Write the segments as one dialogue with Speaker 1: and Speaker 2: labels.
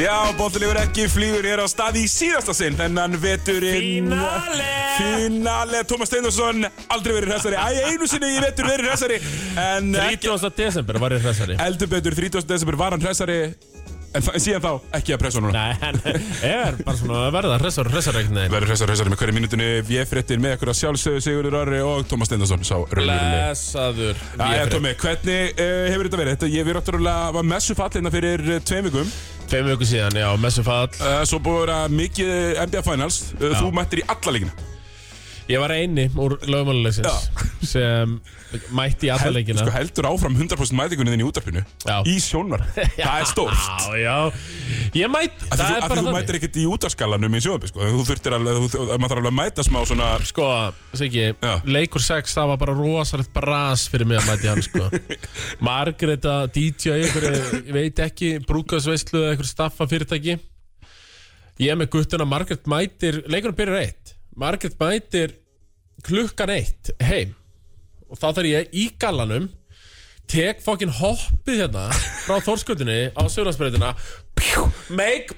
Speaker 1: Já, Bóttilífur ekki flýgur er á stað í síðasta sinn þennan veturinn
Speaker 2: Finale!
Speaker 1: Finale, Tómas Steindorsson aldrei verið hressari, æ, einu sinni í vetur verið hressari en ekki,
Speaker 2: 30. desember var ég hressari
Speaker 1: eldur betur 30. desember var hann hressari en þa- síðan þá ekki að pressa núna
Speaker 2: Nei, en ég er bara svona að verða hressar, hressar ekkert neginn
Speaker 1: verður hressari, hressari með hverju mínutinni ég fréttir með ykkur að sjálfsögðu Sigurður Orri og Tómas Steindorsson sá raunverulegi
Speaker 2: Blessaður
Speaker 1: Jæja, Tómi, hvernig uh, hefur þetta verið? Þetta, ég við ráttúrulega var messu fallina fyrir uh, tveim vikum uh,
Speaker 2: Tveim viku síðan, já, messufall
Speaker 1: Svo búið að vera mikið eh, NBA Finals uh, Þú mættir í alla leikina
Speaker 2: Ég var eini úr lögmálulegsins sem mætti í alla leikina
Speaker 1: sko, heldur áfram 100% mætingunni þinn í útarpinu
Speaker 2: Já.
Speaker 1: Í sjónar Það er stórt
Speaker 2: Já, já Ég mætti,
Speaker 1: Af því
Speaker 2: það
Speaker 1: þú- af
Speaker 2: er
Speaker 1: því
Speaker 2: bara
Speaker 1: þú
Speaker 2: þannig
Speaker 1: mætir ekkert í útarskalanum í sjónarpi sko. Þú þurftir alveg, þú, þú, maður þarf alveg að mæta smá svona
Speaker 2: Sko, Siggi,
Speaker 1: Já.
Speaker 2: leikur 6, það var bara rosalegt bras fyrir mig að mæti hann, sko. Margreta, DJ, ykkur, ég veit ekki, brúkasveislu eða ykkur staffa fyrirtæki. Ég er með guttuna, Margret mætir, leikurinn byrjar eitt. Margret mætir klukkan eitt heim og þá þarf ég í gallanum, tek fokkin hoppið hérna frá Þórskutinni á Söðlandsbreytina, make,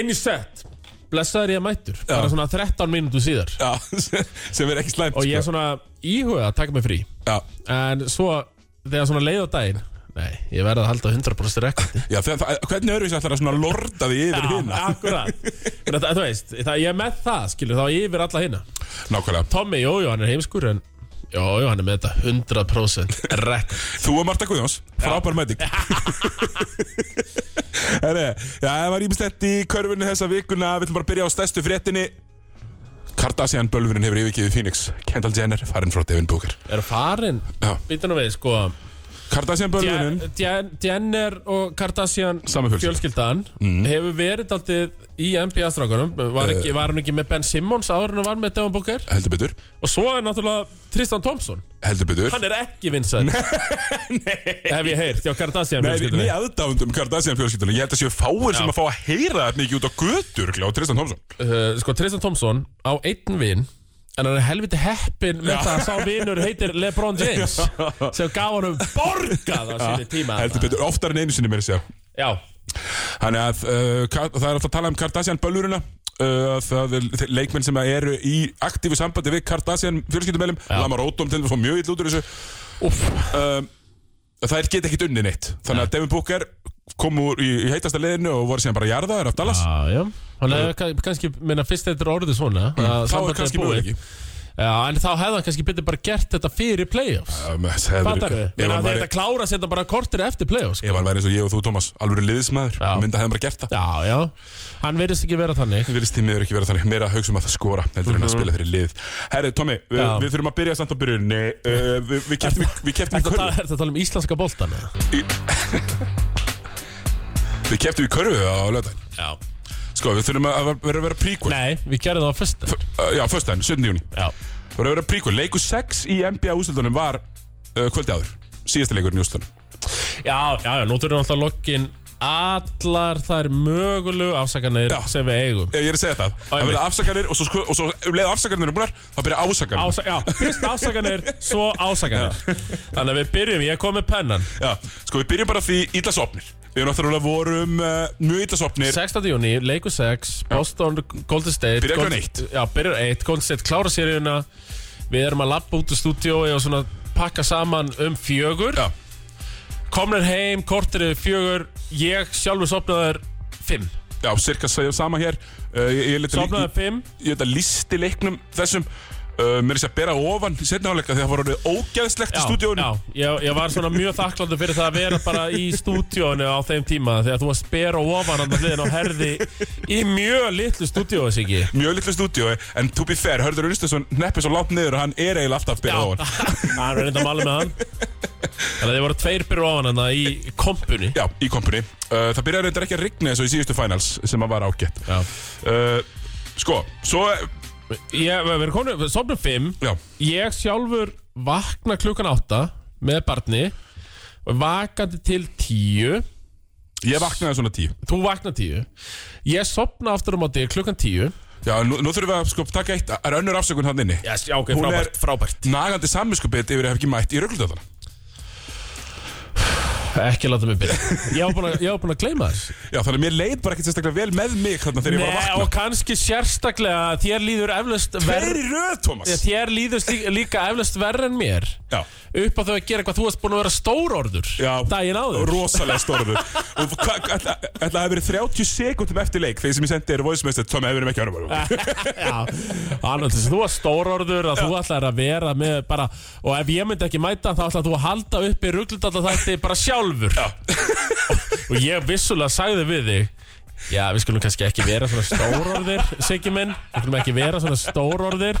Speaker 2: inn í set. Blessaður ég mættur, bara svona 13 mínútu síðar
Speaker 1: Já, sem er ekki slæmt
Speaker 2: og ég er
Speaker 1: sko.
Speaker 2: svona íhuga að taka mig frí
Speaker 1: Já,
Speaker 2: en svo þegar svona leið á daginn nei, ég verði að halda 100% rekord
Speaker 1: já það, það, hvernig öðruvísi ætlar að svona lorda því yfir hina?
Speaker 2: akkurat en það, þú veist, það, ég er með það skilur, þá yfir alla hina
Speaker 1: Nákvæmlega
Speaker 2: Tommy, jú, jú, hann er heimskur en jú, jú, hann er með þetta 100% rekord
Speaker 1: Þú og Marta Guðjóns, frábær mæting Herre, já, það var ímislegt í körfunni þessa vikuna Við ætlum bara að byrja á stærstu fréttinni Kardasian bölvurinn hefur yfirgefið Phoenix Kendall Jenner farinn frá Devin Booker
Speaker 2: er farin,
Speaker 1: Já.
Speaker 2: býtum við, sko
Speaker 1: Kardasian bölvurinn
Speaker 2: Jen- Jen- Jenner og Kardashian
Speaker 1: Sama Mhm. fjölskylda.
Speaker 2: fjölskyldan hefur verið alltaf í NBA-strákunum
Speaker 1: Eh.
Speaker 2: var, ekki- var hann ekki með Ben Simmons áður en hann var með Devon Booker
Speaker 1: Heldur betur,
Speaker 2: Og svo er náttúrulega Tristan Thompson
Speaker 1: heldur betur
Speaker 2: Hann er ekki vinsæl Hef ég heyrt, já Kardashian
Speaker 1: Nei, við-
Speaker 2: fjölskyldunni.
Speaker 1: við aðdáðundum Kardasian fjölskyldunum Ég held að séu fáir sem að fá að heyra þetta mikið út á götur Glá, Tristan Thompson
Speaker 2: uh, Sko Tristan Thompson á einn vin En hann er helviti heppin með það að sá vinur heitir Lebron James sem gaf honum borgað á sínu tíma
Speaker 1: Heldur betur, oftar en einu sinni mér að segja
Speaker 2: Já,
Speaker 1: Þannig að uh, Ka- það er alltaf að tala um Kardasian bölvurina Uh, það er þeir leikmenn sem eru í aktífu sambandi við Kardasian fjölskyldumælum Lamar Odom til þess að mjög ill út úr þessu
Speaker 2: uff
Speaker 1: um, þær get ekki unni neitt þannig að Devin Booker kom úr í, í heitasta leðinu og voru síðan bara jarðaður af Dallas
Speaker 2: Já, Ah, já Hann hefði ka- kannski, minna fyrst þetta Mm. er orðið svona að
Speaker 1: þá
Speaker 2: sambandið
Speaker 1: er kannski
Speaker 2: búið.
Speaker 1: möguleiki
Speaker 2: Já, en þá hefði hann kannski betur bara gert þetta fyrir playoffs
Speaker 1: Um, hefur-
Speaker 2: Fattar við?
Speaker 1: ef hann
Speaker 2: Þegar
Speaker 1: væri-
Speaker 2: þetta klára sér þetta bara kortir eftir playoffs
Speaker 1: ef hann væri eins og ég og þú Thomas alveg liðismæður,
Speaker 2: Já.
Speaker 1: mynda hefði bara gert það
Speaker 2: Já, já Hann verðist ekki vera þannig
Speaker 1: Það virðist tímiður ekki vera þannig meira að hugsa um að það skora heldur en að spila fyrir lið Herri, Tommy, við,
Speaker 2: Mhm. Já.
Speaker 1: við þurfum að byrja samt á byrjunni uh, Við, við keftum í- við keftum í
Speaker 2: Ertu að,
Speaker 1: körfu
Speaker 2: tala- ertu að tala um íslenska boltan?
Speaker 1: Við keftum í körfu á lögdæn
Speaker 2: Já
Speaker 1: Sko, við þurfum að vera að vera príkvæl
Speaker 2: Nei, við gerum það á fyrsta
Speaker 1: Já, föstudaginn, 17. júni
Speaker 2: Já
Speaker 1: Við verðum að vera príkvæl Leiku 6 í NBA úsildunum var uh, kvöldi áður Síðasta leikurinn í úsildunum
Speaker 2: Já, já, já, nú þurfum við alltaf að lokka inn allar þær mögulegu afsakanir
Speaker 1: Já.
Speaker 2: sem við eigum
Speaker 1: Eh, Ég er að segja það Það verða afsakanir og svo, sko- og svo um leið afsakanir eru búnar Það byrja ásakanir
Speaker 2: Ása Já, fyrst afsakanir, svo ásakanir Þannig að við byrjum, ég kom með pennan
Speaker 1: Já, sko, við byrjum bara á því illasopnir Við náttúrulega vorum uh, mjög illasopnir
Speaker 2: 16. júni, leiku 6, Boston, Golden State
Speaker 1: Byrjar
Speaker 2: Golden-
Speaker 1: klukkan eitt.
Speaker 2: Já, byrjar 1, Golden State klára seríuna Við erum að labba út úr stúdíói og svona pakka saman um fjögur
Speaker 1: Já,
Speaker 2: Komnir heim, kortir yfir fjögur Ég sjálfur sopnaður 5
Speaker 1: já, cirka segja sama hér uh, Ég, ég, lét að lí-
Speaker 2: Sopnaði
Speaker 1: ég,
Speaker 2: 5
Speaker 1: ég leta listi leiknum þessum uh, Mér er sér að bera ofan í setna áleika Því það var orðið ógeðslegt í stúdíónu
Speaker 2: já, ég, ég var svona mjög þakklandi fyrir það að vera bara í stúdíónu á þeim tíma Þegar þú varst bera ofan hann að hliðin og herði í mjög litlu stúdíói, Siggi
Speaker 1: Mjög litlu stúdíói En to be fair, Hörður Unstensson neppi svo látt niður Og hann er eiginlega alltaf að bera ofan
Speaker 2: hann var reynda að mála með hann Þannig að þið voru tveir byrja ofan hann í kompunni
Speaker 1: Já, í kompunni uh, Það byrjaði reyndar ekki að rigna eins og í síðustu finals Sem að var ágætt
Speaker 2: Já.
Speaker 1: uh, Sko, svo
Speaker 2: Ég, við erum komin, við sopnum 5
Speaker 1: Já,
Speaker 2: Ég sjálfur vakna klukkan 8 með barni Vakandi til 10
Speaker 1: ég vaknaði svona tíu
Speaker 2: Þú vakna 10 Ég sopna aftur á móti klukkan 10
Speaker 1: Já, nú, nú þurfum við að sko, taka eitt, er önnur afsökun hann inni
Speaker 2: Já, yes, ok,
Speaker 1: Hún er-
Speaker 2: frábært, frábært
Speaker 1: Nagandi samvinskupið yfir að hafa ekki mætt í rögglutátana
Speaker 2: Ekki láta mig byrja Ég var búinn að- ég var búinn að gleyma þess
Speaker 1: Já, þannig að mér leið bara ekkert sérstaklega vel með mig þarna þegar ég var að
Speaker 2: Nei,
Speaker 1: vakna
Speaker 2: og kannski sérstaklega að Þér líður eflaust
Speaker 1: Hver
Speaker 2: verð
Speaker 1: í röð, Thomas?
Speaker 2: Þér líður slí- líka eflaust verð en mér
Speaker 1: Já,
Speaker 2: Upp á þau að gera eitthvað Þú varst búin að vera stórorður
Speaker 1: já
Speaker 2: Daginn áður
Speaker 1: Rosalega stórður Og hva- ætla ætla að hafa verið 30 sekundum eftir leik Þegar sem ég sendi þér voismest Tom, hefur við ekki önnum
Speaker 2: Já, annars þess að þú var stórorður að þú ætlar að vera með bara og ef ég myndi ekki mæta þá ætlar þú að halda upp í rugglutallatætti bara sjálfur Já. og ég vissulega sagði við þig Já, við skulum kannski ekki vera svona stórorðir, Siggi minn Við skulum ekki vera svona stórorðir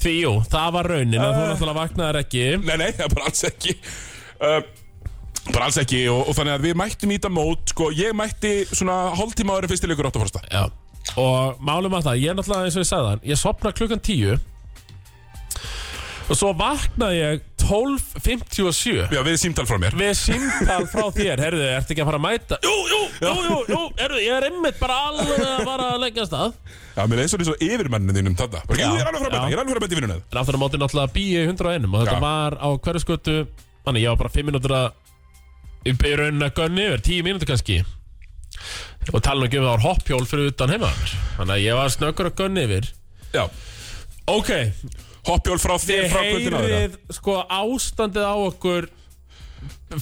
Speaker 2: Því jú, það var raunin að þú náttúrulega vaknaðir ekki
Speaker 1: Nei, nei, það er bara alls ekki uh, Bara alls ekki og, og þannig að við mættum í þetta mót Sko, ég mætti svona hálftíma ári fyrsti leikur 8. fórsta
Speaker 2: Já Og málum að það, ég er náttúrulega eins og ég sagði það Ég sopna klukkan 10 Og svo vaknaði ég 12.57
Speaker 1: Já, við erum símtal frá mér
Speaker 2: við símtal frá þér Herðu, ertu ekki að fara að mæta? Jú, jú, jú, jú, jú herðu, ég er einmitt bara alveg að fara að leggja af stað
Speaker 1: Já, mér leið svolítið svo yfirmenninu þínum þarna Bara,
Speaker 2: Já,
Speaker 1: Ég er alveg frá
Speaker 2: já.
Speaker 1: mæta, ég er alveg frá mæta í vinnuna
Speaker 2: En aftur á móti náttúrulega býja í 101 Og þetta
Speaker 1: Já.
Speaker 2: var á hverju skotu Þannig, ég var bara 5 mínútur að Í raunin að gönni yfir, 10 mínútur kannski Og tala nú ekki um það var hoppjól fyrir utan heima hjá mér. Þannig að ég var snöggur að gönni yfir
Speaker 1: Já,
Speaker 2: Ok,
Speaker 1: hoppjól frá þér
Speaker 2: þið
Speaker 1: frá kvöldin á þeirra
Speaker 2: heyrið sko ástandið á okkur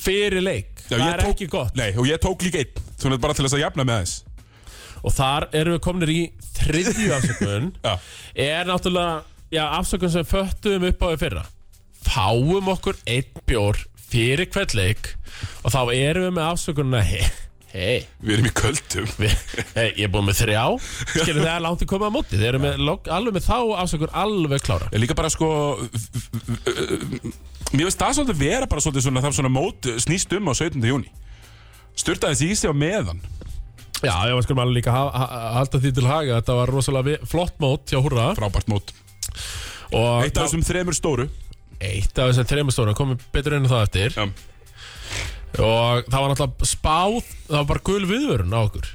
Speaker 2: Fyrir leik
Speaker 1: Já,
Speaker 2: Það
Speaker 1: ég
Speaker 2: er
Speaker 1: tók-
Speaker 2: ekki gott
Speaker 1: Nei, og ég tók líka einn Svona bara til þess að jafna með þess
Speaker 2: Og þar erum við komnir í þriðju afsökun
Speaker 1: Já,
Speaker 2: er náttúrulega já, afsökun sem föttuðum upp á í fyrra fáum okkur einn bjór fyrir hvert leik og þá erum við með afsökununa hei, hei,
Speaker 1: við erum í köldum
Speaker 2: vi, hei ég er búin með þrjá skilur það er langt í komið á móti þeir eru með, lok- alveg með þá afsökun alveg klára
Speaker 1: Líka bara sko Mér finnst það svolítið vera bara svolítið svona Það svona mót snýst um á 17. júni Sturtaðist í sig á meðan
Speaker 2: já, já, við skulum alveg líka ha- ha- halda því til haga að þetta var rosalega vi- flott mót hjá Hurra
Speaker 1: Frábært mót
Speaker 2: og
Speaker 1: Eitt af þessum þremur stóru
Speaker 2: eitt af þessum þreymur stóra komum við betur inn á það eftir
Speaker 1: Já.
Speaker 2: og það var náttúrulega spáð það var bara gul viðvörun á okkur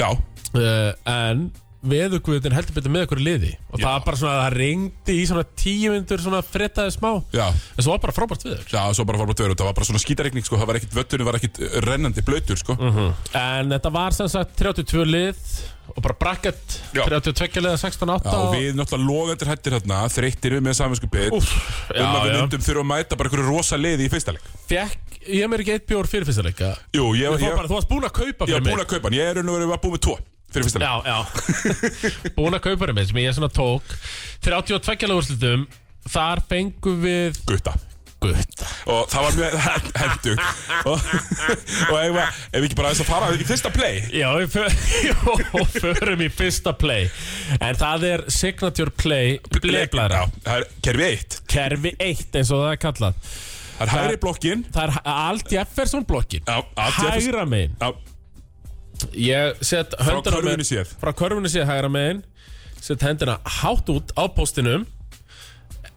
Speaker 1: Já,
Speaker 2: uh, en veðugvöðin heldur betur með okkur í liði og
Speaker 1: Já.
Speaker 2: það var bara svona, það ringdi í svona tíu myndur svona frettaði smá en
Speaker 1: já,
Speaker 2: svo var bara frábært viður
Speaker 1: já, svo bara fór bara tveir Það var bara svona skítareikning, sko, það var ekkit vöttunum, var ekkit eh, rennandi blöytur, sko
Speaker 2: Mm. en þetta var sem sagt 32 lið og bara bracket
Speaker 1: Já.
Speaker 2: 32 liða 16 8
Speaker 1: Já, og við náttúrulega logandir hættir þarna, þreyttir við með saminskupið Um
Speaker 2: Úff, já,
Speaker 1: að við
Speaker 2: já.
Speaker 1: myndum þurfa að mæta bara einhverju rosa liði í fyrsta leik
Speaker 2: fekk ég mér ekki eitt bjór fyrir fyrsta leika
Speaker 1: Jú, ég,
Speaker 2: þú
Speaker 1: ég,
Speaker 2: var bara, þú varst búin að kaupa
Speaker 1: ég
Speaker 2: fyrir
Speaker 1: er búin
Speaker 2: mig
Speaker 1: að kaupa hann, ég er raun og verið að búin með tvo fyrir fyrsta leik
Speaker 2: já, já búin að kaupa fyrir mig sem ég svona tók 32 liða úrslutum þar fengum við
Speaker 1: Gutta
Speaker 2: gutt
Speaker 1: og það var mjög hendugt og, og ef, ef við ekki bara aðeins að fara í fyrsta play
Speaker 2: Já, við fö- jó, förum í fyrsta play En það er signature play Bleiblæra
Speaker 1: Já, það er kerfi eitt
Speaker 2: Kerfi 1 eins og það er kallað
Speaker 1: það er hægri blokkin
Speaker 2: Það er H- Alt Jefferson blokkin
Speaker 1: já, allt í að-
Speaker 2: Hægra megin
Speaker 1: já,
Speaker 2: Ég set
Speaker 1: frá
Speaker 2: höndina
Speaker 1: körfunni
Speaker 2: með-
Speaker 1: séð
Speaker 2: Frá körfunni séð hægra megin Set hendina hátt út á postinum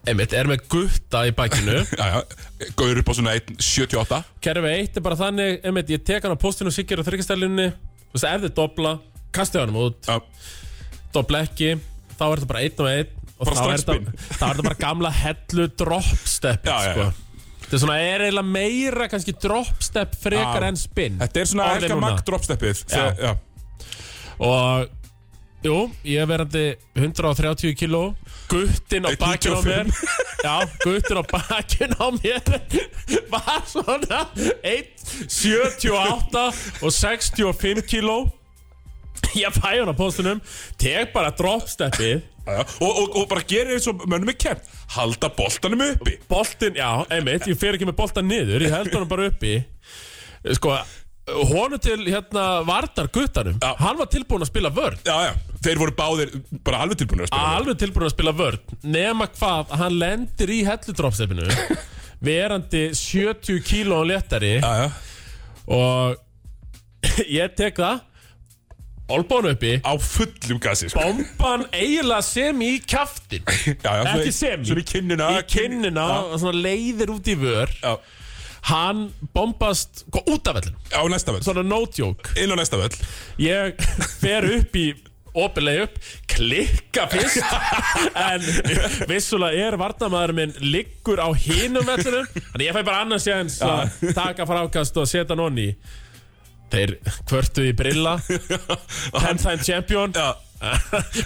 Speaker 2: Einmitt, er með gutta í bakinu
Speaker 1: já, já, gaur upp á svona 1, 78
Speaker 2: Kerfi 1 er bara þannig Einmitt, ég tek hann á postinu og sikkir á þryggastælinni Þú veist, ef þið dobla, kastu hann út
Speaker 1: já,
Speaker 2: dobla ekki þá er þetta bara einn og einn og
Speaker 1: Bara
Speaker 2: þá er,
Speaker 1: strax
Speaker 2: þetta,
Speaker 1: spinn.
Speaker 2: þá er þetta bara gamla hellu dropstep
Speaker 1: Já, já,
Speaker 2: sko. þetta er svona er eiginlega meira kannski dropstep
Speaker 1: Já.
Speaker 2: frekar en spinn
Speaker 1: þetta er svona
Speaker 2: Orðið
Speaker 1: Helga
Speaker 2: núna.
Speaker 1: Mag dropsteppið þegar- já,
Speaker 2: og jú, ég er verandi 130 kíló guttin á
Speaker 1: Einn
Speaker 2: bakinu á
Speaker 1: 95.
Speaker 2: mér já, guttin á bakinu á mér var svona 178 og 65 kíló ég fæ hann á postunum tek bara dropsteppið
Speaker 1: já, já, og, og, og bara gerir eins og mönnum er kent halda boltanum uppi
Speaker 2: boltinn, já, einmitt, ég fer ekki með boltan niður, ég held honum bara uppi sko, honum til hérna Vardar guttanum,
Speaker 1: Já.
Speaker 2: hann var tilbúin að spila vörn
Speaker 1: já, já, þeir voru báðir bara alveg tilbúinir að spila
Speaker 2: alveg tilbúin að spila vörn nema hvað, að hann lendir í helludropstefinu verandi 70 kíló léttari
Speaker 1: já, já,
Speaker 2: og ég tek það olbánu uppi
Speaker 1: á fullum gasi sko.
Speaker 2: bomban eiginlega sem í kjaftin
Speaker 1: já, já, svona-
Speaker 2: ekki sem í,
Speaker 1: svona í kinnina
Speaker 2: í kinnina, svona leiðir út í vör
Speaker 1: já,
Speaker 2: hann bombast sko, út af vellinu,
Speaker 1: á næsta völd
Speaker 2: svona no joke
Speaker 1: inn á næsta völd
Speaker 2: ég fer upp í opilegi upp, klikka fyrst en vissulega er varnamæður minn liggur á hinum vellinum þannig ég fæ bara annars jæns að taka frákast og setja hann onni í. þeir kvörtu í brilla 10 time champion
Speaker 1: Já,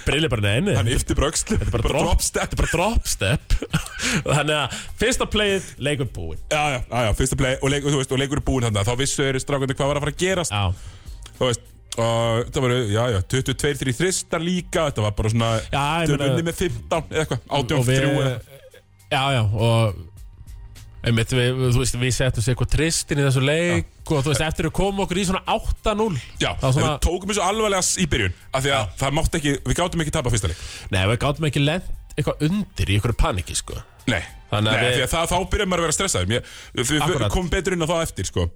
Speaker 2: brilli bara neini
Speaker 1: hann yfti brökslu Þetta
Speaker 2: bara drop-
Speaker 1: dropstep
Speaker 2: bara drop step þannig að fyrsta playið leikur búinn
Speaker 1: Já, já, já, já, fyrsta play og, leik, og þú veist, og leikur er búinn þarna Þá vissu þeir strákandi hvað var að fara að gerast
Speaker 2: já
Speaker 1: Þú veist, og það var, já, já, 22-3 þristar líka Þetta var bara svona
Speaker 2: já ég
Speaker 1: Þau eru
Speaker 2: meina
Speaker 1: unni með 15 eða eitthvað,
Speaker 2: og
Speaker 1: 18
Speaker 2: við
Speaker 1: 3 eða
Speaker 2: já já og einmitt við þú veist við settum sér eitthvað tristin í þessu leik og þú veist eftir að koma okkur í svona 8-0
Speaker 1: Já,
Speaker 2: það
Speaker 1: svona...
Speaker 2: var svona
Speaker 1: við tókum þessu alvarlega s- í byrjun af því að það mátti ekki, við gátum ekki tapa fyrsta leik
Speaker 2: nei við gátum ekki lent eitthvað undir í ykkur paniki sko
Speaker 1: Nei,
Speaker 2: Þannig
Speaker 1: Nei
Speaker 2: að
Speaker 1: við...
Speaker 2: við-
Speaker 1: því að það, þá byrjar maður að vera stressaður Mér- Við, við
Speaker 2: Akkurat.
Speaker 1: komum betur inn á það eftir, sko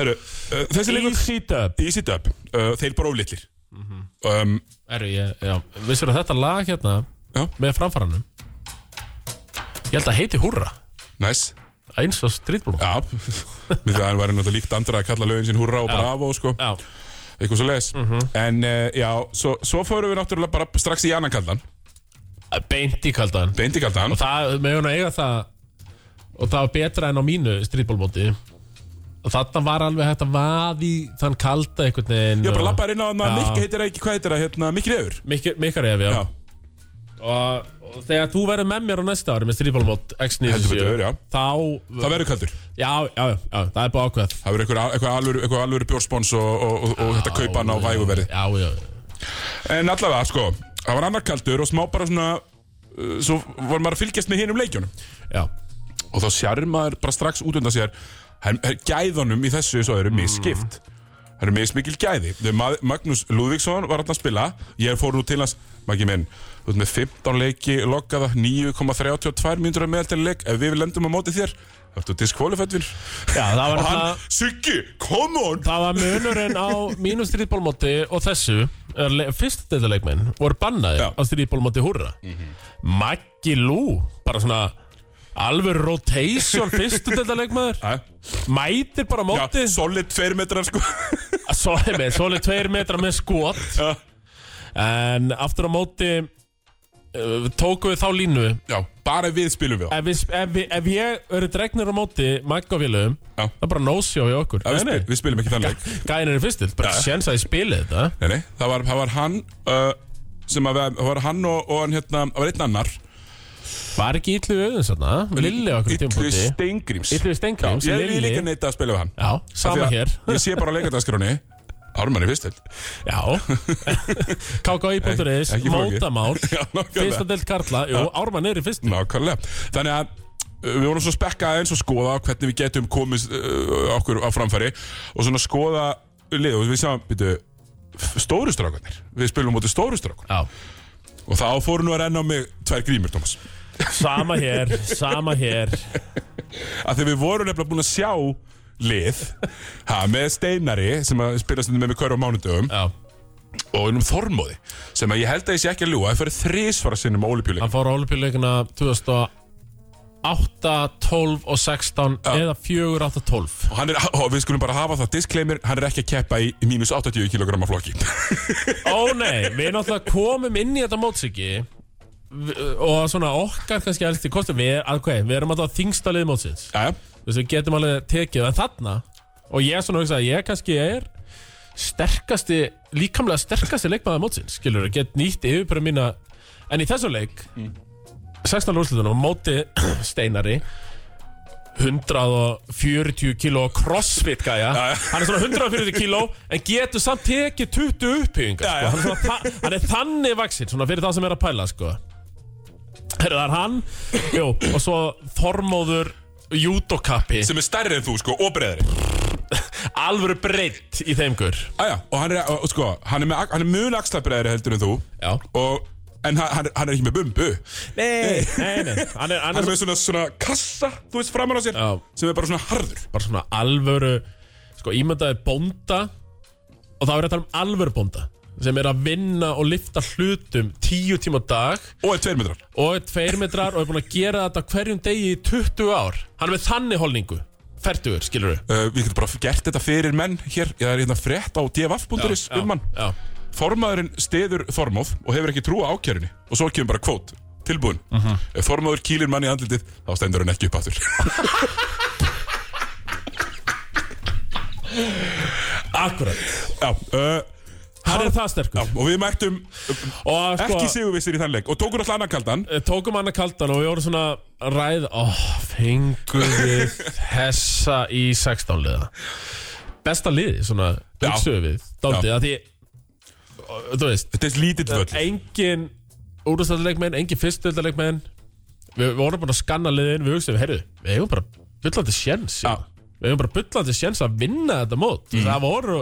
Speaker 1: Herru, uh, þessi leikur
Speaker 2: easy dub
Speaker 1: Easy Dub, uh, þeir bara oflitlir
Speaker 2: Mhm.
Speaker 1: um,
Speaker 2: Erru, ég, já, vissur að þetta lag hérna
Speaker 1: Já.
Speaker 2: með framfaranum ég held að heiti Húrra
Speaker 1: Næs,
Speaker 2: eins og strítblóm
Speaker 1: já Við það var náttúrulega líkt andra að kalla lögin sín hurra og bravo, sko
Speaker 2: já, Mhm.
Speaker 1: Eitthvað svo leis En uh, já, svo, svo fórum við náttúrulega bara strax í annan kaldan
Speaker 2: beint í kaldan
Speaker 1: Beindi kaldan
Speaker 2: og það, með hún að eiga það og það var betra en á mínu strítblómóti og þarna var alveg hægt að vaði þann kalda einhvern veginn
Speaker 1: Ég bara lappaði inn á hann að
Speaker 2: Já.
Speaker 1: Mikki heitir það ekki, hvað heitir það, hérna, Mikki Reyður
Speaker 2: Mikki- Mikkar ef, já,
Speaker 1: Já,
Speaker 2: Og, og þegar þú verður með mér á næsta ári með strítblómót
Speaker 1: Heldur betur, já.
Speaker 2: X97 þá,
Speaker 1: það verður kaldur
Speaker 2: já, já, já, það er bara ákveð
Speaker 1: Það verður eitthvað, eitthvað alvöru, eitthvað alvöru bjórspons og, og, og, og þetta kaupan á væguverði.
Speaker 2: já, já, já
Speaker 1: En allavega, sko, það var annar kaldur og smá bara svona, uh, svo var maður að fylgjast með hinum leikjunum.
Speaker 2: Já,
Speaker 1: Og þá sér maður bara strax út undan sér, her, her, gæðunum í þessu svo eru misskipt. Það eru mismikil gæði. Þegar Ma- Magnús Lúðvíksson var alltaf að spila, ég fór nú til hans, Maggi minn, þú ert með 15 leiki, lokkaða 9,32 mínútur að meðaltæli leik, ef við lendum á móti þér, þá ertu diskvalifætt vinnur.
Speaker 2: já það var
Speaker 1: Og
Speaker 2: nefnilega
Speaker 1: hann, Siggi, come on!
Speaker 2: Það var munurinn á mínu strítbólmóti og þessu er le- Fyrstu deildaleikmenn voru bannaði
Speaker 1: Já. Mhm.
Speaker 2: á strítbólmóti húrra Maggi Lú, bara svona alveg rotation fyrstu deildaleikmaður
Speaker 1: Æ?
Speaker 2: Mætir bara á móti
Speaker 1: Já, solid 2 metrar sko
Speaker 2: Svolítið með, svolítið tveir metra með skot
Speaker 1: Já.
Speaker 2: En aftur á móti uh, tókum við þá línu
Speaker 1: Já, bara við spilum við það
Speaker 2: Ef, við, sp- ef, við, ef ég eru dregnir á móti Maggi og félögum
Speaker 1: Já.
Speaker 2: Það er bara no-show í okkur
Speaker 1: Já, við,
Speaker 2: Nei, nei.
Speaker 1: spil, við spilum ekki þann leik
Speaker 2: Gæðin eru fyrstill, bara
Speaker 1: Já.
Speaker 2: séns að ég spili þetta
Speaker 1: nei, nei, það, var, það var hann uh, sem að það var hann og, og hann hérna það var einn annar
Speaker 2: Var ekki illu auðvins þarna? Lilli á okkur
Speaker 1: Illu
Speaker 2: tímpúti
Speaker 1: Steingríms
Speaker 2: Illu Steingríms,
Speaker 1: Ég vil
Speaker 2: Lilli
Speaker 1: líka neita að spila við hann
Speaker 2: Já,
Speaker 1: Af því
Speaker 2: sama
Speaker 1: að
Speaker 2: hér
Speaker 1: Ég sé bara á leikardagskráni Ármann í fyrst til
Speaker 2: Já KKI.is,
Speaker 1: Ekki flókið.
Speaker 2: mótamál
Speaker 1: Já, nákvæmlega.
Speaker 2: Fyrsta delt Karla, jú, Ármann er í fyrstu
Speaker 1: Nákvæmlega Þannig að uh, við vorum svo spekkað eins og skoða hvernig við getum komist uh, okkur á framfæri og svona skoða lið og við sáum, býtu, stóru strákarnir Við spilum mútið stóru strákarnir
Speaker 2: Já,
Speaker 1: og þá fóru nú að renna á mig tvær grímur, Thomas
Speaker 2: sama hér, sama hér
Speaker 1: að því við vorum nefnilega búin að sjá lið ha, með Steinari sem að spila stundum með mig hverju á mánudögum
Speaker 2: Já,
Speaker 1: og einum Þormóði sem að ég held að ég sé ekki að ljúa það fyrir þrísvara sinnum á olipjuleik
Speaker 2: hann fór á olupjuleikina 2008, 12 og 16 eða 4, 8, 12
Speaker 1: og, hann er, og við skulum bara hafa það disclaimer hann er ekki að keppa í mínus 80 kg flokki
Speaker 2: Ó nei, við náttúrulega komum inn í þetta mótsiki og svona okkar kannski helst í kostum við, okay, við erum alltaf þingsta lið mótsins
Speaker 1: Jæja,
Speaker 2: Þú veist, við getum alveg tekið en þarna og ég svona hugsa að ég kannski er sterkasti, líkamlega sterkasti leikmaða mótsins, skilur, get nýtt yfirbæra mína, en í þessum leik 16. úrslutunum á móti Steinari 140 kíló crossfit gæja, hann er svona 140 kíló en getur samt tekið 20 uppbyggingar, sko. hann, er svona þa- hann er þannig vaksinn, svona fyrir það sem er að pæla sko. Herra, það er hann Jú, og svo Þormóður júdokappi
Speaker 1: sem er stærri en þú sko og breyðri
Speaker 2: alvöru breytt í þeim gur
Speaker 1: Jæja, og hann er, og, og sko, hann er, með, ak- hann er mun axla breyðri heldur en þú
Speaker 2: Já
Speaker 1: og, en hann, hann er- hann er ekki með bumbu
Speaker 2: Nei, nei, nei Hann er, hann
Speaker 1: hann
Speaker 2: er
Speaker 1: er
Speaker 2: svo,
Speaker 1: með svona, svona kassa þú veist framar á sér
Speaker 2: Já.
Speaker 1: sem er bara svona harður
Speaker 2: bara svona alvöru Sko, ímyndaðir bónda Og það er að tala um alvöru bónda Sem er að vinna og lifta hlutum Tíu tíma á dag
Speaker 1: og er tveir metrar
Speaker 2: Og er tveir metrar og er búin að gera þetta á Hverjum degi í 20 ár Hann er með þannig holningu Fertugur, skilur við
Speaker 1: uh, Við getum bara gert þetta fyrir menn hér Ég er hérna frétt á dff.is um hann
Speaker 2: Já
Speaker 1: Formaðurinn steður Þormóð og hefur ekki trú á ákjörunni og svo kemur bara kvót, tilbúin
Speaker 2: Mhm.
Speaker 1: Ef Þormóður kýlir manni í andlitið þá stendur hann ekki upp aftur
Speaker 2: Akkurat
Speaker 1: Já, uh,
Speaker 2: Hann er það sterkur
Speaker 1: já, og við mættum
Speaker 2: Og sko,
Speaker 1: ekki sigurvissir í þann leik og tókur alltaf annan kaldan
Speaker 2: Eh, tókum hann að kaldan og við vorum svona að ræð Ó, fengum við hessa í 16 liða Besta liði, svona,
Speaker 1: Já.
Speaker 2: hugsuðu við Daldið, að því Þú veist,
Speaker 1: Þetta er lítill völl
Speaker 2: engin úrstæðarleikmenn, engin fyrstöldaleikmenn Við við vorum bara að skanna liðin, við hugsaðum, heyrðu, við hefum bara bullandi sjens
Speaker 1: Já.
Speaker 2: Við hefum bara bullandi sjens að vinna þetta mót mm. Það voru,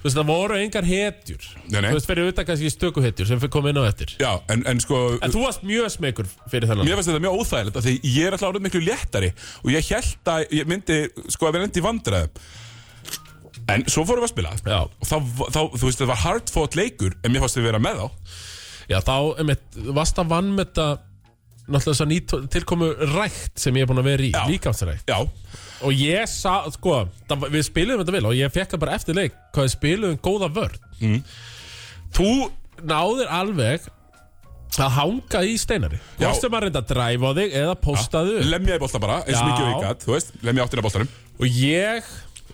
Speaker 2: þú veist, það voru engar hetjur
Speaker 1: Nei, nei.
Speaker 2: Þú veist, fyrir utan kannski stöku hetjur sem fyrir komið inn á eftir
Speaker 1: Já, en, en sko
Speaker 2: En þú varst mjög smekur fyrir þennan
Speaker 1: Mér finnst þetta mjög óþægilegt af því ég er alltaf orðið miklu léttari og ég held að ég myndi sko að vera endi vandræðum en svo fórum við að spila
Speaker 2: Já.
Speaker 1: og þá, þá, þú veist, þetta var hardfought leikur en mér fannst við vera með þá
Speaker 2: Já, þá, einmitt, varst að vann með þetta Náttúrulega þess að nýtt tilkomu rækt sem ég er búin að vera í,
Speaker 1: Já.
Speaker 2: líkamsrækt
Speaker 1: Já,
Speaker 2: Og ég sa, sko, það, við spiluðum þetta vel og ég fekk það bara eftir leik Hvað við spiluðum góða vörn mm. Þú náðir alveg að hanga í steinari
Speaker 1: Já.
Speaker 2: Kostum að reynda að dræfa á þig eða postaðu upp.
Speaker 1: lemja í bolta bara eins
Speaker 2: Já.
Speaker 1: mikið og ég gætt, þú veist, lemja áttina boltanum
Speaker 2: Og ég,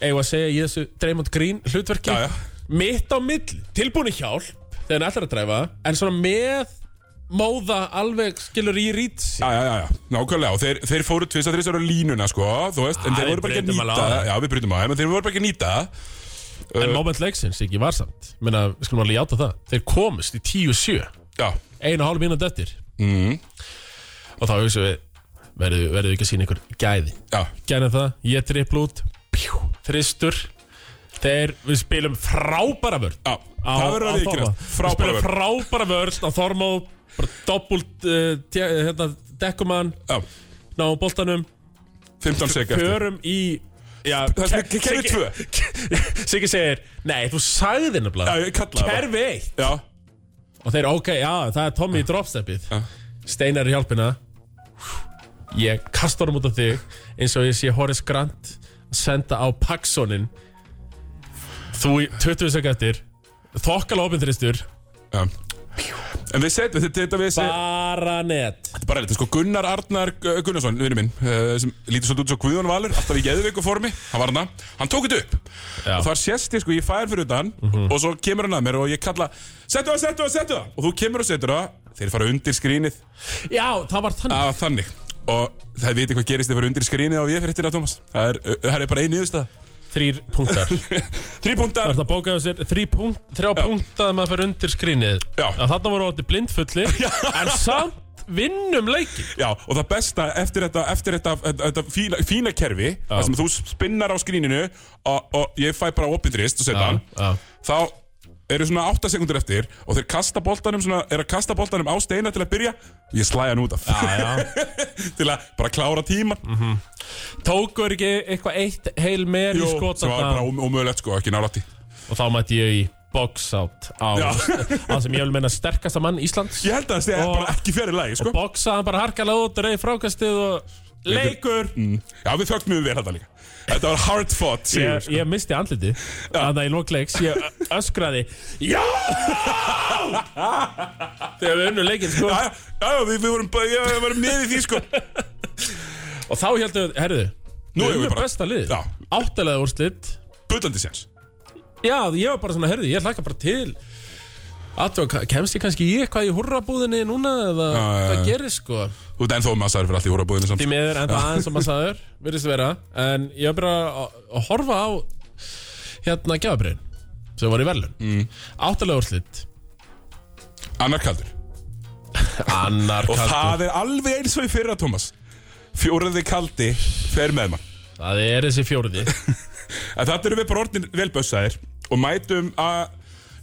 Speaker 2: eigum að segja í þessu Draymond Green hlutverki
Speaker 1: Já, já.
Speaker 2: Mitt á mill, tilbúin í hjálp Þegar hann ætlar að dræfa En svona með móða alveg skilur í rít
Speaker 1: Já, já, já, já, nákvæmlega og þeir, þeir fóru tvist að þeir á línuna sko, þú veist, en
Speaker 2: Já,
Speaker 1: þeir
Speaker 2: við
Speaker 1: voru bara ekki að
Speaker 2: brutum
Speaker 1: nýta
Speaker 2: alveg á
Speaker 1: það.
Speaker 2: það.
Speaker 1: Já, við brytum á það, en þeir voru bara ekki að nýta það. Eh,
Speaker 2: En moment leiksins ekki var samt Menna, við skulum alveg játa það Þeir komust í 10-7
Speaker 1: Já,
Speaker 2: Einu og hálf mínúti eftir mm.
Speaker 1: Mhm.
Speaker 2: Og þá hugsaum við Verðu, verðu ekki að sína ykkur gæði
Speaker 1: já,
Speaker 2: Gæna það, ég trippl út pjú, Þristur Þeir, við spilum frábæra vörn
Speaker 1: já, það verður
Speaker 2: á
Speaker 1: að viðkynast.
Speaker 2: Þormóð.
Speaker 1: Frábæra
Speaker 2: Við spilum
Speaker 1: vörn.
Speaker 2: frábæra vörn á Þormóð Bara doppult uh, te- hérna, Dekkumann,
Speaker 1: Já,
Speaker 2: náum boltanum
Speaker 1: 15 sek eftir.
Speaker 2: Förum í Já,
Speaker 1: Það er kerfi tvö.
Speaker 2: Siggi segir, nei, þú sagði
Speaker 1: Já,
Speaker 2: þinn nefnilega
Speaker 1: ég kallaði það.
Speaker 2: Kerfi eitt Ah.
Speaker 1: Já,
Speaker 2: Og þeir, ok, já, það er Tommy í dropsteppið
Speaker 1: Já.
Speaker 2: Steinar í hjálpina Ég kastar hann út af þig Eins og ég sé Horace Grant að Senda á Paxsonin Þú í 20 sekundar Þokkala opinþristur
Speaker 1: já. En við setjum, þetta, þetta við setjum,
Speaker 2: Bara net
Speaker 1: Þetta er bara þetta sko Gunnar Arnar uh, Gunnarsson, vinnu minn uh, sem lítur svolítið út svo Guðjón Valur alltaf í geðveiku formi, hann var hann hann tók þetta upp
Speaker 2: Já. Mhm.
Speaker 1: og þar sést ég sko, ég fær fyrir utan og svo kemur hann að mér og ég kalla settu það, settu það, settu það og þú kemur og setur það þeir fara undir skrínið
Speaker 2: Já, það var þannig
Speaker 1: að þannig og það viti hvað gerist þeir fara undir skrínið á við fyrir þetta Thomas það er, uh, það er bara einu yðurstað
Speaker 2: Þrýr punktar
Speaker 1: þrý punktar
Speaker 2: Það bókaði sér þrý punkt, þrjá punkt að maður fyrir undir skrínið
Speaker 1: Já.
Speaker 2: Að þarna voru átti blindfulli En samt vinnum leikin
Speaker 1: Já, og það besta eftir þetta, eftir þetta, þetta, þetta fína, fína kerfi þar sem þú spinnar á skríninu og, og ég fæ bara opindrist og setja hann
Speaker 2: já.
Speaker 1: þá eru svona 8 sekundur eftir og þeir kasta boltanum svona, er að kasta boltanum á steina til að byrja ég slæja hann út af
Speaker 2: já.
Speaker 1: til að bara klára tíman
Speaker 2: Tókur ekki eitthvað eitt heil meir í
Speaker 1: Jú, sem var bara
Speaker 2: skotarna
Speaker 1: óm- ómögulegt sko, ekki nálætti
Speaker 2: og þá mætti ég í box out á
Speaker 1: Já.
Speaker 2: það sem ég vil meina sterkasta mann Íslands
Speaker 1: ég held að það sé
Speaker 2: Og-
Speaker 1: bara ekki fyrir lagi sko
Speaker 2: boxaði hann bara harkalega út, reyði frákastið og leikur
Speaker 1: Mm. Já, við þögtum við þetta líka Þetta var hard fought sigur,
Speaker 2: Ég,
Speaker 1: sko.
Speaker 2: ég misti andliti Þannig að ég lókleiks Ég ö- öskraði Já Þegar við unnum leikinn sko
Speaker 1: Já, já, já, já, við, við vorum, bara- já, við vorum niður í því sko
Speaker 2: Og þá heldum við, herðu
Speaker 1: Nú
Speaker 2: Við
Speaker 1: erum við
Speaker 2: unnum
Speaker 1: bara-
Speaker 2: besta lið
Speaker 1: Já.
Speaker 2: Áttalega úrslit
Speaker 1: Bullandi séns
Speaker 2: Já, ég var bara svona, herðu, ég hlakka bara til Atjóka, kemst ég kannski í eitthvað í hurrabúðinni núna eða
Speaker 1: já,
Speaker 2: hvað
Speaker 1: já.
Speaker 2: gerir sko
Speaker 1: Þú ert ennþá massaður fyrir allt í húrabúðinu samt
Speaker 2: Því miður, en það aðeins og massaður, virðist vera En ég var bara að- að horfa á hérna gjafabriðin sem var í verðlun mm. Áttalega úrslit
Speaker 1: Annar kaldur
Speaker 2: Annar
Speaker 1: Og
Speaker 2: kaldur
Speaker 1: það er alveg eins og í fyrra, Thomas Fjóruði kaldi fer með mann
Speaker 2: Það er þessi fjóruði
Speaker 1: En þetta eru við bara orðin velbössaðir Og mætum að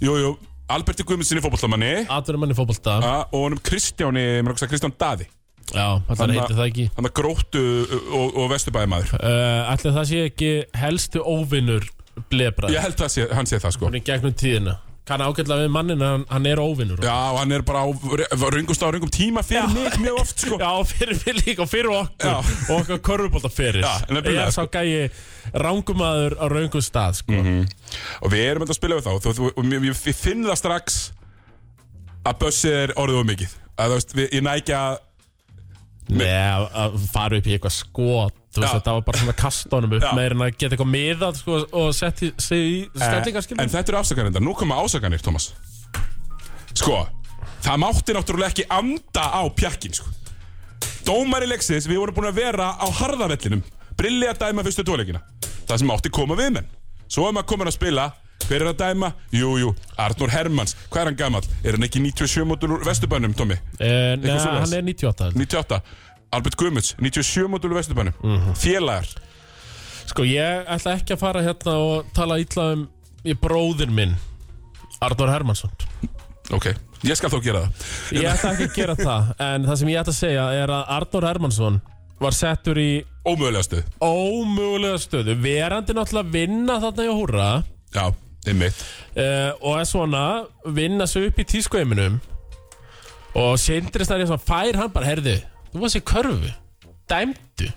Speaker 1: Jú, jú, Alberti Guðmundssoni fótbollamanni
Speaker 2: Atverðum manni fótbolta Já,
Speaker 1: Og honum Kristjáni, mér okkur að Kristján Daði
Speaker 2: þannig
Speaker 1: Þannig að-
Speaker 2: heiti það ekki
Speaker 1: Hann að gróttu og, og vesturbæði maður
Speaker 2: uh, Ætli það sé ekki helstu óvinnur blebra
Speaker 1: Ég held að sé, hann sé það sko
Speaker 2: Í gegnum tíðina kann ágætlega við mannin hann, hann er óvinnur
Speaker 1: Já, og hann er bara á röngum stað, röngum tíma fyrir mig mjög oft, sko.
Speaker 2: Já, fyrir mig líka og fyrir okkur
Speaker 1: Já.
Speaker 2: og okkar körfubólta fyrir
Speaker 1: Já, nefnilega,
Speaker 2: Ég sá gæi rangumadur á raungum stað sko.
Speaker 1: Mhm. Og við erum þetta að spila við þá, þú, þú, og mér- ég ég finn það strax að bussið er orðið of mikið. Að, þú veist, við, ég nækja,
Speaker 2: Nei, að að fara upp í eitthvað skot Þú veist
Speaker 1: Já.
Speaker 2: þetta var bara svona að kasta honum upp
Speaker 1: Já. Eh,
Speaker 2: meir en að geta eitthvað miðað sko, og setja sig í stellingar skilur
Speaker 1: en þetta eru afsakanir þetta, nú koma ásakanir, Thomas. Sko, það mátti náttúrulega ekki anda á pjakkin, sko. Dómari leiksins, við vorum búin að vera á harðavellinum, brillið að dæma fyrstu tóleikina. Það sem mátti koma við menn. Svo er maður komin að spila, hver er að dæma? Jú, jú, Arnur Hermans, hvað er hann gamall? Er hann ekki 97 mótur úr Vesturbænum, Tommi?
Speaker 2: En ja,
Speaker 1: svoleiðis.
Speaker 2: Eh, hann er 98 held ég.
Speaker 1: 98 Albert Guðmunds, 97 mótul Vesturbænum Félagar
Speaker 2: Sko ég ætla ekki að fara hérna og tala illa um í bróðin minn Arnur Hermansson
Speaker 1: Ok, ég skal þó gera það
Speaker 2: Ég ætla ekki að gera það En það sem ég ætla að segja er að Arnur Hermansson var settur í
Speaker 1: Ómögulega stuð
Speaker 2: ómögulega stöðu Verandi náttúrulega að vinna þarna í að húra
Speaker 1: Já, einmitt
Speaker 2: uh, og er svona vinna sig upp í tískueiminum og Sindri Snær er svona fær hann bara, herðu, þú varst í körfu dæmdu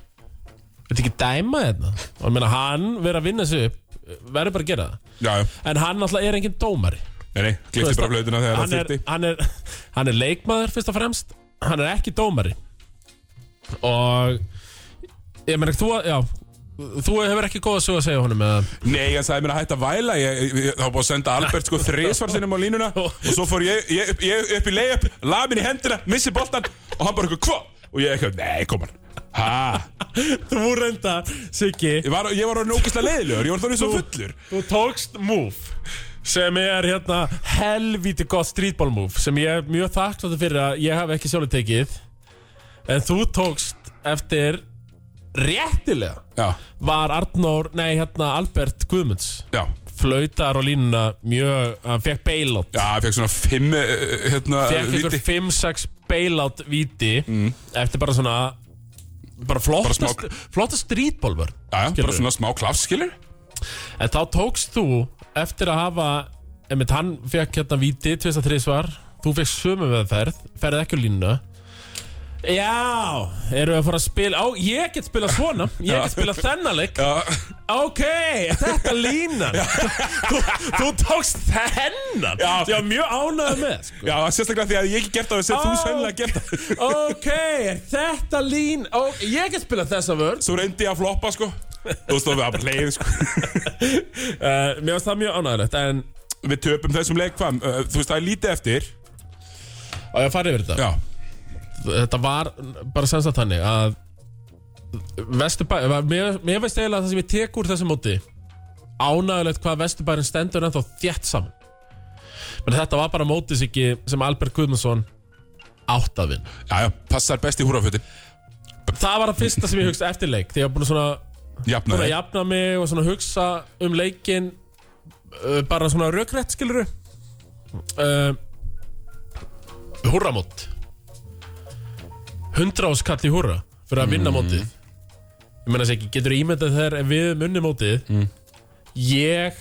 Speaker 2: Þetta ekki dæma þetta og ég meina, hann verið að vinna sig upp verður bara að gera það
Speaker 1: Já, já,
Speaker 2: en hann alltaf er enginn dómari
Speaker 1: nei, nei, glifti bara flautina þegar það
Speaker 2: hann er,
Speaker 1: þurfti
Speaker 2: hann, er, hann er leikmaður fyrst og fremst hann er ekki dómari og ég meina, þú, já, þú hefur ekki góða sög að segja honum eða
Speaker 1: Nei, hann sagði mér að hætta að væla Ég, ég, ég þá var búið að senda Albert sko þrisvarsinum á línuna Og svo fór ég, ég, upp- ég upp í leiðup Lamin í hendina, missi boltan Og hann bara eitthvað, hva? Og ég eitthvað, nei, kom hann Ha,
Speaker 2: þú reynda, Siggi
Speaker 1: ég var, ég var orðin ógeðslega leiðilegur Ég var þannig svo fullur
Speaker 2: Þú tókst move sem er hérna helvíti gott streetball move sem ég er mjög þakklátt fyrir að ég hef ekki sjálfur tekið en þú tókst eftir réttilega
Speaker 1: Já,
Speaker 2: var Arnór, nei hérna Albert Guðmunds
Speaker 1: já,
Speaker 2: flautar á línuna mjög, hann fekk bailout
Speaker 1: já, ég fekk svona fimm eh, eh, hérna,
Speaker 2: fekk
Speaker 1: víti.
Speaker 2: ykkur 5-6 bailout víti eftir bara svona bara flottast,
Speaker 1: smá-
Speaker 2: bara flottast streetball vörn
Speaker 1: Já, já, bara
Speaker 2: Skilurðu?
Speaker 1: svona smá klafs, skilur
Speaker 2: En þá tókst þú eftir að hafa einmitt hann fekk hérna víti 23 svar, þú fekk sömu veðferð ferð ekki á línuna Já, erum við að fara að spila Ó, ég get spilað svona Ég get spilað þennan leik
Speaker 1: Já,
Speaker 2: Ok, þetta er línan þú, þú tókst þennan
Speaker 1: Já.
Speaker 2: Ég var mjög ánægð með sko.
Speaker 1: Já, sérstaklega því að ég ekki gert það sem þú
Speaker 2: Ó,
Speaker 1: sennilega gert það
Speaker 2: Ok, þetta lín Ó, Ég get spilað þessa vörð
Speaker 1: Svo reyndi ég að floppa, sko Þú veist, þá við að leið, sko
Speaker 2: uh, Mér varst það mjög ánægðilegt En
Speaker 1: Við töpum þessum leik hvað uh, Þú veist, það er lítið eftir
Speaker 2: á ég að fara yfir þetta
Speaker 1: Já,
Speaker 2: þetta var bara sem sagt þannig að Vesturbæ, mér, mér veist eiginlega það sem ég tek úr þessu móti ánægulegt hvað Vesturbærin stendur ennþá þétt saman menn þetta var bara mótis ekki sem Albert Guðmundsson átt að vinna
Speaker 1: já, já, passar best í húrafötin
Speaker 2: það var það fyrsta sem ég hugsa eftir leik því ég var búin að svona, búin
Speaker 1: Jafnaði
Speaker 2: að jafna mig og svona hugsa um leikin uh, bara svona rökrætt skiluru uh, húrramót hundra áskall í húrra fyrir að vinna mótið ég meina þess ekki, getur ímyndað þegar ef við munni mótið ég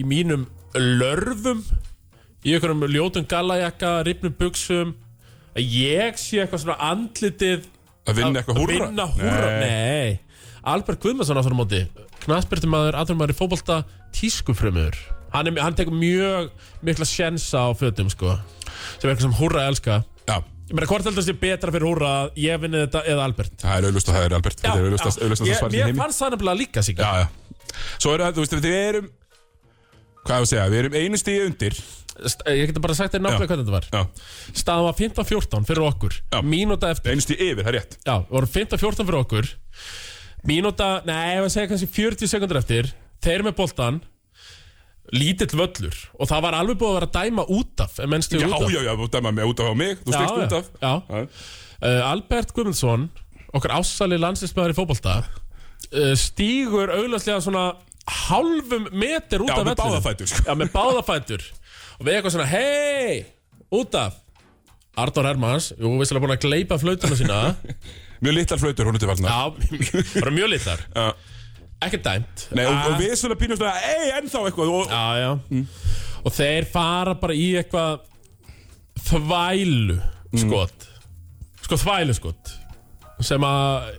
Speaker 2: í mínum lörfum í einhverjum ljótum gallajakka ripnum buksum að ég sé eitthvað svona andlitið
Speaker 1: Að vinna eitthvað húra
Speaker 2: að vinna húrra, nei, Albert Guðmarsson aftur á móti, knaspyrtumæður aftur maður í fótbolta, tískufrömmur hann, er- hann tekur mjög mikla sjensa á fötum sko sem er eitthvað sem húrra elska
Speaker 1: Já,
Speaker 2: ég meina hvort heldur það sé betra fyrir húrra að ég vinni þetta eða Albert
Speaker 1: það er auðlust og það er Albert Þetta er auðlust að það
Speaker 2: ég,
Speaker 1: svar í
Speaker 2: mér
Speaker 1: heimi
Speaker 2: fannst það nefnilega líka sig
Speaker 1: Já, já Svo er það, þú veist, við erum Hvað er að segja, við erum einu stíði undir
Speaker 2: ég geta bara sagt þér náttúrulega
Speaker 1: Já.
Speaker 2: hvernig þetta var
Speaker 1: Já,
Speaker 2: staðan var 15-14 fyrir okkur
Speaker 1: Já.
Speaker 2: mínúta eftir
Speaker 1: einu stíði yfir, það er rétt
Speaker 2: Já, við vorum 15-14 fyrir okkur Mínúta, nei, ég var að segja kannski 40 sekundur eftir Þeir með boltan Lítill völlur Og það var alveg búið að vera að dæma út af en menn
Speaker 1: Já,
Speaker 2: stigu út af
Speaker 1: já, já, þú dæma mig út af á mig Þú stegst út af
Speaker 2: já.
Speaker 1: Já.
Speaker 2: Uh, Albert Guðmundsson Okkar ásali landsinsmaður í fótbolta uh, Stígur auðlagslega svona Hálfum meter út
Speaker 1: Já,
Speaker 2: af
Speaker 1: með
Speaker 2: vellinum.
Speaker 1: báðafætur, sko.
Speaker 2: Já, með báðafætur Og við eitthvað svona, hei, út af Arnór Hermans, jú, vissilega búin að gleipa flautuna sína
Speaker 1: Mjög litlar flautur, hún er til varna
Speaker 2: Já, bara mjög litlar
Speaker 1: Já.
Speaker 2: Ekki dæmt
Speaker 1: Nei, og, Mm.
Speaker 2: Ah,
Speaker 1: og við svona pínum svona, ei, ennþá eitthvað og,
Speaker 2: Já, já og þeir fara bara í eitthvað þvælu
Speaker 1: Mm.
Speaker 2: skot sko þvælu skot sem að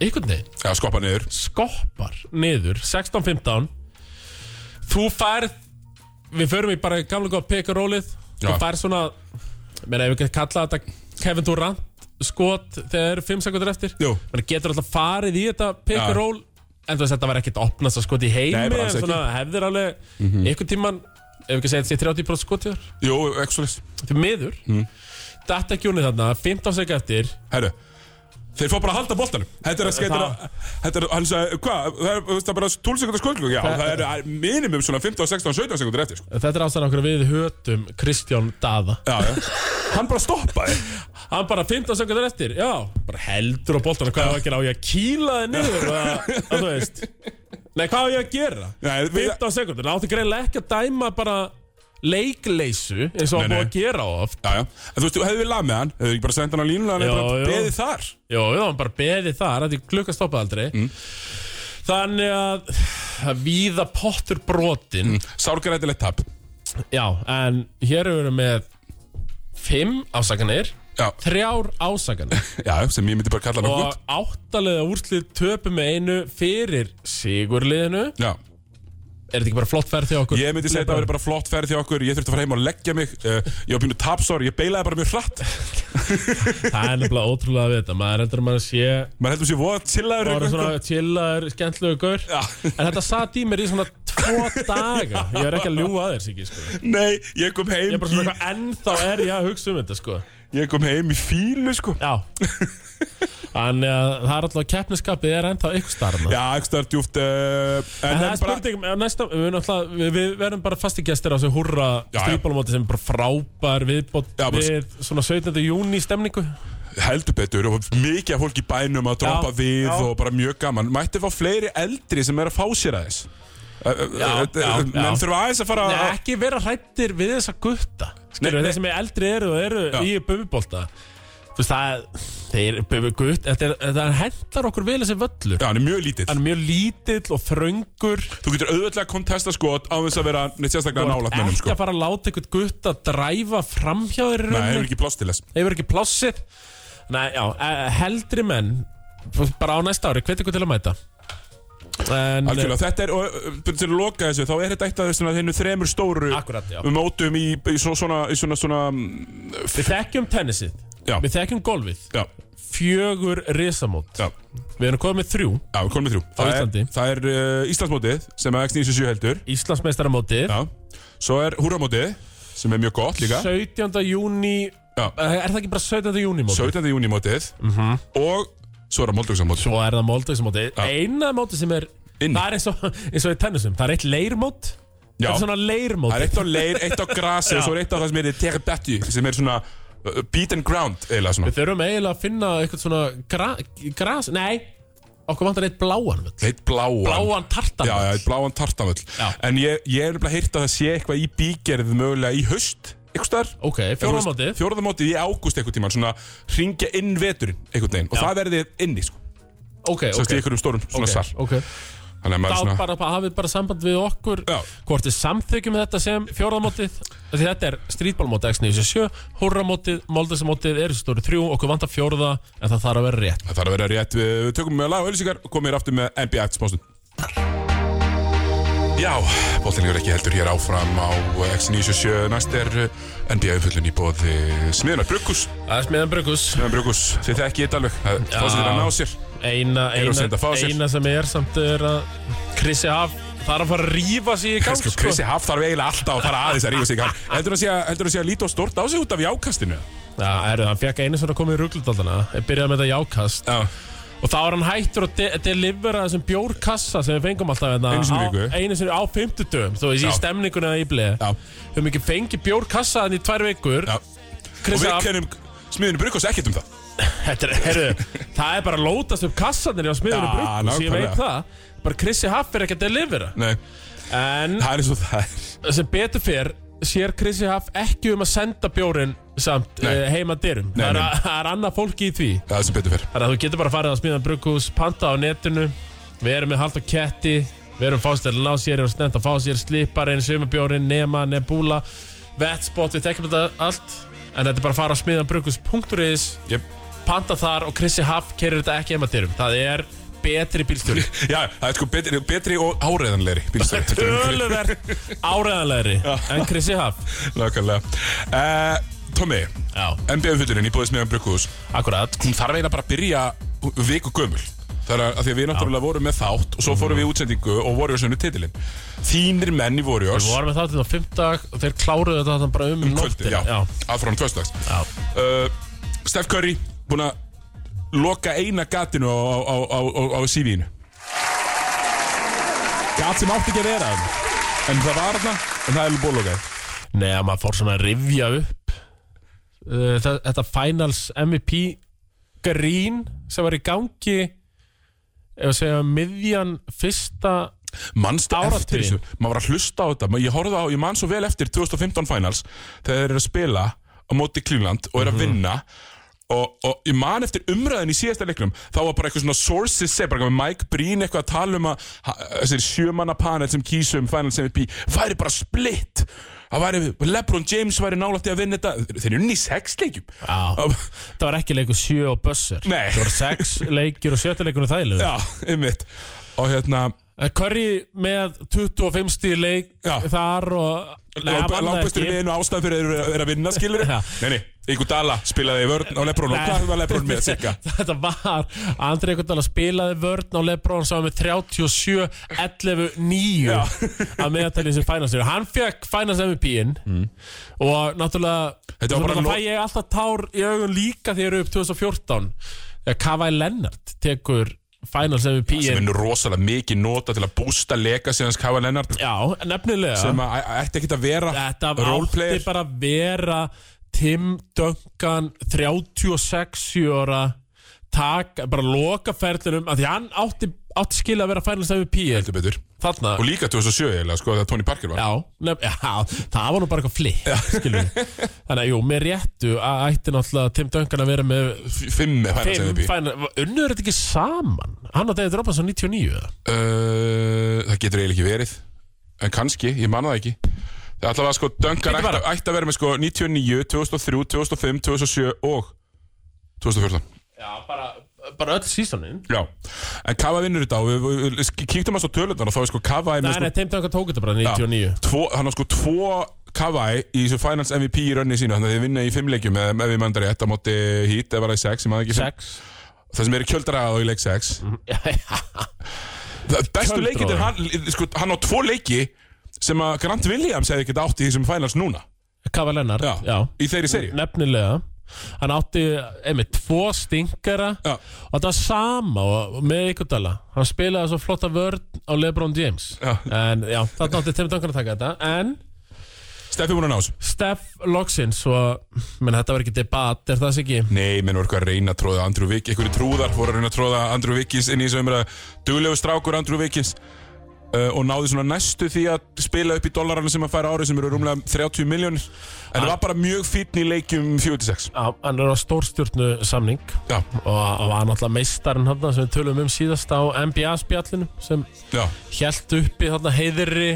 Speaker 2: einhvern veginn
Speaker 1: Já, skoppa niður
Speaker 2: skoppar niður 16-15 þú færð við förum í bara gamla góða pekarólið þú
Speaker 1: Já.
Speaker 2: færð svona menn ef við getum kallað þetta Kevin Durant skot þegar 5 sekundur eftir
Speaker 1: Jú.
Speaker 2: menn getur alltaf farið í þetta pekaról en þú veist þetta var ekkert opnast skot í heimi
Speaker 1: Nei, bara
Speaker 2: en
Speaker 1: alls Mhm.
Speaker 2: svona hefðir alveg einhvern tíman ef við ekki segja þetta sé 30% skot þér
Speaker 1: Jú, ekki svo
Speaker 2: til miður
Speaker 1: Mhm.
Speaker 2: mm. data kjónið þarna 15 sekund eftir
Speaker 1: Herru Þeir fá bara að halda boltanum Þetta er að skeita Þetta er að, hann sagði, hvað, það er, það er bara 12 sekundar sköldlug Já,
Speaker 2: Þetta-
Speaker 1: það er minimum svona 15, 16, 17 sekundir eftir sko.
Speaker 2: þetta er ástæðan okkur við hötum Kristján Dada
Speaker 1: Já, já Hann bara stoppaði
Speaker 2: Hann bara 15 sekundar eftir, já Bara heldur á boltana, hvað á ég að gera? Á ég að kýla þið niður? Eða, að þú veist Nei, hvað á ég að gera?
Speaker 1: Nei, við,
Speaker 2: 15 sekundur, áttu greinlega ekki að dæma bara leikleysu eins og
Speaker 1: Nei,
Speaker 2: hann
Speaker 1: nei.
Speaker 2: búið að gera oft
Speaker 1: já, já En þú veist, hefðu við lað með hann Hefðu ekki bara sendt hann á línulega Hann
Speaker 2: Já,
Speaker 1: hefði bara
Speaker 2: já.
Speaker 1: beðið þar
Speaker 2: Jó, við hann bara beðið þar, þetta er klukka stoppaði aldrei
Speaker 1: Mm.
Speaker 2: Þannig að, að víða pottur brotin
Speaker 1: Mm. Sárgrætilegt tap
Speaker 2: Já, en hér eru við með Fimm ásakanir
Speaker 1: Já,
Speaker 2: Þrjár ásakanir
Speaker 1: já, sem ég myndi bara kalla hann
Speaker 2: og
Speaker 1: gott
Speaker 2: áttalega úrslið töpu með einu fyrir sigurliðinu
Speaker 1: Já,
Speaker 2: er þetta ekki bara flott ferð hjá okkur?
Speaker 1: ég myndi segja þetta að vera bara flott ferð hjá okkur Ég þurfti að fara heim og leggja mig uh, Ég var pínu tapsár, ég beilaði bara mjög hratt
Speaker 2: það er nefnilega ótrúlega við þetta maður heldur að maður sé
Speaker 1: Maður heldur sér voða chillaður
Speaker 2: bara
Speaker 1: eitthvað.
Speaker 2: svona chillaður, skemmtlugur gaur
Speaker 1: Já.
Speaker 2: en þetta sat í mér í svona tvo daga ég er ekki að ljúga að þér Siggi sko.
Speaker 1: Nei, ég kom heim
Speaker 2: ég er bara svona
Speaker 1: í-
Speaker 2: eitthvað ennþá er ég að hugsa um þetta sko.
Speaker 1: Ég kom heim í fílu sko
Speaker 2: já þannig að það er alltaf keppniskapið er ennþá ykkur starna
Speaker 1: Já, ekki start djúft uh, En
Speaker 2: En það er
Speaker 1: en bara
Speaker 2: spurning, bara... næsta, við, náttúrulega- við, við verðum bara fasti gestir á þessu hurra
Speaker 1: Já, já.
Speaker 2: strípálumóti sem er bara frábær viðbót
Speaker 1: Já, bara-
Speaker 2: við svona 17. júni stemningu
Speaker 1: heldur betur og mikið af fólki í bænum að droppa
Speaker 2: Já,
Speaker 1: við
Speaker 2: já.
Speaker 1: og bara mjög gaman Mætti fá fleiri eldri sem er að fá sér aðeins Eh, eh,
Speaker 2: Já,
Speaker 1: eh,
Speaker 2: já,
Speaker 1: eh, Menn
Speaker 2: já.
Speaker 1: þurfa aðeins að fara
Speaker 2: Nei,
Speaker 1: að-
Speaker 2: ekki vera hrættir við þessa gutta Skilur,
Speaker 1: Nei,
Speaker 2: þeir sem er eldri eru og eru
Speaker 1: Já.
Speaker 2: í bumibólta Þú veist það, þeir bubi gutt Þetta, er- þetta hendar okkur vel þessi völlur
Speaker 1: Já, hann er mjög lítill
Speaker 2: Hann er mjög lítill og þröngur
Speaker 1: Þú getur auðvöldlega að kontesta skot á þess að vera neitt sérstaklega
Speaker 2: Þú ert
Speaker 1: nálat mennum
Speaker 2: ekki
Speaker 1: sko
Speaker 2: að fara að láta einhvern gutt að dræfa framhjá þeir í
Speaker 1: Nei, það
Speaker 2: rauninni.
Speaker 1: er ekki pláss til þess
Speaker 2: hefur ekki plássið Nei, já, eh, heldri menn bara á næsta ári, hvet ykkur til að mæta en,
Speaker 1: Algjörlega, þetta er, og eh, til að loka þessu, þá er þetta eitt af þessum að hennu þremur stóru
Speaker 2: eh, Akkurat, já.
Speaker 1: mótum í, í svo- svona, í svona, svona, mm,
Speaker 2: við þekkjum tennisið
Speaker 1: Já.
Speaker 2: við þekkjum golfið,
Speaker 1: já,
Speaker 2: fjögur risamót,
Speaker 1: já,
Speaker 2: við erum komið með þrjú
Speaker 1: Já, við komum með þrjú Það er-
Speaker 2: Íslandi.
Speaker 1: Það er uh, Íslandsmótið sem að X97 heldur
Speaker 2: Íslandsmeistaramótið
Speaker 1: Já Svo er Húramótið sem er mjög gott líka
Speaker 2: 17. júni
Speaker 1: Já.
Speaker 2: Eh, er það ekki bara 17. júni mótið?
Speaker 1: 17. júnimótið mm -hmm. Og svo er það Moldugsamótið
Speaker 2: Mhm. Svo er það móldaugsmótið, eina mótið sem er
Speaker 1: Inni.
Speaker 2: það er eins og, eins og í tennisum, það er eitt leirmót
Speaker 1: Já.
Speaker 2: það er svona
Speaker 1: Það er
Speaker 2: leirmótið
Speaker 1: eitt á leir, eitt á grasi og svo er eitt á það sem er Terbetti sem er svona uh, beat and ground eða svona
Speaker 2: við þurfum eiginlega að finna eitthvað svona gra, gras, nei okkur vantar eitt bláan völl.
Speaker 1: Eitt bláan
Speaker 2: bláan tartan
Speaker 1: Já, já, eitt bláan tartanvöll
Speaker 2: Já.
Speaker 1: En ég, ég er nefnilega heyrt að það sé eitthvað í bígerð mögulega í haust Eitthvað staðar
Speaker 2: Ok, fjórðamótið
Speaker 1: Fjórðamótið í ágúst eitthvað tíma Svona ringja inn veturinn einhvern veginn Og það verði inni sko
Speaker 2: Ok,
Speaker 1: Svo
Speaker 2: ok
Speaker 1: okay. í einhverjum stórum svona
Speaker 2: Ok,
Speaker 1: sal
Speaker 2: ok
Speaker 1: Þannig að maður
Speaker 2: Þá
Speaker 1: svona
Speaker 2: bara bara hafið bara samband við okkur
Speaker 1: Já.
Speaker 2: Hvort þið samþykjum þetta sem fjórðamótið Því þetta er strítbálmótið X97 Húrramótið, Moldesmótið, Eristóri 3 Okkur vantar fjórða en það þarf að vera rétt
Speaker 1: Það þarf að vera rétt, við við tökum með lag og öllisíkar og komum hér aftur með NBA eftir smástund. Já, bóttinlegur ekki heldur hér áfram á X97, næst er eh, NBA umfjöllun í bóði Smiðunar Brukus.
Speaker 2: Það er smiðan Brukus
Speaker 1: Smiðunar Brukus, þið þekki þetta alveg, það fá sér að ná sér.
Speaker 2: Eina,
Speaker 1: Eru
Speaker 2: eina,
Speaker 1: sem þetta fá sér.
Speaker 2: eina sem er samt er að Krissi Haf þarf að fara að rífa sig í gang
Speaker 1: Sko,
Speaker 2: sko.
Speaker 1: Krissi Haff þarf eiginlega alltaf að fara aðeins að rífa sig í gang. Heldur það að sé að líta á stort á sig út af jákastinu?
Speaker 2: Já, herru, hann fekk einu svona komið í ruglutaldana Byrjaði með þetta jákast
Speaker 1: Já.
Speaker 2: Og þá er hann hættur að de delivera þessum bjórkassa sem við fengum alltaf hérna
Speaker 1: Einu sinni í
Speaker 2: á-
Speaker 1: viku.
Speaker 2: Einu sinni á fimmtudöfum, þú veist, í
Speaker 1: Já.
Speaker 2: stemninguna í bleið
Speaker 1: Já.
Speaker 2: Við höfum ekki fengið bjórkassa hann í tvær vikur
Speaker 1: Já. Og við
Speaker 2: Kristján,
Speaker 1: kennum Smiðunar Brukus ekkert um það.
Speaker 2: þetta er, herru, það er bara að lótast upp kassanir á smiðunum
Speaker 1: Já,
Speaker 2: Brukus, ég
Speaker 1: nákvæmlega.
Speaker 2: veit það Bara Krissi Haff er ekki að delivera
Speaker 1: Nei,
Speaker 2: En
Speaker 1: það er eins og það er.
Speaker 2: sem betur fyrr sér Krissi Haff ekki um að senda bjórin samt
Speaker 1: Nei.
Speaker 2: eh, heima dyrum
Speaker 1: Nei,
Speaker 2: það, er
Speaker 1: nei.
Speaker 2: að- það er annað fólki í því
Speaker 1: Það er sem betur fyrr.
Speaker 2: Þannig að þú getur bara farið að smíða brugghús, panta á netinu Við erum með hald og ketti Við erum fástæðilega ná sér og snend að fá sér Slipparinn, sumabjórin, nema, nebúla Vetspot, við tekjum þetta allt En þetta er bara að fara á smiðanbrukus.is
Speaker 1: Jep.
Speaker 2: Panta þar og Chrissi Haff keirir þetta ekki heima dyrum Það er betri bílstjóri
Speaker 1: Já, það er sko betri, betri og áreðanlegri bílstæði
Speaker 2: Töluvert áræðanlegri En Chrissi Haff
Speaker 1: Nákvæmlega uh, Tommy,
Speaker 2: Já,
Speaker 1: MBF-fullurinn í bóðis meðan Brukkús
Speaker 2: akkurat
Speaker 1: Hún þarf eiginlega bara að byrja viku gömul Það er að því að við náttúrulega vorum með þátt og svo fórum
Speaker 2: Mhm.
Speaker 1: við í útsendingu og Warriors unnu titilinn Þínir menn í Warriors
Speaker 2: Við varum með þáttið á fimmdag og þeir kláruðu þetta þarna bara um, um
Speaker 1: kvöldi, já,
Speaker 2: já.
Speaker 1: að frá hann tvöstags
Speaker 2: já.
Speaker 1: uh, Steph Curry búinn að loka eina gatinu á, á, á, á, á CV-inu Gat sem átti ekki að vera þarna. en það var þarna en það er alveg bólokað
Speaker 2: Nei, að maður fór svona að rifja upp uh, þa- þetta finals MVP grín sem var í gangi ef að segja miðjan fyrsta
Speaker 1: Manstu eftir
Speaker 2: Áratuginn.
Speaker 1: þessu, maður var að hlusta á þetta ma- ég, horfði á, ég man svo vel eftir 2015 finals þegar þeir eru að spila á móti Klingland og eru að vinna og, og ég man eftir umræðin í síðasta leiknum þá var bara eitthvað svona sources seg, bara eitthvað með Mike Breen eitthvað að tala um að ha- þessir sjömanna panel sem kísu um finals MVP væri bara splitt það væri, Lebron James væri nálætti að vinna þetta þeir eru nýs sex leikjum
Speaker 2: Já. það var ekki leikur sjö og bössur
Speaker 1: Nei.
Speaker 2: það voru sex leikir og sjötta leikur og þægilega
Speaker 1: já, einmitt og hérna,
Speaker 2: Curry með 25 stíð leik
Speaker 1: Já.
Speaker 2: þar og Nei, hann vann það
Speaker 1: langbæstur
Speaker 2: ekki.
Speaker 1: með einu ástæð fyrir að vera- vera að vinna, skilur
Speaker 2: Já.
Speaker 1: Nei, nei, Ykkur Dala spilaði í vörn á Lebron og
Speaker 2: Nei.
Speaker 1: hvað var Lebron með, cirka?
Speaker 2: Þetta var Andrei Kondala spilaði vörn á Lebron sem var með 37, 11, 9
Speaker 1: Já.
Speaker 2: að meðatalið sem fænastjóri Hann fekk fænast MVP-in og náttúrulega
Speaker 1: Mm. Þetta var bara
Speaker 2: náttúrulega
Speaker 1: lo-
Speaker 2: fæ ég alltaf tár í augun líka þegar ég eru upp 2014 þegar Kavai Lennart Eh, tekur fænast
Speaker 1: Sem
Speaker 2: MVP-in
Speaker 1: er nú rosalega mikið nota til að bústa leka sem hans Kava Lennart
Speaker 2: Já, nefnilega
Speaker 1: sem að að- ætti ekkert að vera
Speaker 2: Þetta átti
Speaker 1: roleplayer
Speaker 2: bara að vera Tim Duncan 36 ára tak, bara loka ferðlunum af því hann átti, átti skil að vera finals MVP
Speaker 1: heldur betur
Speaker 2: þarna
Speaker 1: og líka 2007 eiginlega, sko, þegar Tony Parker var
Speaker 2: já, nef, já, það var nú bara eitthvað flip skilur við þannig að jú, með réttu að ætti náttúrulega Tim Duncan að vera með
Speaker 1: F- Fimm með fæna sem
Speaker 2: fimm
Speaker 1: við
Speaker 2: final, unnur þetta ekki saman hann og David Robinson 99 eða?
Speaker 1: Eh, Það getur eiginlega ekki verið en kannski, ég manna það ekki Það ætla að sko döngar
Speaker 2: Bíddu
Speaker 1: ætti
Speaker 2: bara.
Speaker 1: að- ætti að vera með sko 99, 2003, 2005, 2007 og 2014
Speaker 2: já, bara, bara öll sísonin
Speaker 1: Já, en Kava vinnur þetta og við, við, við kíktum hans á tölundar og þá er sko Kava
Speaker 2: nei,
Speaker 1: með sko
Speaker 2: nei, Tim Duncan tók þetta bara 99
Speaker 1: tvo, hann á sko tvo Kavai í þessu Finals MVP í rönni sínu þannig að þið vinna í fimm leikjum eða ef við mandar rétt á móti hít eða var það í sex, ég maður ekki fimm.
Speaker 2: sex Mhm.
Speaker 1: það sem er í kjöldrað og í leik sex
Speaker 2: já, já
Speaker 1: Það- bestu
Speaker 2: Kjöldrað.
Speaker 1: leikir er hann, sko, hann á tvo leiki sem að Grant Williams hefði ekki átt í þessum Finals núna
Speaker 2: Kava Lennart,
Speaker 1: Já,
Speaker 2: já, Mm.
Speaker 1: í þeirri seríu.
Speaker 2: Nefnilega Hann átti, einmitt, tvo stinkara
Speaker 1: Já.
Speaker 2: Og þetta var sama og- með Eikudala Hann spilaði svo flotta vörn á Lebron James
Speaker 1: Já.
Speaker 2: En já, þarna átti Tim Duncan að taka þetta En
Speaker 1: Steffi búin að ná þessu
Speaker 2: Steph Loxins og, menn, þetta var ekki debat, er það þess ekki?
Speaker 1: Nei, menn voru eitthvað að reyna að tróða Andrew Wiggins Einhverju trúðar voru að reyna að tróða Andrew Wiggins inn í þessu umræðu Duglegu strákur Andrew Wiggins uh, Og náði svona næstu því að spila upp í dollarana sem að færa árið sem eru rúmlega 30 miljónir En það var bara mjög fínn í leikjum 46
Speaker 2: Já, hann er á stórstjórnu samning
Speaker 1: Já,
Speaker 2: Og og var náttúrulega meistarinn hann sem við tölum um síðast á NBA-spjallinu Sem
Speaker 1: já
Speaker 2: hjælt uppi þarna heiðri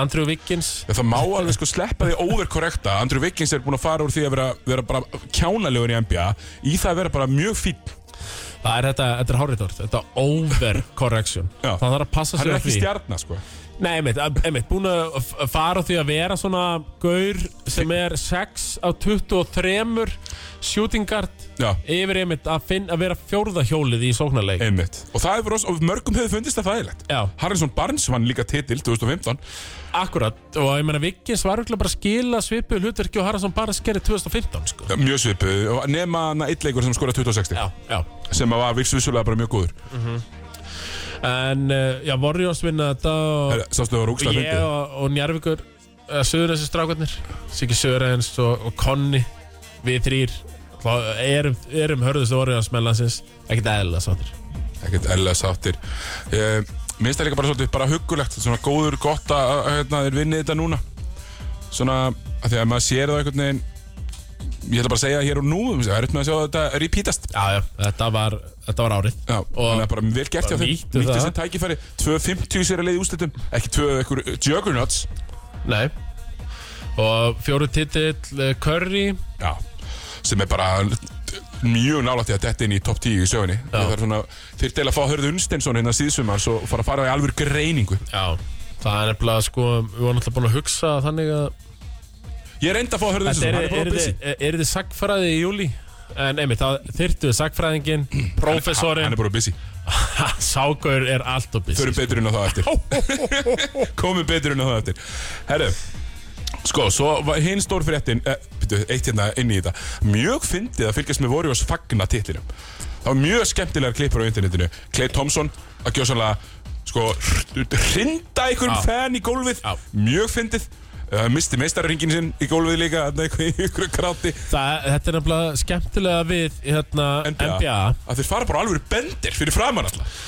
Speaker 2: Andrew Wiggins
Speaker 1: En það má alveg sko sleppa því overkorrekta Andrew Wiggins er búin að fara úr því að vera, vera bara kjánalegur í NBA Í það að vera bara mjög fínn
Speaker 2: Það er þetta, þetta er háriðort, þetta over correction
Speaker 1: Já.
Speaker 2: Það þarf að passa
Speaker 1: Hann
Speaker 2: sig
Speaker 1: er
Speaker 2: á
Speaker 1: ekki stjarnar sko
Speaker 2: Nei, einmitt, einmitt, búin að f- fara á því að vera svona gaur sem er 6 á 23 shooting guard
Speaker 1: Já,
Speaker 2: yfir einmitt að, finn, að vera fjórða hjólið í sóknarleik
Speaker 1: einmitt Og það hefur rosa, og mörgum hefur fundist það fæðilegt
Speaker 2: Já,
Speaker 1: Harrison Barnes vann líka titil 2015
Speaker 2: akkurat og ég meina Vikins var örugglega bara að skila svipu hlutverki og Haraldsson bara skerði 2015 sko.
Speaker 1: Mjög svipuð, og nema hann eitt leikur sem skora 2060
Speaker 2: Já, já
Speaker 1: sem að var vissulega bara mjög góður
Speaker 2: En uh, já, Warriors vinna þetta og
Speaker 1: Herra, Sástu það var
Speaker 2: Og
Speaker 1: rúkslega
Speaker 2: ég
Speaker 1: fyndið
Speaker 2: og, og Njarvíkur uh, Söðurensins strákarnir Siggi Söðurens og, og Konni Við þrýr þá erum, erum hörðustu orðið á smellansins Ekkert eðlilega sáttir
Speaker 1: Ekkert ellega sáttir eh, Minnst það líka bara svolítið bara huggulegt Svona góður, gott að að, hérna, þeir vinni þetta núna Svona, að því að maður sér það einhvern veginn ég ætla bara að segja hér og nú Það er upp með að sjá þetta repeatast
Speaker 2: Já, já, þetta var, þetta var árið
Speaker 1: Já, þannig að bara vel gert hjá
Speaker 2: bara
Speaker 1: þeim
Speaker 2: nýttu
Speaker 1: Nýttu
Speaker 2: það.
Speaker 1: þessi tækifæri 2.50 sér að leiði úslitum Ekki 2 ekkur juggernauts
Speaker 2: Nei Og fjóru titill eh, Curry
Speaker 1: Já, sem er bara mjög nálægt í að detta inn í topp 10 í sögunni
Speaker 2: Já.
Speaker 1: Það er svona, þeir til að fá Hörðu Unstensson hérna síðsumars og fara að fara í alveg greiningu
Speaker 2: Já Það er nefnilega sko Við varum alltaf búin að hugsa þannig að
Speaker 1: Ég reyndi að fá Hörðu
Speaker 2: Þetta
Speaker 1: Unstensson, hann
Speaker 2: er,
Speaker 1: er
Speaker 2: er,
Speaker 1: bara busy
Speaker 2: er, er þið sagfræði í júli En einmitt, það þyrtu við sagfræðingin
Speaker 1: Hann
Speaker 2: Professorinn
Speaker 1: er bara busy
Speaker 2: Sákur er allt og busy
Speaker 1: Förum betur inn á það eftir Komum betur inn á það eftir Herru Sko, svo var hinn stór fréttin eh, byrju, Eitt hérna inn í þetta Mjög fyndið að fylgjast með Warriors fagna titlinum Það var mjög skemmtilegar klippur á internetinu Clay Thompson að gjóð sannlega Sko, hrinda einhverjum
Speaker 2: Já.
Speaker 1: fan í gólfið
Speaker 2: Já.
Speaker 1: Mjög fyndið uh, Misti meistarringin sinn í gólfið líka þarna eitthvað í ykkur gráti
Speaker 2: Það, þetta er nefnilega skemmtilega við hérna, NBA.
Speaker 1: NBA. Að þeir fara bara alveg bendir fyrir framann alltaf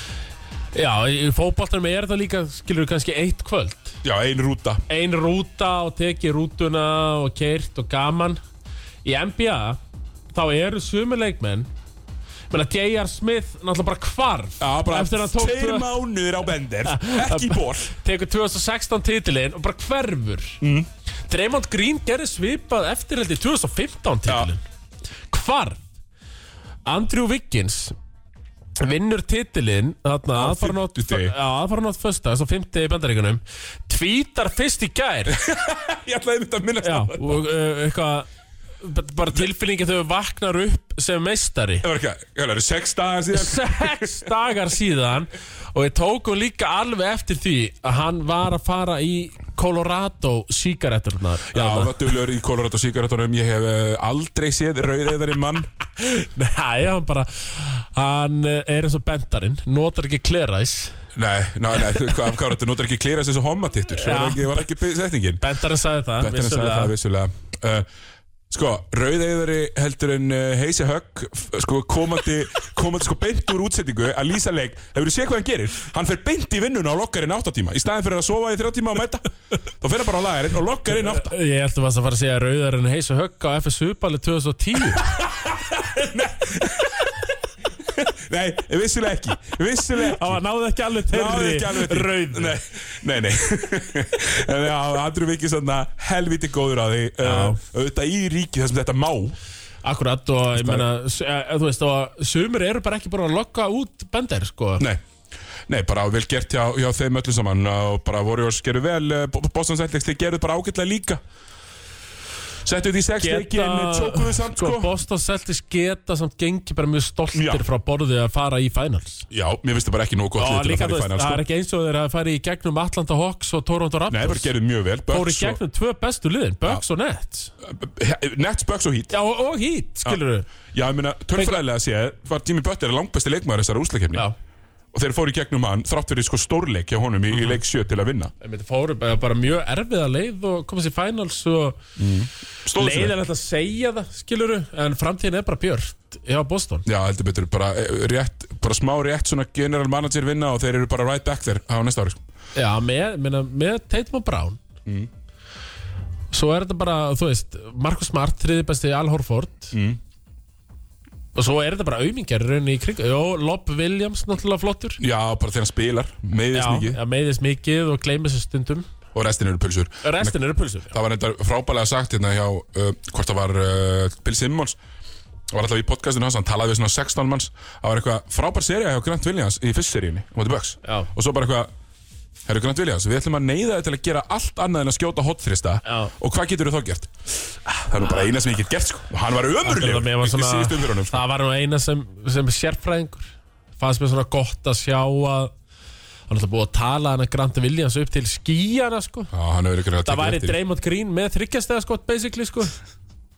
Speaker 2: Já, í fótballtunum er þetta líka, skilur kannski eitt kvöld.
Speaker 1: Já, ein rúta
Speaker 2: Ein rúta og tekið rútuna og keirt og gaman. Í NBA, þá eru sumi leikmenn, menna J.R. Smith náttúrulega bara hvarf.
Speaker 1: Já, bara
Speaker 2: eftir að hann tók
Speaker 1: tveir
Speaker 2: tvö-
Speaker 1: mánuðir á bendir Ekki í ból
Speaker 2: tekur 2016 titilinn og bara hverfur mm.
Speaker 1: Mhm.
Speaker 2: Draymond Green gerði svipað eftirhaldi 2015 titilinn hvarf Andrew Wiggins vinnur titilinn þarna
Speaker 1: Á
Speaker 2: aðfaranótt
Speaker 1: fimmtudegi.
Speaker 2: aðfaranótt föstags og 50 í bandaríkunum tvítar fyrst í gær
Speaker 1: Ég ætlaði mynd að minnast
Speaker 2: já,
Speaker 1: á það
Speaker 2: og uh, eitthvað b- bara tilfinningin þegar við vaknar upp sem meistari
Speaker 1: Það var ekki að, hvað er það, sex dagar síðan?
Speaker 2: sex dagar síðan og við tókum líka alveg eftir því að hann var að fara í Colorado sígaretturnar
Speaker 1: Já, það dölur í Colorado síkaretunum, ég hef uh, aldrei séð rauðeðari mann.
Speaker 2: Nei, hann bara hann eh, er eins og bendarinn notar ekki kleræs
Speaker 1: Nei, nei, nei, þú- hvað, hvað er þetta, notar ekki klýrast þessu hommatittur, það var
Speaker 2: Já.
Speaker 1: ekki, var ekki byggð setningin.
Speaker 2: bendarinn sagði það,
Speaker 1: Þetta er að sagði það vissulega. Uh, sko, rauðeðari heldur en uh, Heisi Högg, f- sko, komandi, komandi sko beint úr útsetningu að lýsa leik, hefur þú séð hvað hann gerir? Hann fer beint í vinnuna á lokkarinn áttatíma, í staðin fyrir að sofa í þrjá tíma og mæta, þá fer hann bara á lagarinn og lokkarinn átta.
Speaker 2: Ég held að varst að fara að segja rauðar en heis og högg á FSU balið 2010
Speaker 1: Nei, vissulega ekki, vissulega ekki.
Speaker 2: Það var náði ekki alveg
Speaker 1: Náði ekki alveg
Speaker 2: þeirri
Speaker 1: til.
Speaker 2: rauð
Speaker 1: Nei, nei, nei. En já, Andrew Vicky svona helviti góður á því uh, auðvitað í ríki þar sem þetta má
Speaker 2: Akkurat og ég meina s- eh, þú veist og sumir eru bara ekki búin að lokka út bendar sko
Speaker 1: Nei, nei bara vel gert hjá, hjá þeim öllum saman og bara Warriors gerðu vel eh, Bo- Boston Celtics, þeir gerðu bara ágætlega líka Settu því sex leikin, tjókuðu samt
Speaker 2: sko,
Speaker 1: sko,
Speaker 2: Boston Celtics geta samt gengi bara mjög stoltir
Speaker 1: Já.
Speaker 2: frá borðið að fara í finals
Speaker 1: Já, mér finnst það bara ekki nógu gott
Speaker 2: og
Speaker 1: lið til
Speaker 2: líka
Speaker 1: að
Speaker 2: þú
Speaker 1: fara í
Speaker 2: veist,
Speaker 1: final
Speaker 2: það er
Speaker 1: sko.
Speaker 2: ekki eins og þeir að fara í gegnum Atlanta Hawks og
Speaker 1: Nei,
Speaker 2: Toronto
Speaker 1: bara
Speaker 2: Raptors
Speaker 1: gerðu mjög vel
Speaker 2: fóru í
Speaker 1: Bucks og, eh,
Speaker 2: gegnum tvö bestu liðin, Bucks og Nets
Speaker 1: Nets, Bucks og Heat
Speaker 2: já, og, og Heat, skilur við
Speaker 1: Já, ég meina, tölfræðilega séð var Jimmy Butler langbæsti leikmaður þessara úslakefni
Speaker 2: Já.
Speaker 1: og þeir fóru í gegnum hann þrátt fyrir sko stórleik hjá honum í,
Speaker 2: Mhm.
Speaker 1: í leik 7 til að vinna
Speaker 2: Einmitt, fóru bara, bara mjög erfiða leið og komast í finals og
Speaker 1: Stóðu sig vel.
Speaker 2: leiðilegt að segja það, skilur við en framtíðin er bara björt hjá Boston
Speaker 1: Já, heldur betur, bara, eh, rétt, bara smá rétt svona general manager vinna og þeir eru bara right back there á næsta ári sko.
Speaker 2: já, með, meina, með Tatum og Brown
Speaker 1: Mm.
Speaker 2: svo er þetta bara, þú veist Marcus Smart, þriði besti Al Horford
Speaker 1: Mm.
Speaker 2: og svo er þetta bara aumingar raunni í kring, jó, Lob Williams náttúrulega flottur
Speaker 1: Já, bara þegar hann spilar, meiðist mikið
Speaker 2: já, meðist mikið og gleymis þessu stundum
Speaker 1: og restin eru pulsur
Speaker 2: Restin eru pulsur
Speaker 1: Það var reyndar frábælega sagt hérna hjá uh, hvort það var uh, Bill Simmons Það var alltaf í podcastinu hans, hann talaði við svona 16 manns Það var eitthvað frábær serið hjá Grant Williams í fyrst seríunni, á móti Bucks
Speaker 2: Já.
Speaker 1: Og svo bara eitthvað, herru Grant Williams, við ætlum að neyða þig til að gera allt annað en að skjóta hotþrista
Speaker 2: Já.
Speaker 1: Og hvað getur þú þá gert? Ah, Það er nú bara eina sem ég get gert sko Og hann var
Speaker 2: Akkurat,
Speaker 1: ömurlegur
Speaker 2: mér var
Speaker 1: í- í
Speaker 2: svona-
Speaker 1: síðustu umfyrunum sko.
Speaker 2: Það var nú eina sem, sem sérfræðingur Fannst mér svona gott að sjá að Hann er alltaf búið að tala hann að Grant Williams upp til skíjana sko
Speaker 1: Já, hann hefur ykkur að
Speaker 2: Það væri
Speaker 1: tekið eftir
Speaker 2: Draymond Green með þryggjastega skott basically sko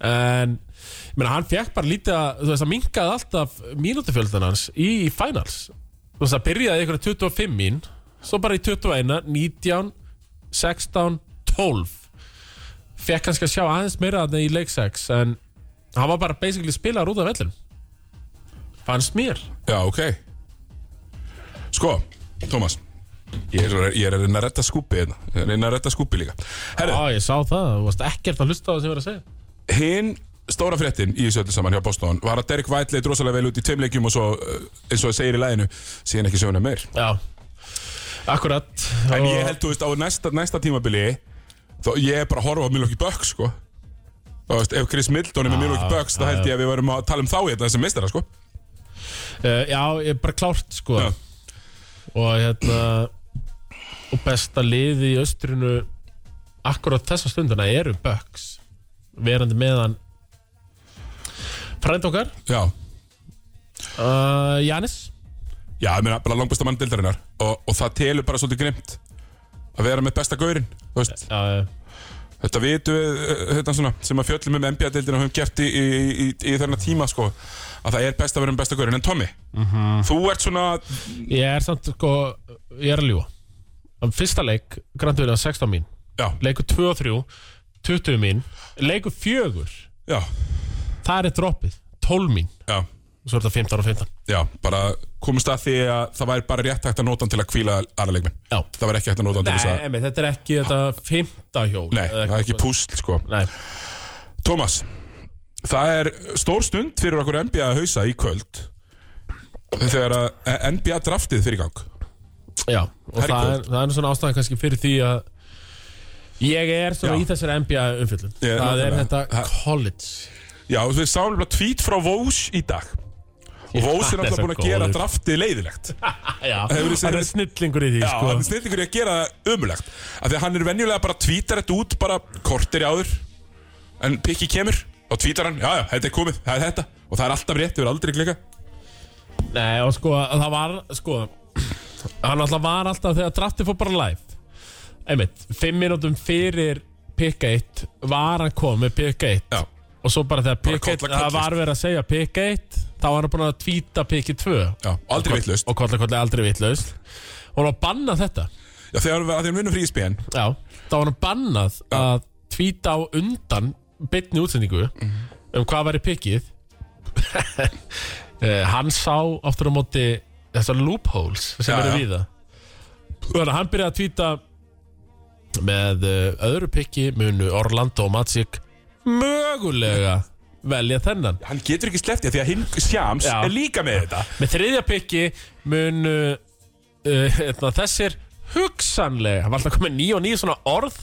Speaker 2: En ég meina, hann fekk bara lítið að Þú veist að minkaði alltaf mínútufjöldan hans í finals Þú veist að byrjaði ykkur 25 mín Svo bara í 21, 19, 16, 12 Fekk kannski að sjá aðeins meira þarna í leik 6 En hann var bara basically spilaður út af vellum Fannst mér
Speaker 1: Já, ok Sko, Tómas Ég er, ég er að reyna að retta skúpi hérna Ég er að reyna að retta skúpi líka Herru,
Speaker 2: Já, ég sá það, þú varst ekkert að hlusta á það sem ég var að segja
Speaker 1: hinn stóra fréttin í þessu öllu saman hjá Boston var að Derek White leit rosalega vel út í tveimleikjum og svo, eh, eins og það segir í læginu, síðan ekki söguna meir.
Speaker 2: Já, akkurat
Speaker 1: En ég held, þú veist, á næsta, næsta tímabili Þá ég er bara að horfa á Milwaukee Bucks, sko Þú veist, ef Chris Middleton er með Milwaukee Bucks Þá
Speaker 2: já,
Speaker 1: held ég að við verum að tala um þá hérna sem meistara, sko
Speaker 2: Eh, Já, ég er bara klárt sko
Speaker 1: Já.
Speaker 2: Og hérna Og besta liði í austrinu Akkurat þessa stundina eru Bucks Verandi meðan Frænd okkar
Speaker 1: Já,
Speaker 2: uh, Janis
Speaker 1: já, ég meina, bara langbesta mann dildarinnar og, og það telur bara svolítið grimt Að vera með besta gaurinn, þú veist
Speaker 2: Já, já.
Speaker 1: Þetta vitum við, eh, þetta svona Sem að fjöllum um NBA-dildina og höfum gert í, í, í, í þennan tíma, sko Að það er best að vera með besta gaurinn En Tommy, þú ert svona
Speaker 2: Ég er samt sko Ég er að ljúa Fyrsta leik, grandurinn að 16 mín
Speaker 1: Já,
Speaker 2: Leikur 2 og 3, 20 mín Leikur 4,
Speaker 1: já,
Speaker 2: það er droppið 12 mín,
Speaker 1: já
Speaker 2: svo er þetta 15 og 15
Speaker 1: Já, bara komist að því að það væri bara rétt hægt að nota hann til að kvíla aðra leikminn
Speaker 2: Já
Speaker 1: Það var ekki hægt að nota hann til þess
Speaker 2: Nei,
Speaker 1: að
Speaker 2: emi, þetta er ekki þetta fymta hjól
Speaker 1: Nei, það er ekki púsl sko
Speaker 2: Nei,
Speaker 1: Tómas, það er stór stund fyrir okkur NBA að hausa í kvöld Þegar að eh, NBA draftið fyrir gang
Speaker 2: já, og
Speaker 1: Það er í
Speaker 2: það
Speaker 1: kvöld.
Speaker 2: er, það er nú svona ástæðan kannski fyrir því að ég er svona
Speaker 1: Já.
Speaker 2: í þessari NBA umfyllun
Speaker 1: Ég-
Speaker 2: Það er
Speaker 1: nákvæmlega.
Speaker 2: þetta
Speaker 1: Ha-
Speaker 2: college
Speaker 1: Já, við sáum bara tvít frá Vós í dag Og Vós er
Speaker 2: hann er
Speaker 1: náttúrulega
Speaker 2: svo
Speaker 1: búin að gera
Speaker 2: góður.
Speaker 1: draftið leiðilegt
Speaker 2: Já,
Speaker 1: hefur þið séð-
Speaker 2: hann er snillingur í því
Speaker 1: Já,
Speaker 2: sko.
Speaker 1: hann snill ykkur í að gera það ömulegt Af því að hann er venjulega bara tvítar þetta út bara kortir í áður En Piki kemur og tvítar hann Já, já, þetta er komið, það er þetta Og það er alltaf rétt, þau eru aldrei klika
Speaker 2: Nei, og sko, það var sko, hann alltaf var alltaf þegar draftið fór bara live einmitt, fimm mínútum fyrir pikka 1 var hann kom með pikka 1
Speaker 1: Já,
Speaker 2: og svo bara þegar pikka 1
Speaker 1: kolla
Speaker 2: það
Speaker 1: kollist.
Speaker 2: var verið að segja pikka 1 þá var hann búin að tvíta pikki 2
Speaker 1: já, aldrei vitlaust
Speaker 2: og kolla kolla aldrei vitlaust og hann var bannað þetta
Speaker 1: Já, þegar að þeir vinnum E fríspíðan
Speaker 2: já, þá var hann bannað að tvíta á undan bytni útsendingu um hvað væri pikkið Eh, hann sá aftur á móti þessar loopholes sem
Speaker 1: Já,
Speaker 2: eru
Speaker 1: já.
Speaker 2: víða þannig að hann byrjaði að tvíta með eh, öðru pikki munu Orlando og Magic mögulega velja þennan
Speaker 1: Hann getur ekki sleftið því að hinn Sjams
Speaker 2: Já.
Speaker 1: er líka með þetta
Speaker 2: Með þriðja pikki mun uh, hérna, þessir hugsanlega, hann var alltaf komið nýja og nýja svona orð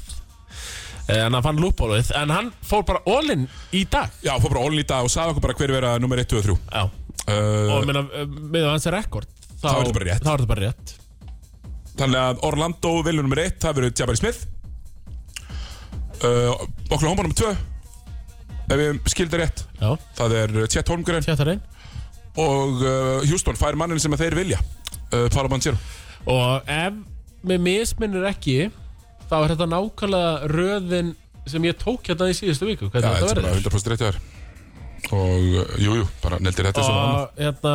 Speaker 2: eh, en hann fann lúpbólið, en hann fór bara all-in í dag
Speaker 1: Já, fór bara ólinn í dag og sagði okkur bara hver vera nummer 1, 2 og 3
Speaker 2: Já.
Speaker 1: uh,
Speaker 2: og meina, eh, með hans rekord þá,
Speaker 1: Þá er þetta bara rétt.
Speaker 2: þá er þetta bara rétt.
Speaker 1: Þannig að Orlando vilja nummer 1, það verður Jabari Smith uh, Oklahoma nummer 2 Ef ég skildi rétt
Speaker 2: Já,
Speaker 1: Það er Chet Holmgren
Speaker 2: tjátt að reyn
Speaker 1: og uh, Houston fær mannin sem að þeir vilja uh, Paolo Banchero
Speaker 2: og ef með misminnir ekki þá er þetta nákvæmlega röðin sem ég tók hérna í síðustu viku
Speaker 1: Já,
Speaker 2: hvernig
Speaker 1: þetta er
Speaker 2: þetta
Speaker 1: bara
Speaker 2: verður
Speaker 1: 100% rétt hjá þér Og, uh, jú, jú, bara neldir þetta sem annað
Speaker 2: og hérna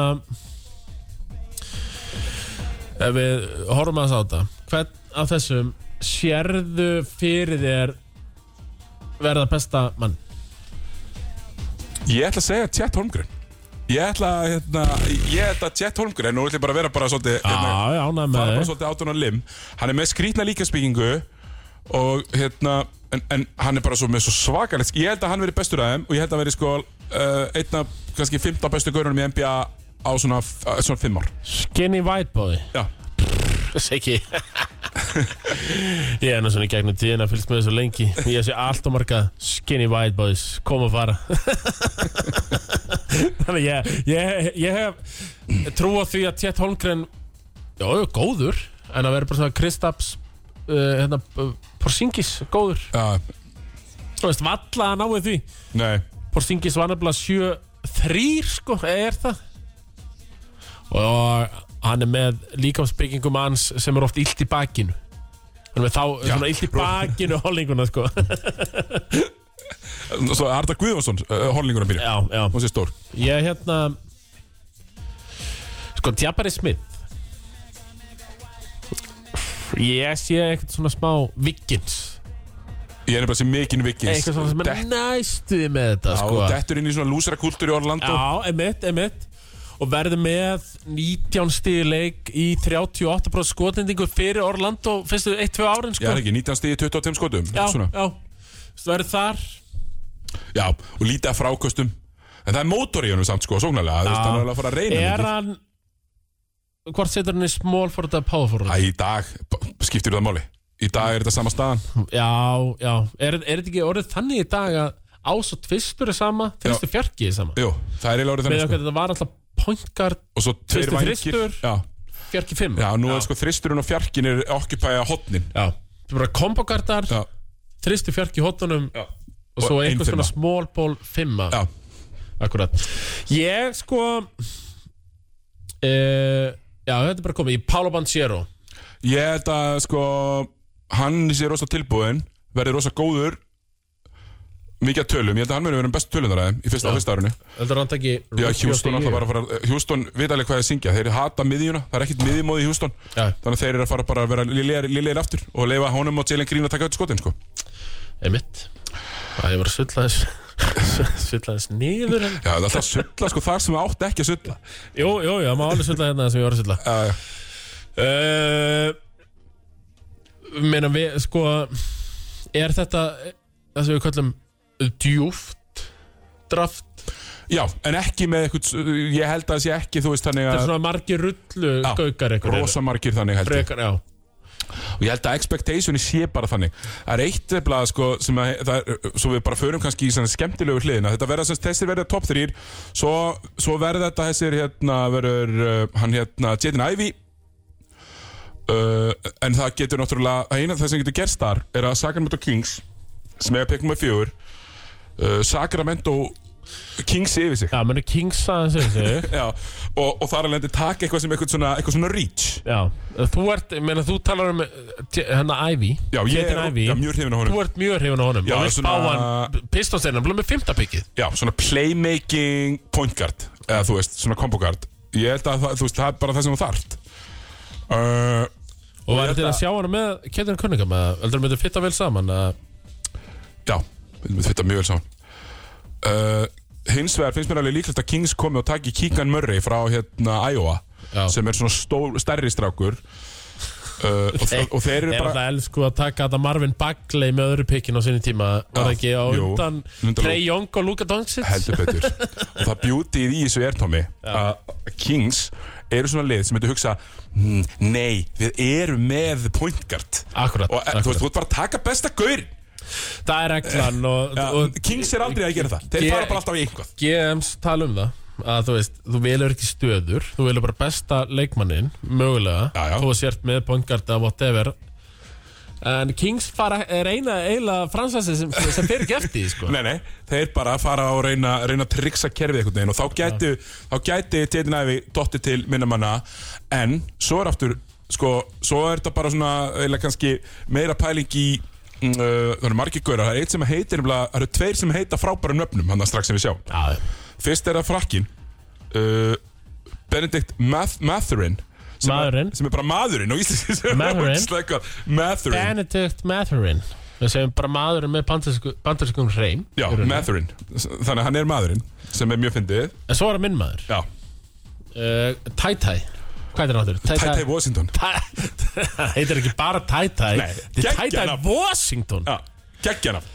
Speaker 2: ef við horfum að sáta hvern af þessum sérðu fyrir þér verða besta mann
Speaker 1: Ég ætla að segja Chet Holmgren Ég ætla að, hérna, ég ætla að Chet Holmgren Nú ætla ég bara að vera bara svolítið
Speaker 2: Ah,
Speaker 1: hérna,
Speaker 2: já, ánæg
Speaker 1: Það
Speaker 2: með
Speaker 1: er bara
Speaker 2: þig
Speaker 1: svolítið átun á lim Hann er með skrýtna líkaspíkingu Og hérna en, en hann er bara svo með svo svakalegt Ég held að hann veri bestur af þeim Og ég held að hann veri sko uh, Einna kannski 15 bestu görunum í NBA Á svona, uh, svona 5 ár
Speaker 2: Skinny White Boy
Speaker 1: Já,
Speaker 2: Siggi Ég er nú svona í gegnum tíðina fylgst með þessu lengi Ég sé allt og marga skinny white boys Kom og fara Þannig ég, ég, ég hef Trú á því að Tjett Holmgren Já, já, góður En að vera bara svona Kristaps uh, hérna, uh, Porzingis, góður
Speaker 1: já,
Speaker 2: Þú veist, valla að náu því
Speaker 1: nei
Speaker 2: Porzingis var nefnilega 7-3 sko, er það og hann er með líkamsbyggingum hans sem er oft illt í bakinu hann er með þá
Speaker 1: Já.
Speaker 2: svona illt í bakinu hollinguna sko já,
Speaker 1: Svo Arda Guðvansson, uh, holningur að byrja
Speaker 2: já,
Speaker 1: Hún sé stór
Speaker 2: ég hérna sko, Tjabari Smith ég sé eitthvað svona smá Viggins
Speaker 1: Ég er nefnilega sem mikinn vikins
Speaker 2: eitthvað svona sem er næstuði með þetta
Speaker 1: sko, Já,
Speaker 2: sko
Speaker 1: og dettur inn í svona lúsara í Orlando
Speaker 2: Já, emitt, emitt Og verði með 19 stíði leik í 38% skotendingu fyrir Orlando fyrstu 1-2 árin
Speaker 1: Já,
Speaker 2: sko.
Speaker 1: er ekki, 19 stíði 25 skotum
Speaker 2: já,
Speaker 1: svona.
Speaker 2: já. Þú veist, verði þar
Speaker 1: Já, og lítið af frákostum En það er mótor í honum samt sko, sóknarlega Þú veist, hann er alveg að fara að reyna
Speaker 2: Er
Speaker 1: mikið.
Speaker 2: hann Hvort setur hann í small forward eða power forward?
Speaker 1: Æ, í dag, b- skiptir það máli Í dag er þetta sama staðan
Speaker 2: Já, já Er er þetta ekki orðið þannig í dag að ás og tvistur er sama Fyrstu fjarki er sama
Speaker 1: Jú, það er eiginlega orðið
Speaker 2: Með
Speaker 1: þannig
Speaker 2: okkar
Speaker 1: sko.
Speaker 2: þetta var alltaf point guard
Speaker 1: Og svo tveir
Speaker 2: Fyrsti
Speaker 1: vængir
Speaker 2: þristur.
Speaker 1: Já,
Speaker 2: fjarki fimm
Speaker 1: já nú er sko þristurinn og fjarkin er okkupæja hotnin
Speaker 2: já. Það er bara combo guardar
Speaker 1: Já,
Speaker 2: Þristu fjarki hotunum
Speaker 1: já,
Speaker 2: Og svo
Speaker 1: Og ein
Speaker 2: einhvers konar
Speaker 1: fimma.
Speaker 2: small ball fimma
Speaker 1: já
Speaker 2: Akkurat Ég sko uh, Já, þetta er bara komið í Paolo Banchero
Speaker 1: Ég held að sko Hann sé rosa tilbúin Verði rosa góður Mikið að tölum, ég held að hann muni verið um bestu tölunar aðeim Í fyrsta, fyrsta árinu
Speaker 2: Þetta er hann ekki
Speaker 1: Já,
Speaker 2: Rookie of the
Speaker 1: Hjústón alltaf
Speaker 2: Year?
Speaker 1: bara að fara Hjústón veit alveg hvað ég syngja, þeir hata miðjuna Það er ekkert miðjumóði í Hjústón
Speaker 2: Já.
Speaker 1: Þannig að þeir eru að fara bara að vera lélegir lélegir aftur Og leifa honum og Jalen Green að taka öll skotin sko.
Speaker 2: Einmitt Það hefur svillaðis Svillaðis niður en...
Speaker 1: Já, það er alltaf að sulla sko, þar sem við átti ekki að sulla
Speaker 2: Jú, jú, já, maður alveg svilla hérna sem ég var að svilla
Speaker 1: uh, Eh,
Speaker 2: uh, Meina við, sko Er þetta Það sem við kallum djúft Draft
Speaker 1: Já, en ekki með eitthvað Ég held að það sé ekki, þú veist þannig
Speaker 2: Það er
Speaker 1: að
Speaker 2: svona margir rullu
Speaker 1: Já,
Speaker 2: gaukar einhverjir.
Speaker 1: Rosa margir þannig held ég
Speaker 2: Frekar, já
Speaker 1: Og ég held að expectationi sé bara þannig Það er eitt blað sko sem að, það, er- Svo við bara förum kannski í svona skemmtilegu hliðina Þetta verða sem þessir verða top 3 Svo, svo verða þetta þessir hérna verður uh, Hann hérna Jetin Ivy uh, En það getur náttúrulega það Eina af það sem getur gerst þar er að Sacramento Kings Sem eiga pekkum með fjögur uh, Sacramento Kings yfir sig
Speaker 2: Já, menn er Kings aðeins yfir sig
Speaker 1: Já, og, og þar alveg taka eitthvað sem eitthvað svona, eitthvað svona reach
Speaker 2: Já, þú ert, ég meina þú talar um eh, t- hérna Ivy
Speaker 1: Já, ég
Speaker 2: Ketan
Speaker 1: er
Speaker 2: Ivy.
Speaker 1: já, mjög hrifin á honum
Speaker 2: Þú ert mjög hrifin á honum
Speaker 1: Já,
Speaker 2: og vilt
Speaker 1: svona-
Speaker 2: svona... bá hann pistonseinnan, blóð með fymtapikkið
Speaker 1: Já, svona playmaking point guard eða þú veist, svona combo guard ég held að það, þú veist, það er bara það sem þú þarft uh,
Speaker 2: Og
Speaker 1: ég
Speaker 2: var
Speaker 1: held
Speaker 2: þetta að sjá hann með Ketan Cunningham að heldur hann myndi fitta vel saman að
Speaker 1: Já, við myndum þetta mjög vel saman uh, Hins vegar finnst mér alveg líklegt að Kings komi og taki Keegan Murray frá hérna Iowa
Speaker 2: Já.
Speaker 1: sem er svona stór, stærri strákur uh, og, og, og þeir
Speaker 2: er
Speaker 1: eru
Speaker 2: bara...
Speaker 1: bara
Speaker 2: alltaf elsku að taka þetta Marvin Bagley með öðru pikkin á sinni tíma var það ekki á
Speaker 1: jú,
Speaker 2: undan
Speaker 1: undan
Speaker 2: Trey Young og Luka Doncic
Speaker 1: heldur betur og það bjútið í þessu er Tommy að Kings eru svona lið sem myndi hugsa "Mm, nei, við erum með point guard
Speaker 2: Akkurat,
Speaker 1: og e, þú veist, Eh,
Speaker 2: akkurat.
Speaker 1: þú ert bara að taka besta gaur
Speaker 2: það er reglan og, og
Speaker 1: Kings er aldrei að gera það þeir
Speaker 2: Ég-
Speaker 1: fara bara alltaf í einhvað
Speaker 2: GMs tala um það að þú veist, þú velur ekki stöður þú velur bara besta leikmannin mögulega,
Speaker 1: Já, já.
Speaker 2: þú sért með pointgard eða whatever en Kings fara, er eina eila fransæsi sem, sem fyrir gefti sko.
Speaker 1: Nei, nei, þeir bara fara og reyna, reyna að triksa kerfið einhvern veginn og þá gæti, þá gæti Tétin Ævi dottið til minna manna en svo er aftur, sko, svo er þetta bara svona, eða kannski meira pæling í mm, uh, það eru margir gaurar, það er eitt sem heitir nefnilega, það eru tveir sem heita frábærum nöfnum, hann strax sem við sjáum
Speaker 2: Já,
Speaker 1: Fyrst er það frakkin uh, Benedikt Math Matherin sem,
Speaker 2: Maðurinn.
Speaker 1: er, sem er bara maðurinn á íslensku
Speaker 2: Maðurinn.
Speaker 1: Ógeðslega gott. Matherin
Speaker 2: Benedict Matherin við segjum bara maðurinn með bandarskum, bandarskum hreim
Speaker 1: Já,
Speaker 2: í rauninni.
Speaker 1: Matherin Þannig að hann er maðurinn sem er mjög fyndið
Speaker 2: en svo er það minn maður
Speaker 1: Já,
Speaker 2: uh, Tætæ, hvað er það áttur?
Speaker 1: Tætæ Washington
Speaker 2: Það heitir ekki bara Tætæ
Speaker 1: Nei,
Speaker 2: Þetta er
Speaker 1: geggjað
Speaker 2: Tætæ
Speaker 1: nafn.
Speaker 2: Washington
Speaker 1: Já, geggjana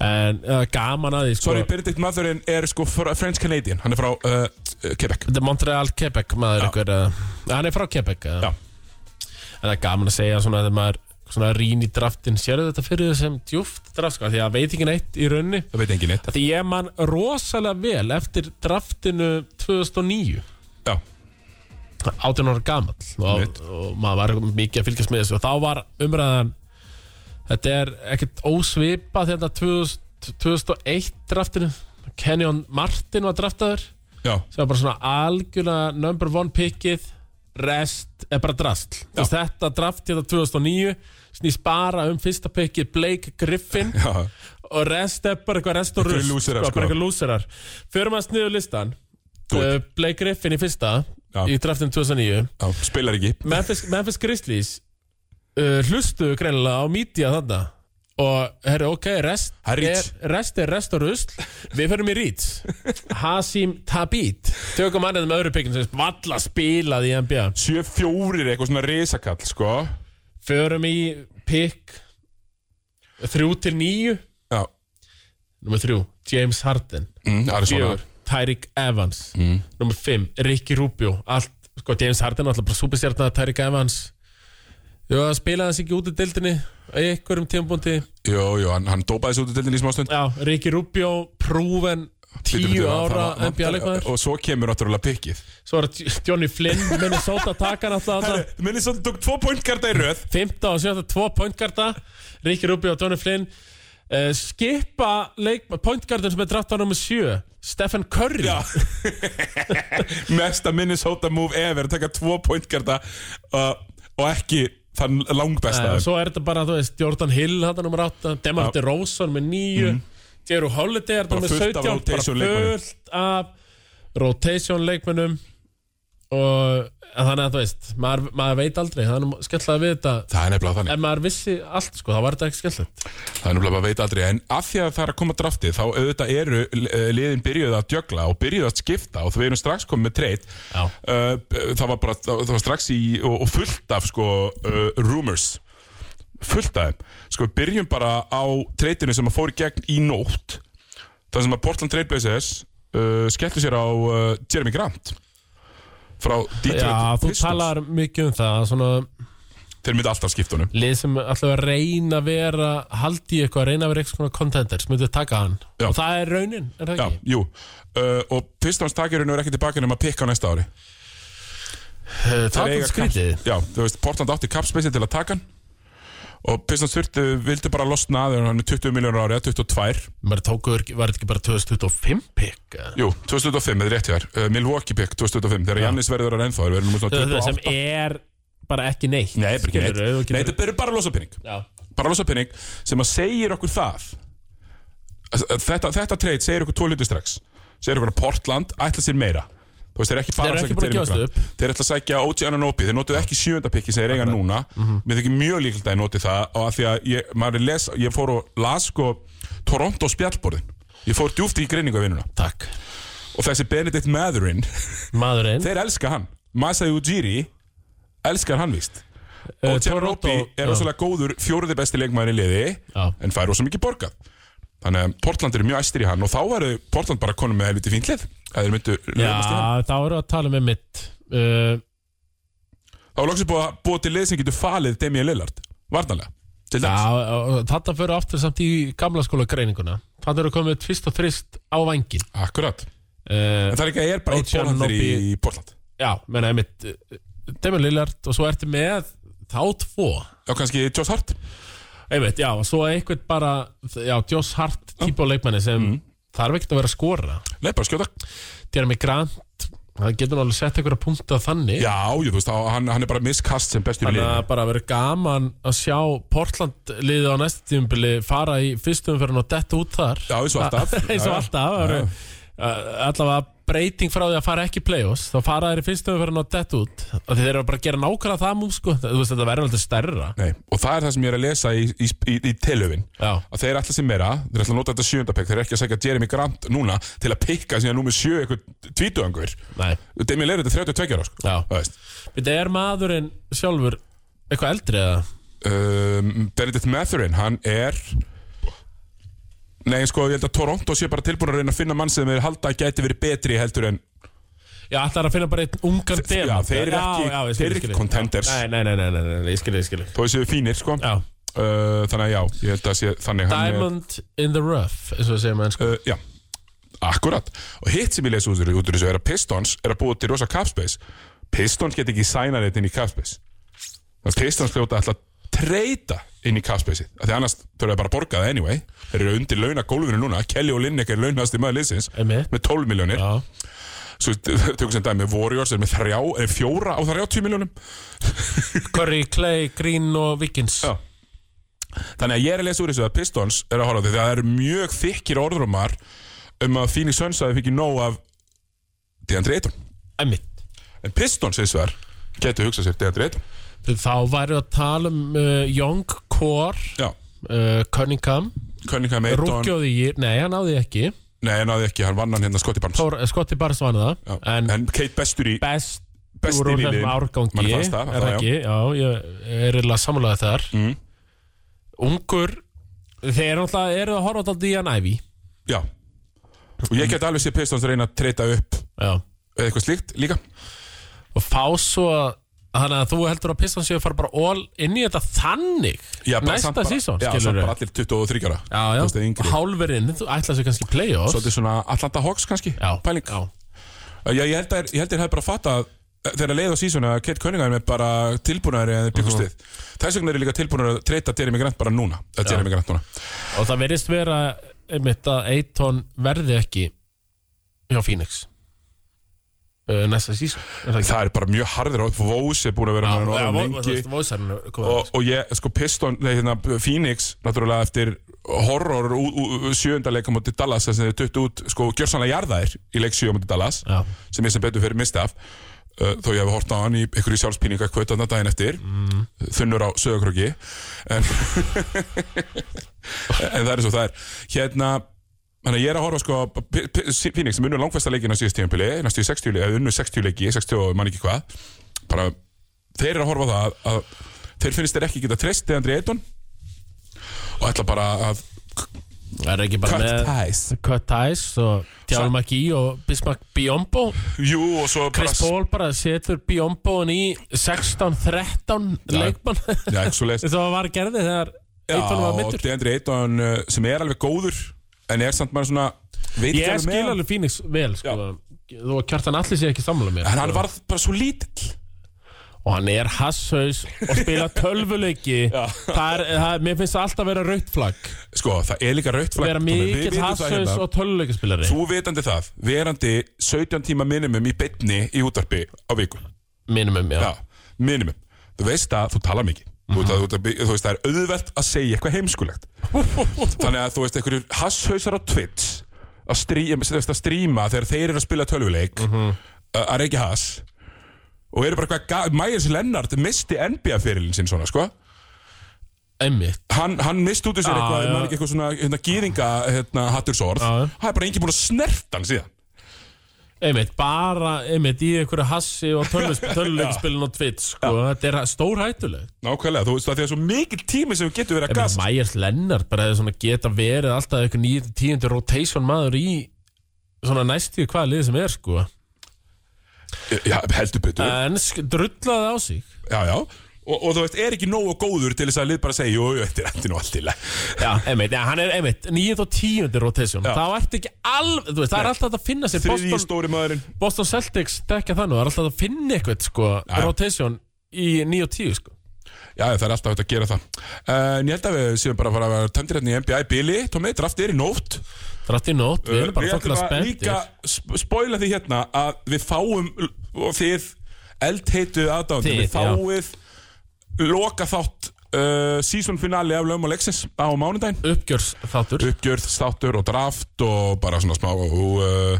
Speaker 2: En uh, gaman að því sko.
Speaker 1: Sorry, Benedict Mathurinn er sko fr- French Canadian Hann er frá uh, uh, Quebec
Speaker 2: Þetta er Montreal, Quebec maður einhver, uh, Hann er frá Quebec uh,
Speaker 1: Já.
Speaker 2: En það er gaman að segja svona þegar maður svona rýn í draftin Sérðu þetta fyrir þessum djúft draft sko, af Því að veit ekki neitt í raunni
Speaker 1: Það veit engin neitt
Speaker 2: Því ég man rosalega vel eftir draftinu 2009
Speaker 1: Já,
Speaker 2: 18 ára gamall og,
Speaker 1: Einmitt.
Speaker 2: og maður var mikið að fylgjast með þessu og þá var umræðan þetta er ekkert hérna ósvipa þetta 2000, 2001 draftinu Kenyon Martin var draftaður
Speaker 1: já,
Speaker 2: sem var bara svona algjörlega number one pickið rest er bara drastl
Speaker 1: Já.
Speaker 2: Þú veist, þetta draft hérna 2009 snýst bara um fyrsta pickið Blake Griffin
Speaker 1: já
Speaker 2: og rest er bara eitthvað rest og
Speaker 1: Einhverjir
Speaker 2: rust
Speaker 1: lúserar, sko.
Speaker 2: bara eitthvað lúserar fyrir maður sniður listan
Speaker 1: Do
Speaker 2: uh, Blake Griffin í fyrsta
Speaker 1: Já.
Speaker 2: í draftinu 2009
Speaker 1: Já, spilar ekki
Speaker 2: Memphis, Memphis Grizzlies uh, hlustu greinilega á mídía þarna og herri, ok, rest
Speaker 1: Það er
Speaker 2: er,
Speaker 1: reach.
Speaker 2: rest er rest og rusl við förum í rít Hasim Tabit tökum hann eða með öðru pikkinn sem valla spilað í NBA
Speaker 1: 7-4 er eitthvað svona risakall, sko
Speaker 2: förum í pikk 3 til 9
Speaker 1: Já,
Speaker 2: Númer þrjú, James Harden
Speaker 1: Mm, Arizona.
Speaker 2: Fjögur, Tyreek Evans mm. Númer fimm, Ricky Rubio Allt, sko, James Harden er alltaf bara superstjarnar Tyreek Evans Jú, hann spilaði hans ekki út í deildinni Í einhverjum tímpúndi
Speaker 1: Jó, jó, hann, hann dópaði þessu út í deildinni í smástund
Speaker 2: Já, Ricky Rubio, prúven
Speaker 1: Bíddu, bíddu,
Speaker 2: Tíu
Speaker 1: það
Speaker 2: ára
Speaker 1: var-
Speaker 2: NBA-leikmaður
Speaker 1: Og svo kemur náttúrulega pikkið
Speaker 2: Svo var Johnny Flynn, Minnesota taka náttúrulega þarna.
Speaker 1: Minni svolítið tók tvo pointkarta í röð
Speaker 2: 15 og 17, tvo pointgarda Ríkir Rubio og Tony Flynn uh, skipa leik, pointgarden sem er draft á nummer 7 Stephen Curry
Speaker 1: Já. Mesta Minnesota move ever Tekka tvo pointkarta uh, Og ekki þann langbesta
Speaker 2: Eh,
Speaker 1: uh,
Speaker 2: svo er þetta bara, þú veist, Jordan Hill þetta nummer 8, Demar DeRozan með 9 mm. Jeru Holiday er þetta
Speaker 1: Mhm. Bara
Speaker 2: með
Speaker 1: fullt af rotation
Speaker 2: 17 bara
Speaker 1: leikmönnum.
Speaker 2: fullt af rotation leikmennum og en þannig að þú veist maður, maður veit aldrei, þannig skemmtilega við þetta
Speaker 1: Það er nefnilega þannig
Speaker 2: ef maður vissi allt, sko, þá var þetta ekki skemmtilegt
Speaker 1: Það er nefnilega bara að veita aldrei En af því að það er að koma draftið Þá auðvitað eru eh, liðin byrjuð að djögla Og byrjuð að skipta Og við erum strax komið með treyt
Speaker 2: Já.
Speaker 1: uh, Það var bara Það það var strax í Og, og fullt af sko uh, Rumors Fullt af þeim Sko við byrjum bara á treytinu Sem að fór í gegn í nótt Það sem að Portland Trailblazers uh, Skelltu sér á uh, Jeremy Grant Frá Detroit
Speaker 2: Já, þú
Speaker 1: Pistons
Speaker 2: talar mikið um það svona,
Speaker 1: Þeir myndi alltaf skipta honum
Speaker 2: lið sem alltaf að reyna að vera haldi í eitthvað, reyna að vera eitthvað svona contender sem myndi að taka hann
Speaker 1: Já.
Speaker 2: og það er raunin, er það
Speaker 1: Já,
Speaker 2: ekki?
Speaker 1: jú uh, Og Pistons takir hennu er ekki tilbaka nema að pikka á næsta ári
Speaker 2: Uh,
Speaker 1: Þeir
Speaker 2: Það er
Speaker 1: eiga
Speaker 2: skrítið
Speaker 1: cap- Já, þú veist, Portland átti kapspeysi til að taka hann og Pistons þurfti, vildi bara losna að hann er 20 miljónur árið, 22
Speaker 2: Maður tókuður, var þetta ekki bara 2025 pick? eða?
Speaker 1: Jú, 2005, þetta er rétt hjá þér uh, Milwaukee pick 2005, þegar Jannis verður að ennþá þeir verður númer svona
Speaker 2: Það er það sem
Speaker 1: 28
Speaker 2: er bara ekki neitt
Speaker 1: Nei, bara ekki neitt.
Speaker 2: Skilurðu, ef þú
Speaker 1: Nei,
Speaker 2: getur-
Speaker 1: þetta er bara losapenning
Speaker 2: Já,
Speaker 1: bara losapenning sem að segir okkur það þetta, þetta trade segir okkur tvo hluti strax segir okkur að Portland ætla sér meira þú veist, þeir eru ekki
Speaker 2: Þeir
Speaker 1: bara
Speaker 2: eru
Speaker 1: að
Speaker 2: ekki
Speaker 1: sækja
Speaker 2: búin að
Speaker 1: Jeremy
Speaker 2: gefast
Speaker 1: Grant. þeir ætla að sækja OG Ananobi, þeir notuðu ekki sjönda pikki sem þeir eiga núna,
Speaker 2: Mhm.
Speaker 1: mér þykir mjög líkilt að þeir noti það og að því að ég, maður er les, ég fór og las sko Toronto spjallborðin, ég fór djúft í greiningu af vinnuna
Speaker 2: takk
Speaker 1: og þessi Benedict Matherin,
Speaker 2: Maðurinn
Speaker 1: þeir elska hann Masai Ujiri elskar hann víst
Speaker 2: Eh,
Speaker 1: og Tjernopi
Speaker 2: Toronto-
Speaker 1: er
Speaker 2: já.
Speaker 1: rosalega góður fjóruði besti leikmæður í liði
Speaker 2: Já.
Speaker 1: en fær rosalega mikið borgað þannig að Portland eru mjög æstir í hann og þá verður Portland bara konum með helviti fínt lið að þeir myndu lögumast í hann
Speaker 2: Já, þá eru að tala með mitt uh,
Speaker 1: þá er loksins búið að búa til lið sem getur falið Demi Lillard, varnalega til
Speaker 2: Já,
Speaker 1: dæmis
Speaker 2: og þetta fyrir aftur samt í gamla skóla greininguna Þetta eru komið tvist og þrist á vangin
Speaker 1: akkurat,
Speaker 2: uh,
Speaker 1: en það er ekki að ég er bara eitt
Speaker 2: Ocean
Speaker 1: Portland í
Speaker 2: Nobi.
Speaker 1: í Portland
Speaker 2: Já, menna einmitt Demon Lillard og svo ertu með þá tvo
Speaker 1: og kannski Josh Hart
Speaker 2: einmitt, já, og svo eitthvað bara já, Josh Hart típa á leikmanni sem
Speaker 1: Mm.
Speaker 2: þarf ekkert að vera að skora
Speaker 1: Nei, bara skjóta.
Speaker 2: Jeremy Grant, það getur nú alveg sett einhverja punkta þannig
Speaker 1: Já, jú, þú veist, þá- hann, hann er bara miskast sem bestur í
Speaker 2: Þannig
Speaker 1: liðinu.
Speaker 2: að bara verið gaman að sjá Portland liðið á næsta tímubili fara í fyrstu umferðin og detta út þar
Speaker 1: Já, eins og alltaf. Já,
Speaker 2: Eins og
Speaker 1: já.
Speaker 2: alltaf það eru, uh, Allavega breyting frá því að fara ekki í play-offs þá fara þeir í fyrstu umferðin og detta út og þeir eru bara að gera nákvæmlega það múm sko Þú veist, þetta verður aldrei stærra
Speaker 1: Nei, og það er það sem ég er að lesa í, í, í, í telöfin
Speaker 2: Já.
Speaker 1: að þeir ætla sér meira, þeir ætla að nota þetta sjöndapekk þeir eru ekki að segja Jeremy Grant núna til að pikka síðan númið sjö eitthvað tvítuðangur
Speaker 2: Nei.
Speaker 1: Demi Leirud er 32 ára sko.
Speaker 2: Já.
Speaker 1: Það veist.
Speaker 2: Þetta er maðurinn sjálfur eitthvað eldri eða?
Speaker 1: um, Benedict Matherin, hann er Nei, sko, ég held að Toronto sé bara tilbúin að reyna að finna mann sem þeir halda að gæti verið betri heldur en
Speaker 2: Já, ætlar að finna bara einn ungan
Speaker 1: Þe- já,
Speaker 2: demant
Speaker 1: þeir eru ekki-
Speaker 2: já, ég skil,
Speaker 1: þeir eru
Speaker 2: ég skil.
Speaker 1: ekki contenders.
Speaker 2: Nei, nei, nei, nei, nei, nei, nei, ég skil, ég skil
Speaker 1: þó þessi við fínir sko.
Speaker 2: Já,
Speaker 1: uh, Þannig að já, ég held að sé þannig hann er-
Speaker 2: Diamond in the Rough eins og við segjum ennsku
Speaker 1: uh, Já, akkurat Og hitt sem ég lesi út úr út úr þessu er að Pistons er að búa til rosa capspace Pistons get ekki sæna þetta inn í capspace Þannig að Pistons hljóta alltaf að treyta inn í capspace af því annars þurfa þeir bara að borga það anyway Þeir eru undir launa gólfinu núna Kelly og Linnek er launast í maður liðsins
Speaker 2: Einmitt.
Speaker 1: með 12 miljónir
Speaker 2: Já,
Speaker 1: Svo tökum sem dæmi Warriors er með þrjá, er fjóra á 30 miljónum
Speaker 2: Curry, Clay, Green og Vikings
Speaker 1: Já. Þannig að ég er að lesa úr þessu að Pistons er að horfa á því það eru mjög þykkir orðrumar um að Phoenix Suns að þið fikk nóg af Deandre Ayton
Speaker 2: Einmitt
Speaker 1: En Pistons hins vegar getur hugsað sér Deandre Ayton
Speaker 2: Þá væri að tala um uh, Young, Core,
Speaker 1: Já,
Speaker 2: uh, Cunningham
Speaker 1: Cunningham Ayton
Speaker 2: Rúkjóði í, nei hann náði því ekki
Speaker 1: Nei, hann náði ekki, hann vann hann hérna Scotty Barnes
Speaker 2: Tór, Skotti Barnes vann
Speaker 1: Já.
Speaker 2: það
Speaker 1: en,
Speaker 2: En
Speaker 1: Kate Bestur í
Speaker 2: best
Speaker 1: Best
Speaker 2: úr
Speaker 1: í
Speaker 2: úr
Speaker 1: liðinu.
Speaker 2: þessum árgangi
Speaker 1: Manni fannst það,
Speaker 2: Er
Speaker 1: það, já.
Speaker 2: ekki, já, ég er illa samlega þar
Speaker 1: Mm.
Speaker 2: Ungur Þeir náttúrulega eru að horfa alltaf í hann æfi
Speaker 1: Já Og ég get alveg séð Pistons reyna að treyta upp
Speaker 2: Já.
Speaker 1: eða eitthvað slíkt líka
Speaker 2: Og fá svo að Þannig að þú heldur að Pistons séu að fara bara all inn í þetta þannig
Speaker 1: já, bara samt
Speaker 2: Næsta
Speaker 1: bara-
Speaker 2: sísón,
Speaker 1: Já,
Speaker 2: skilur
Speaker 1: samt
Speaker 2: við
Speaker 1: bara allir 23 ára
Speaker 2: Já,
Speaker 1: Þú veist, eða
Speaker 2: já,
Speaker 1: yngri.
Speaker 2: hálverinn Þú ætlar sér kannski play-offs
Speaker 1: Svolítið svona Atlanta Hawks kannski
Speaker 2: Já,
Speaker 1: Pæling
Speaker 2: já.
Speaker 1: Já, ég held að þeir- ég held þeir hefði bara fattað þegar leið á sísónu að Kate Cunningham er bara tilbúinari en þeir
Speaker 2: Mhm.
Speaker 1: byggust við Þess vegna er ég líka tilbúinari að treyta Jeremy Grant bara núna að Jeremy Grant núna
Speaker 2: Og það verðist vera einmitt að Eiton verði ekki hjá Phoenix uh, næsta sísón
Speaker 1: Það er bara mjög harður og Vós er búin að vera með hann orðið lengi og, og ég, sko, Piston, nei, hérna, Phoenix náttúrulega eftir horror ú, ú, ú- sjöunda leika mútið Dallas þar sem þeir tuttu út, sko, gjörsanlega jarðaðir í leik sjö mútið Dallas,
Speaker 2: Já.
Speaker 1: sem ég sem betur fyrir misti af, uh, þó ég hef hort á hann í ykkur í sjálfspíninga kvötaðna daginn eftir þunnur á söðakröki en en það er svo það er hérna Þannig að ég er að horfa sko á P- P- Phoenix sem unnu langfesta leikina síðast tíðanpili næstu í 60 leiki, eða unnu 60 leiki 60 og mann ekki hvað bara, þeir eru að horfa á það að, að þeir finnst þeir ekki geta treyst þegar Andri Eitun og ætla bara að
Speaker 2: Það er ekki bara
Speaker 1: cut
Speaker 2: með
Speaker 1: ties
Speaker 2: Cut Ties og Djálf
Speaker 1: Sa-
Speaker 2: Magí og Bismarck Biombo
Speaker 1: Jú og svo
Speaker 2: Chris
Speaker 1: bara
Speaker 2: Paul bara setur Biombo'n í 16-13 leikmann
Speaker 1: Já, ekki svo leist
Speaker 2: Þetta var gerði þegar Eiton var mittur
Speaker 1: Já, Andri Eitun uh, sem er alveg góður en er samt maður svona veit ekki
Speaker 2: Ég
Speaker 1: alveg með
Speaker 2: skil
Speaker 1: hann.
Speaker 2: alveg Phoenix vel sko. Þú og Kjartan allir sé ekki sammála mér sko.
Speaker 1: en hann var bara svo lítill
Speaker 2: og hann er hasshaus og spila tölvuleiki það er, það, mér finnst það alltaf vera rautt flagg
Speaker 1: sko, það er líka rautt flagg
Speaker 2: vera
Speaker 1: Tommi. Við
Speaker 2: mikill
Speaker 1: vitum það
Speaker 2: hasshaus
Speaker 1: hérna.
Speaker 2: og tölvuleikispilari
Speaker 1: Þú vitandi það, verandi 17 tíma minimum í bytni í útarpi á viku
Speaker 2: minimum, um, já.
Speaker 1: Já, minimum Þú veist að þú tala mikið Þú veist, að, þú, veist að, þú veist það er auðvelt að segja eitthvað heimskulegt Þannig að þú veist einhverjur hasshausar á Twitch að, stríma, veist, að stríma þegar þeir eru að spila tölvuleik
Speaker 2: Mhm.
Speaker 1: að, að reykja hass og eru bara eitthvað Mæjus Lennart misti NBA-fyrirlin sinn svona sko
Speaker 2: einmitt
Speaker 1: hann, hann misti út úr sér
Speaker 2: Já,
Speaker 1: eitthvað,
Speaker 2: já.
Speaker 1: ja. eitthvað svona hérna, gýðinga hérna, hattursorð
Speaker 2: Já, já.
Speaker 1: það er bara enginn búin að snerta hann síðan
Speaker 2: einmitt, bara einmitt í einhverju hassi og tölvuleikispilin og Twitch sko. þetta er stórhættuleg
Speaker 1: Nákvæmlega, þú veist það því að svo mikil tími sem við getum verið að gasta
Speaker 2: Mæjars Lennart bara hefði svona geta verið alltaf einhver 9-10 rotation maður í svona næstíu hvaða lið sem er sko.
Speaker 1: Já, heldur betur
Speaker 2: en sk- drullaði á sig
Speaker 1: Já, já og, og þú veist, er ekki nógu góður til þess að lið bara segja Jú, jú, þetta er endur nú allt til
Speaker 2: Já, einmitt, já, hann er einmitt 9. og 10. rotation
Speaker 1: Já.
Speaker 2: þá ertu ekki alveg, þú veist, það er alltaf hægt að finna sér
Speaker 1: Þriði
Speaker 2: Boston,
Speaker 1: stóri maðurinn
Speaker 2: Boston Celtics dekja þannig, það er alltaf hægt að finna eitthvað sko,
Speaker 1: já.
Speaker 2: rotation í 9 og 10 sko.
Speaker 1: Já, já, það er alltaf hægt að gera það En ég held að við séum bara að fara að vera tæmdir hérna í NBA Billy, Tommy, draftir í nótt
Speaker 2: það er alltaf í nótt, Uh, við erum bara
Speaker 1: ætlum
Speaker 2: fólkilega
Speaker 1: að
Speaker 2: spenntir
Speaker 1: líka sp- spoila því hérna að við fáum og þið eldheitu aðdáðandi,
Speaker 2: Þið,
Speaker 1: við fáið loka þátt uh, season finale af Laum og Lexis á mánudaginn
Speaker 2: uppgjörs þáttur
Speaker 1: uppgjörð, státtur og draft og bara svona smá uh,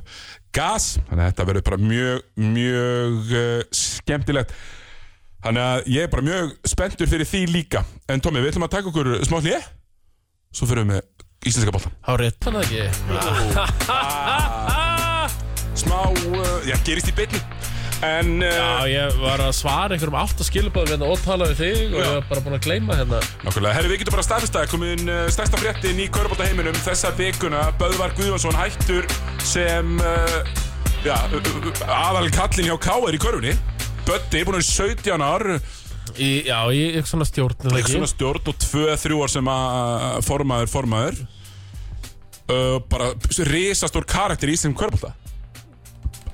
Speaker 1: gas, þannig að þetta verður bara mjög, mjög uh, skemmtilegt þannig að ég er bara mjög spenntur fyrir því líka en Tommi, við ætlum að taka okkur smá hlje svo fyrir við með íslenska boltan
Speaker 2: á rétt hann ekki
Speaker 1: smá, uh, já, gerist í byrni en uh,
Speaker 2: Já, ég var að svara einhverjum átt að skilbað við og tala við þig og
Speaker 1: Já.
Speaker 2: ég var bara búin að gleyma hérna
Speaker 1: nákvæmlega, herri, við getum bara staðfestað komin uh, stærsta fréttin í Körbólta heiminum þessa vikuna, Böðvar Guðjónsson hættur sem uh, já, uh, uh, aðal kallin hjá K.R. í körfunni Böddi, búin að vera 17 ár
Speaker 2: í, Já, ég er svona stjórn er það
Speaker 1: ekki
Speaker 2: ekki?
Speaker 1: svona stjórn og 2-3 ár sem að formaður, formaður uh, bara risastór karakter í sem Körbólta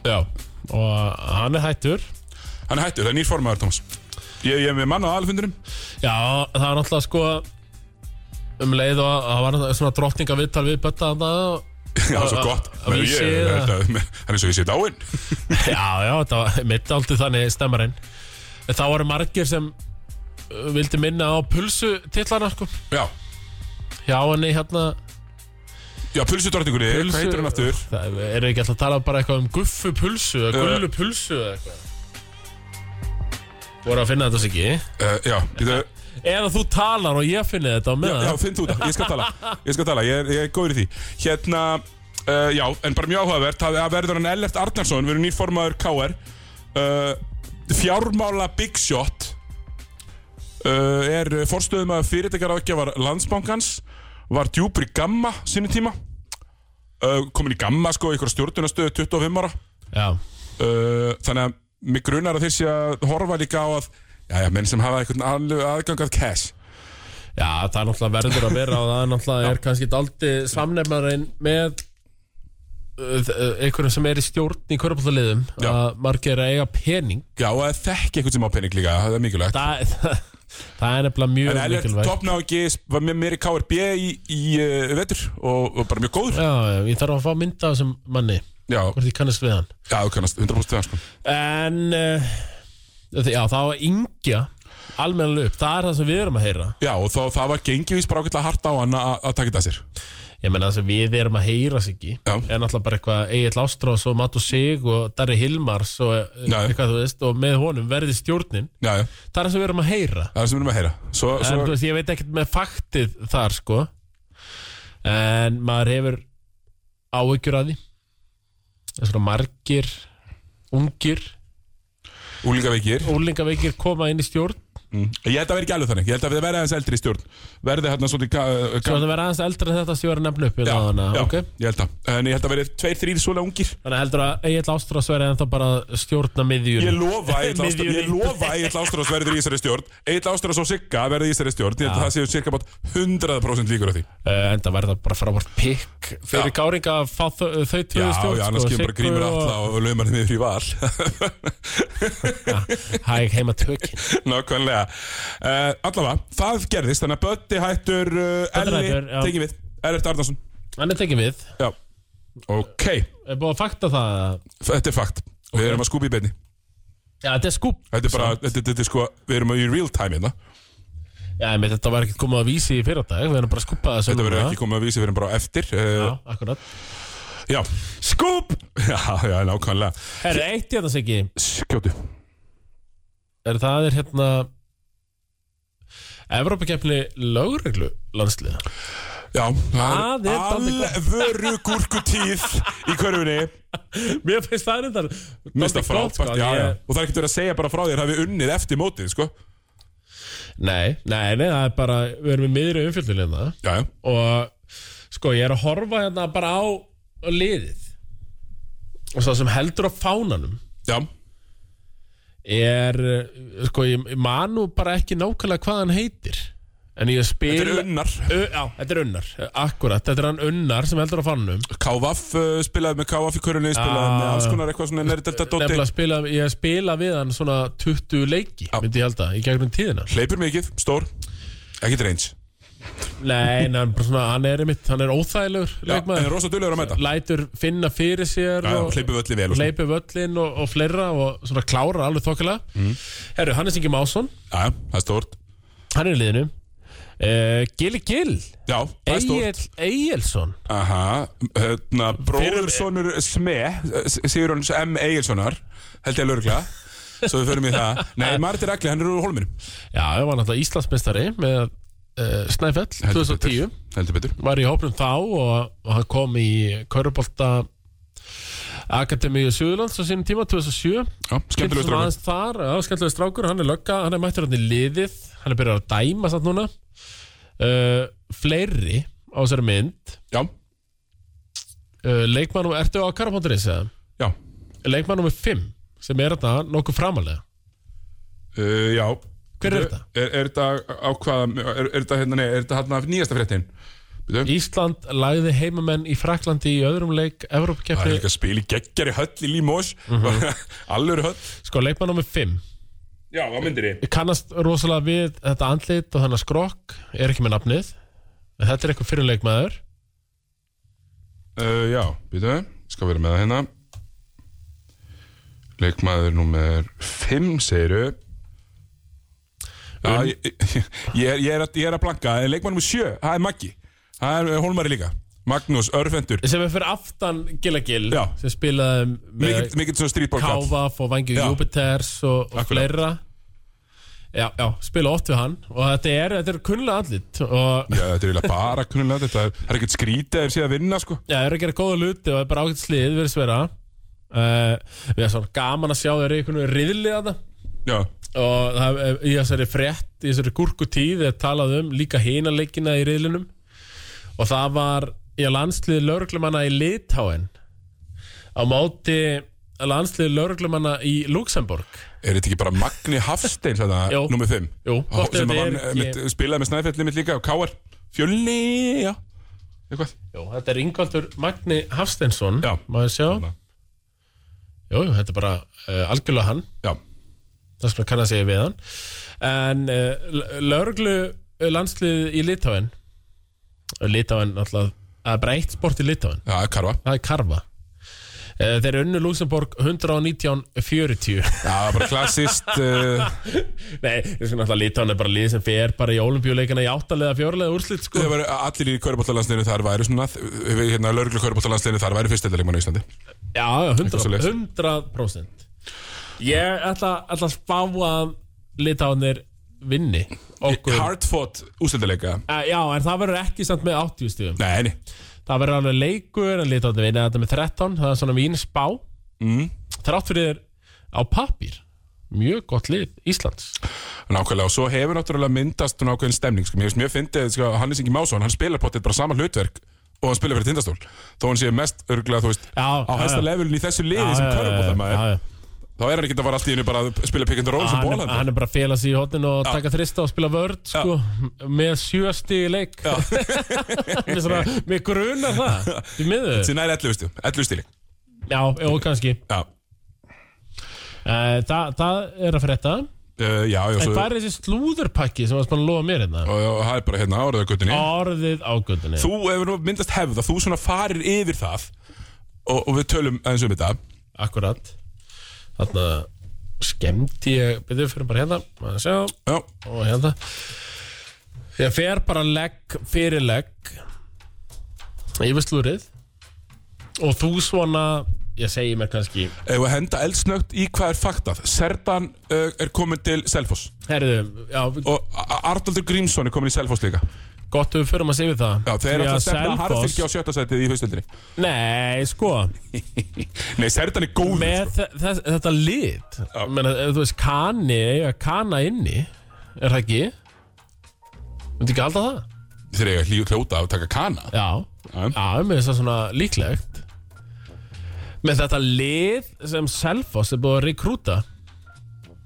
Speaker 2: Já, og hann er hættur
Speaker 1: hann er hættur, það er nýr formaður, Thomas ég, ég er með mann á alfundunum
Speaker 2: Já, það var náttúrulega sko um leið og það var svona drottningaviðtal við betta þarna
Speaker 1: Já, það er svo gott
Speaker 2: Að
Speaker 1: Ég-
Speaker 2: vísi
Speaker 1: ég-
Speaker 2: eða-
Speaker 1: þetta- Hann er svo ég sé dáinn
Speaker 2: Já, já, þetta var mitt aldrei þannig stemmarinn en það voru margir sem uh, vildi minna á pulsu titlana sko
Speaker 1: Já,
Speaker 2: Já, henni hérna
Speaker 1: já pulsudrottningunni, hvað heitir hann aftur?
Speaker 2: Það eru ekki alltaf að tala bara eitthvað um guffu pulsu eða
Speaker 1: Uh.
Speaker 2: gullu pulsu eða eitthvað voru að finna þetta sér ekki
Speaker 1: Uh, já, býta,
Speaker 2: eða þú talar og ég finni þetta á meðan
Speaker 1: já, finn þú það, ég skal tala Ég skal tala, ég er, ég er góður í því Hérna, uh, já, en bara mjög áhugavert Það það verður hann Ellert Arnarsson, verður nýrformaður KR uh, Fjármála Big Shot uh, Er forstöðum að fyrirtækjar ágja var landsbankans Var djúpur í gamma sinni tíma uh, komin í gamma sko, í einhverja stjórnunastöðu 25 ára
Speaker 2: Já,
Speaker 1: uh, þannig að mig grunar að þeir sé að horfa líka á að já, já, menn sem hafa einhvern alveg aðgang að cash
Speaker 2: já það er náttúrulega verður að vera og það er náttúrulega er kannski daldi samnefnarinn með uh, uh, einhverjum sem er í stjórn í körpallaliðum
Speaker 1: Já.
Speaker 2: að margir að eiga pening
Speaker 1: já, og að þekki einhvern sem á pening líka, það er mikilvægt
Speaker 2: það, það, það er nefnilega
Speaker 1: En
Speaker 2: mjög
Speaker 1: Ellert
Speaker 2: mikilvægt
Speaker 1: toppnáki var með mér í KRB í, í uh, vetur og, og bara mjög góður.
Speaker 2: Já, já, ég þarf að fá mynda af þessum manni
Speaker 1: Já,
Speaker 2: hvort ég kannast við hann
Speaker 1: já, þú kannast 100% við hann sko.
Speaker 2: En uh, Já, það var yngja Almenna upp, það er það sem við erum að heyra
Speaker 1: Já, og þá, það var gengivís bara ákveðlega hart á hann að að taka þetta að sér.
Speaker 2: Ég menna það sem við erum að heyra sig ekki
Speaker 1: Já.
Speaker 2: Er náttúrulega bara eitthvað Egil Ástrós og Matu Sig og Darri Hilmars og eh,
Speaker 1: Já.
Speaker 2: eitthvað þú veist Og með honum verði stjórnin
Speaker 1: Já, já,
Speaker 2: Það er það sem við erum að heyra
Speaker 1: það er sem við erum að heyra. Svo,
Speaker 2: En þú
Speaker 1: svo,
Speaker 2: veist, ég veit ekkert með faktið þar sko En maður hefur áhyggjur að því Það er svona margir Ungir,
Speaker 1: úlingaveikir.
Speaker 2: úlingaveikir koma inn í stjórn
Speaker 1: Mm. Ég held að vera ekki alveg þannig. Ég held að það verði aðeins eldri í stjórn. Verði hérna svolítið... Ka, uh,
Speaker 2: Svo
Speaker 1: ka,
Speaker 2: það verður aðeins eldra en þetta sem ég var að nefna upp
Speaker 1: já,
Speaker 2: hérna áðan,
Speaker 1: já,
Speaker 2: ok?
Speaker 1: ég held að. En ég held að verði tveir, þrýr svolega ungir.
Speaker 2: Þannig heldur að Egil Ástrós verður ennþá bara að stjórna miðjur
Speaker 1: Ég lofa Egill Ástrós-
Speaker 2: Miðjunni.
Speaker 1: ég lofa að Egil Ástrós verður í þessari stjórn. Egil Ástrós og Sigga verður í þessari stjórn. Ég held að það séu cirka bát 100% líkur á því.
Speaker 2: uh, En það verður það bara frábært pikk Fyrir
Speaker 1: Já.
Speaker 2: káringa að fá þau, þau tvöðu
Speaker 1: Já,
Speaker 2: stjórn sko,
Speaker 1: já, annars kemur bara grímur
Speaker 2: og-
Speaker 1: alla og lögum hann niður í val
Speaker 2: Hæg heima tökin
Speaker 1: Nákvæmlega uh, Allavega, það gerðist, þannig að Bötti hættur uh,
Speaker 2: Böddi
Speaker 1: Elli,
Speaker 2: hættur, já.
Speaker 1: tekið við, Ellert Arnason
Speaker 2: Hann er tekið við
Speaker 1: Já, ok,
Speaker 2: Er búið að fakta það að-
Speaker 1: þetta er fakt Við erum að skúpa í beinni
Speaker 2: Já, þetta er skúp
Speaker 1: Þetta er bara, þetta, þetta er sko, við erum í real time hérna
Speaker 2: Já, ég meint, þetta var ekkert komið að vísi í fyrardag Við erum bara að skúpa þessu
Speaker 1: Þetta verður
Speaker 2: núna.
Speaker 1: ekki komið að vísi, við erum bara á eftir uh,
Speaker 2: Já, akkurat
Speaker 1: Já,
Speaker 2: Skúp
Speaker 1: já, já, nákvæmlega
Speaker 2: Herru, eitt ég þess ekki
Speaker 1: Skjótu
Speaker 2: Er það er hérna Evrópakeppni lögreglu landsliða
Speaker 1: Já,
Speaker 2: Það er dálítið gott.
Speaker 1: alvöru gúrkutíð í körfunni
Speaker 2: Mér finnst það reyndar
Speaker 1: Mér finnst það
Speaker 2: dálítið gott,
Speaker 1: frábært,
Speaker 2: sko,
Speaker 1: já,
Speaker 2: ég-
Speaker 1: já Og það er ekkert verið að segja bara frá þér hafi unnið eftir mótið, sko
Speaker 2: Nei, nei, nei, það er bara Við erum í miðri umfjöldin hérna
Speaker 1: Já, já,
Speaker 2: Og sko, ég er að horfa hérna bara á, á liðið Og svo sem heldur á fánanum
Speaker 1: já,
Speaker 2: Er, eh, sko, ég ég man nú bara ekki nákvæmlega hvað hann heitir En ég spil
Speaker 1: þetta er unnar
Speaker 2: Ö- Já, þetta er unnar, akkurat Þetta er hann unnar sem heldur á fánanum
Speaker 1: Kávaf uh, spilaði með Kávaf í körunni Spilaði
Speaker 2: Ah.
Speaker 1: með alls konar eitthvað svona nerddelta dóti
Speaker 2: Nefnilega spila, ég spila við hann svona 20 leiki Myndi ég held að, í gegnum tíðina
Speaker 1: Hleypur mikið, stór Ekki dreins
Speaker 2: Nei, nei, hann, bara svona, hann er einmitt, hann er óþægilegur
Speaker 1: Já, En er
Speaker 2: leikmaður
Speaker 1: rosa dullur að mæta
Speaker 2: Lætur finna fyrir sér
Speaker 1: Já, já,
Speaker 2: og-
Speaker 1: hleypur völli vel og svona Já,
Speaker 2: hleypi völlin og, og fleira og svona klára alveg þokkilega Herru, Hannes Ingi Másson,
Speaker 1: já, það er stórt
Speaker 2: hann er í liðinu uh, Gilli Gill
Speaker 1: Já, það er stórt
Speaker 2: Egil Egilson
Speaker 1: Aha, hérna, bróðursonur Sme eh, Sigurjóns M. Egilsonar Held ég lögregla Svo við förum í það Nei, Marti Ragli, hann er úr Holminu
Speaker 2: Já, það var náttúrulega Íslandsmeistari með uh, Snæfell 2010
Speaker 1: Heldur betur
Speaker 2: var í hópnum þá og, og hann kom í Körubolta Akademíu Suðurlands á sínum tíma 2007
Speaker 1: Já, skemmtilegur
Speaker 2: Kynntum
Speaker 1: strákur
Speaker 2: aðeins þar, já, skemmtilega strákur, hann er lögga, hann er mættur hann í liðið, hann er byrjað að dæma satt núna uh, Fleiri á þessari mynd
Speaker 1: Já,
Speaker 2: uh, Leikmann, og- ertu á Karapondurins eða?
Speaker 1: já
Speaker 2: Leikmann nummer 5 sem er þarna nokkuð framalega
Speaker 1: Uh, já
Speaker 2: Hver er þetta?
Speaker 1: Er, er þetta á hvað er, er þetta hérna, nei, er þetta hérna af nýjasta fréttin? Býtum
Speaker 2: Ísland lagði heimamenn í Fraklandi í öðrum
Speaker 1: Það
Speaker 2: leik
Speaker 1: er
Speaker 2: Evrópakefni,
Speaker 1: líka spil í geggjari höll í Límós
Speaker 2: Mhm.
Speaker 1: Allur höll
Speaker 2: sko leikmann nummer 5
Speaker 1: Já, á myndir ég
Speaker 2: Ég kannast rosalega við þetta andlit og þannig skrokk, er ekki með nafnið en þetta er eitthvað fyrir leikmaður
Speaker 1: uh, Já, býtum, skal vera með það hérna Leikmaður númer 5, segiru
Speaker 2: Um?
Speaker 1: Já, Ah, ég, ég, ég, er- ég, er að, ég er að blanka En Leikmaður númer 7, það er Maggi Það er Holmari líka Magnús Örfendur
Speaker 2: sem er fyrir aftan Gilla Gill
Speaker 1: Já.
Speaker 2: sem spilaði með
Speaker 1: Mikill mikill svo strítbólkall
Speaker 2: Kávaf og Vangi
Speaker 1: Já.
Speaker 2: Júpiters og, og
Speaker 1: Akkurat.
Speaker 2: fleira já, já, spila oft við hann og þetta er, þetta er kunnlega andlit og
Speaker 1: Já, þetta er eiginlega bara kunnulega Þetta er, það er ekkert skrítið að þeir sé að vinna sko
Speaker 2: Já, þeir eru að gera góða luti og það er bara ágætt slið við erum sverja uh, Við erum svona gaman að sjá þeir eru einhvern veginn riðlið þarna
Speaker 1: Já,
Speaker 2: og það, er- í þessari frétt, í þessari gúrkutíð er talað um líka hina leikina í riðlinum og það var í landsliði lauruglumanna í Litáen á móti landsliði lauruglumanna í Luxemburg
Speaker 1: Er þetta ekki bara Magni Hafstein þetta,
Speaker 2: Jó.
Speaker 1: nummið 5?
Speaker 2: Jú, hvort
Speaker 1: Sem
Speaker 2: þetta
Speaker 1: að
Speaker 2: er
Speaker 1: vann, eh,
Speaker 2: ekki-
Speaker 1: mitt, spilaði með Snæfellin mitt líka og Káar Fjölni, já Eitthvað
Speaker 2: Jó, þetta er Ingvaldur Magni Hafsteinsson
Speaker 1: Já.
Speaker 2: Má ég sjá
Speaker 1: Þarna.
Speaker 2: Jú, jú, þetta er bara uh, algjörlega hann
Speaker 1: Já,
Speaker 2: Það skal kann að segja við hann En uh, lauruglu landslið eh, í Litáen Litáen, náttúrulega Það er bara eitt sport í Litáen
Speaker 1: já, Karva
Speaker 2: Það er karfa Eh, Þeir unnu Luxemburg 119-40
Speaker 1: Já, bara klassist uh,
Speaker 2: Nei, ég sko náttúrulega Litáen er bara lið sem fer bara í olimpíuleikana í áttalega, fjóralega úrslit sko.
Speaker 1: Það var eh, allir í körbóttalansliðinu þar væri svona við hérna lauruglu körbóttalansliðinu þar væri fyrstöldarleikmann í Íslandi
Speaker 2: Já, já, 100%,
Speaker 1: svoleiðis.
Speaker 2: 100%. Ég ætla, ætla að spá að Litáenir vinni okkur
Speaker 1: Hardfought ústildarleika
Speaker 2: Eh, Já, en það verður ekki samt með 80 stíðum
Speaker 1: Nei, nei,
Speaker 2: Það verður alveg leikur en Litáenir vinna þetta með 13 Það er svona mín spá
Speaker 1: mm,
Speaker 2: Þrátt fyrir á papír Mjög gott lið Íslands
Speaker 1: nákvæmlega og svo hefur náttúrulega myndast svona ákveðin stemning sko. Mér finnst mjög fyndið, sko, Hannes Ingi Másson hann spilar potið bara sama hlutverk og hann spilar fyrir tindastól þó hann sé mest örglega, þú veist
Speaker 2: Já,
Speaker 1: á hæsta levelin í þessu liði sem körbóttamæður
Speaker 2: Já, já.
Speaker 1: þá er hann ekki að fara allt í hennu bara að spila pick and roll sem
Speaker 2: hann,
Speaker 1: bólhanda
Speaker 2: hann er bara að fela sig í hotninu og taka þrista og spila vörd sko, með sjösti í leik með, svona, með grunar það í miður
Speaker 1: sem næri 11 stíl 11 stíli
Speaker 2: já, já, kannski
Speaker 1: já,
Speaker 2: uh, þa, það er að frétta en
Speaker 1: uh, já, já svo,
Speaker 2: hvað er þessi slúðurpakki sem var spann að lofa mér hérna
Speaker 1: og og það er bara hérna áraðagutinni
Speaker 2: orðið á göndunni
Speaker 1: þú hefur nú myndast hefð að þú svona farir yfir það og, og við tölum aðeins um þetta
Speaker 2: akkurat þarna skemmti ég byrjuð fyrir bara hérna maður sjá
Speaker 1: já,
Speaker 2: og hérna ég fer bara legg fyrir legg yfir slúrið og þú svona ég segi mér kannski
Speaker 1: ef við henda eldsnögt í hvað er faktað Serdan uh, er komin til Selfoss
Speaker 2: herðu, já,
Speaker 1: og A- A- Arnaldur Grímsson er komin í Selfoss líka
Speaker 2: gott við förum að segja við það
Speaker 1: já, þeir eru
Speaker 2: Því
Speaker 1: alltaf stefna
Speaker 2: Selfoss-
Speaker 1: harfylgi á sjötta sætið í fyrstöldinni
Speaker 2: nei, sko
Speaker 1: nei, Serdan er góð
Speaker 2: með þe- þess, þetta lit
Speaker 1: sko. Já.
Speaker 2: menna, ef þú veist, kani eiga kana inni, er það ekki myndi ekki halda það
Speaker 1: þeir eiga hljú kljóta að taka kana
Speaker 2: Já,
Speaker 1: Já.
Speaker 2: já, mér finnst það svona líklegt Með þetta lið sem Selfoss er búið að rekrúta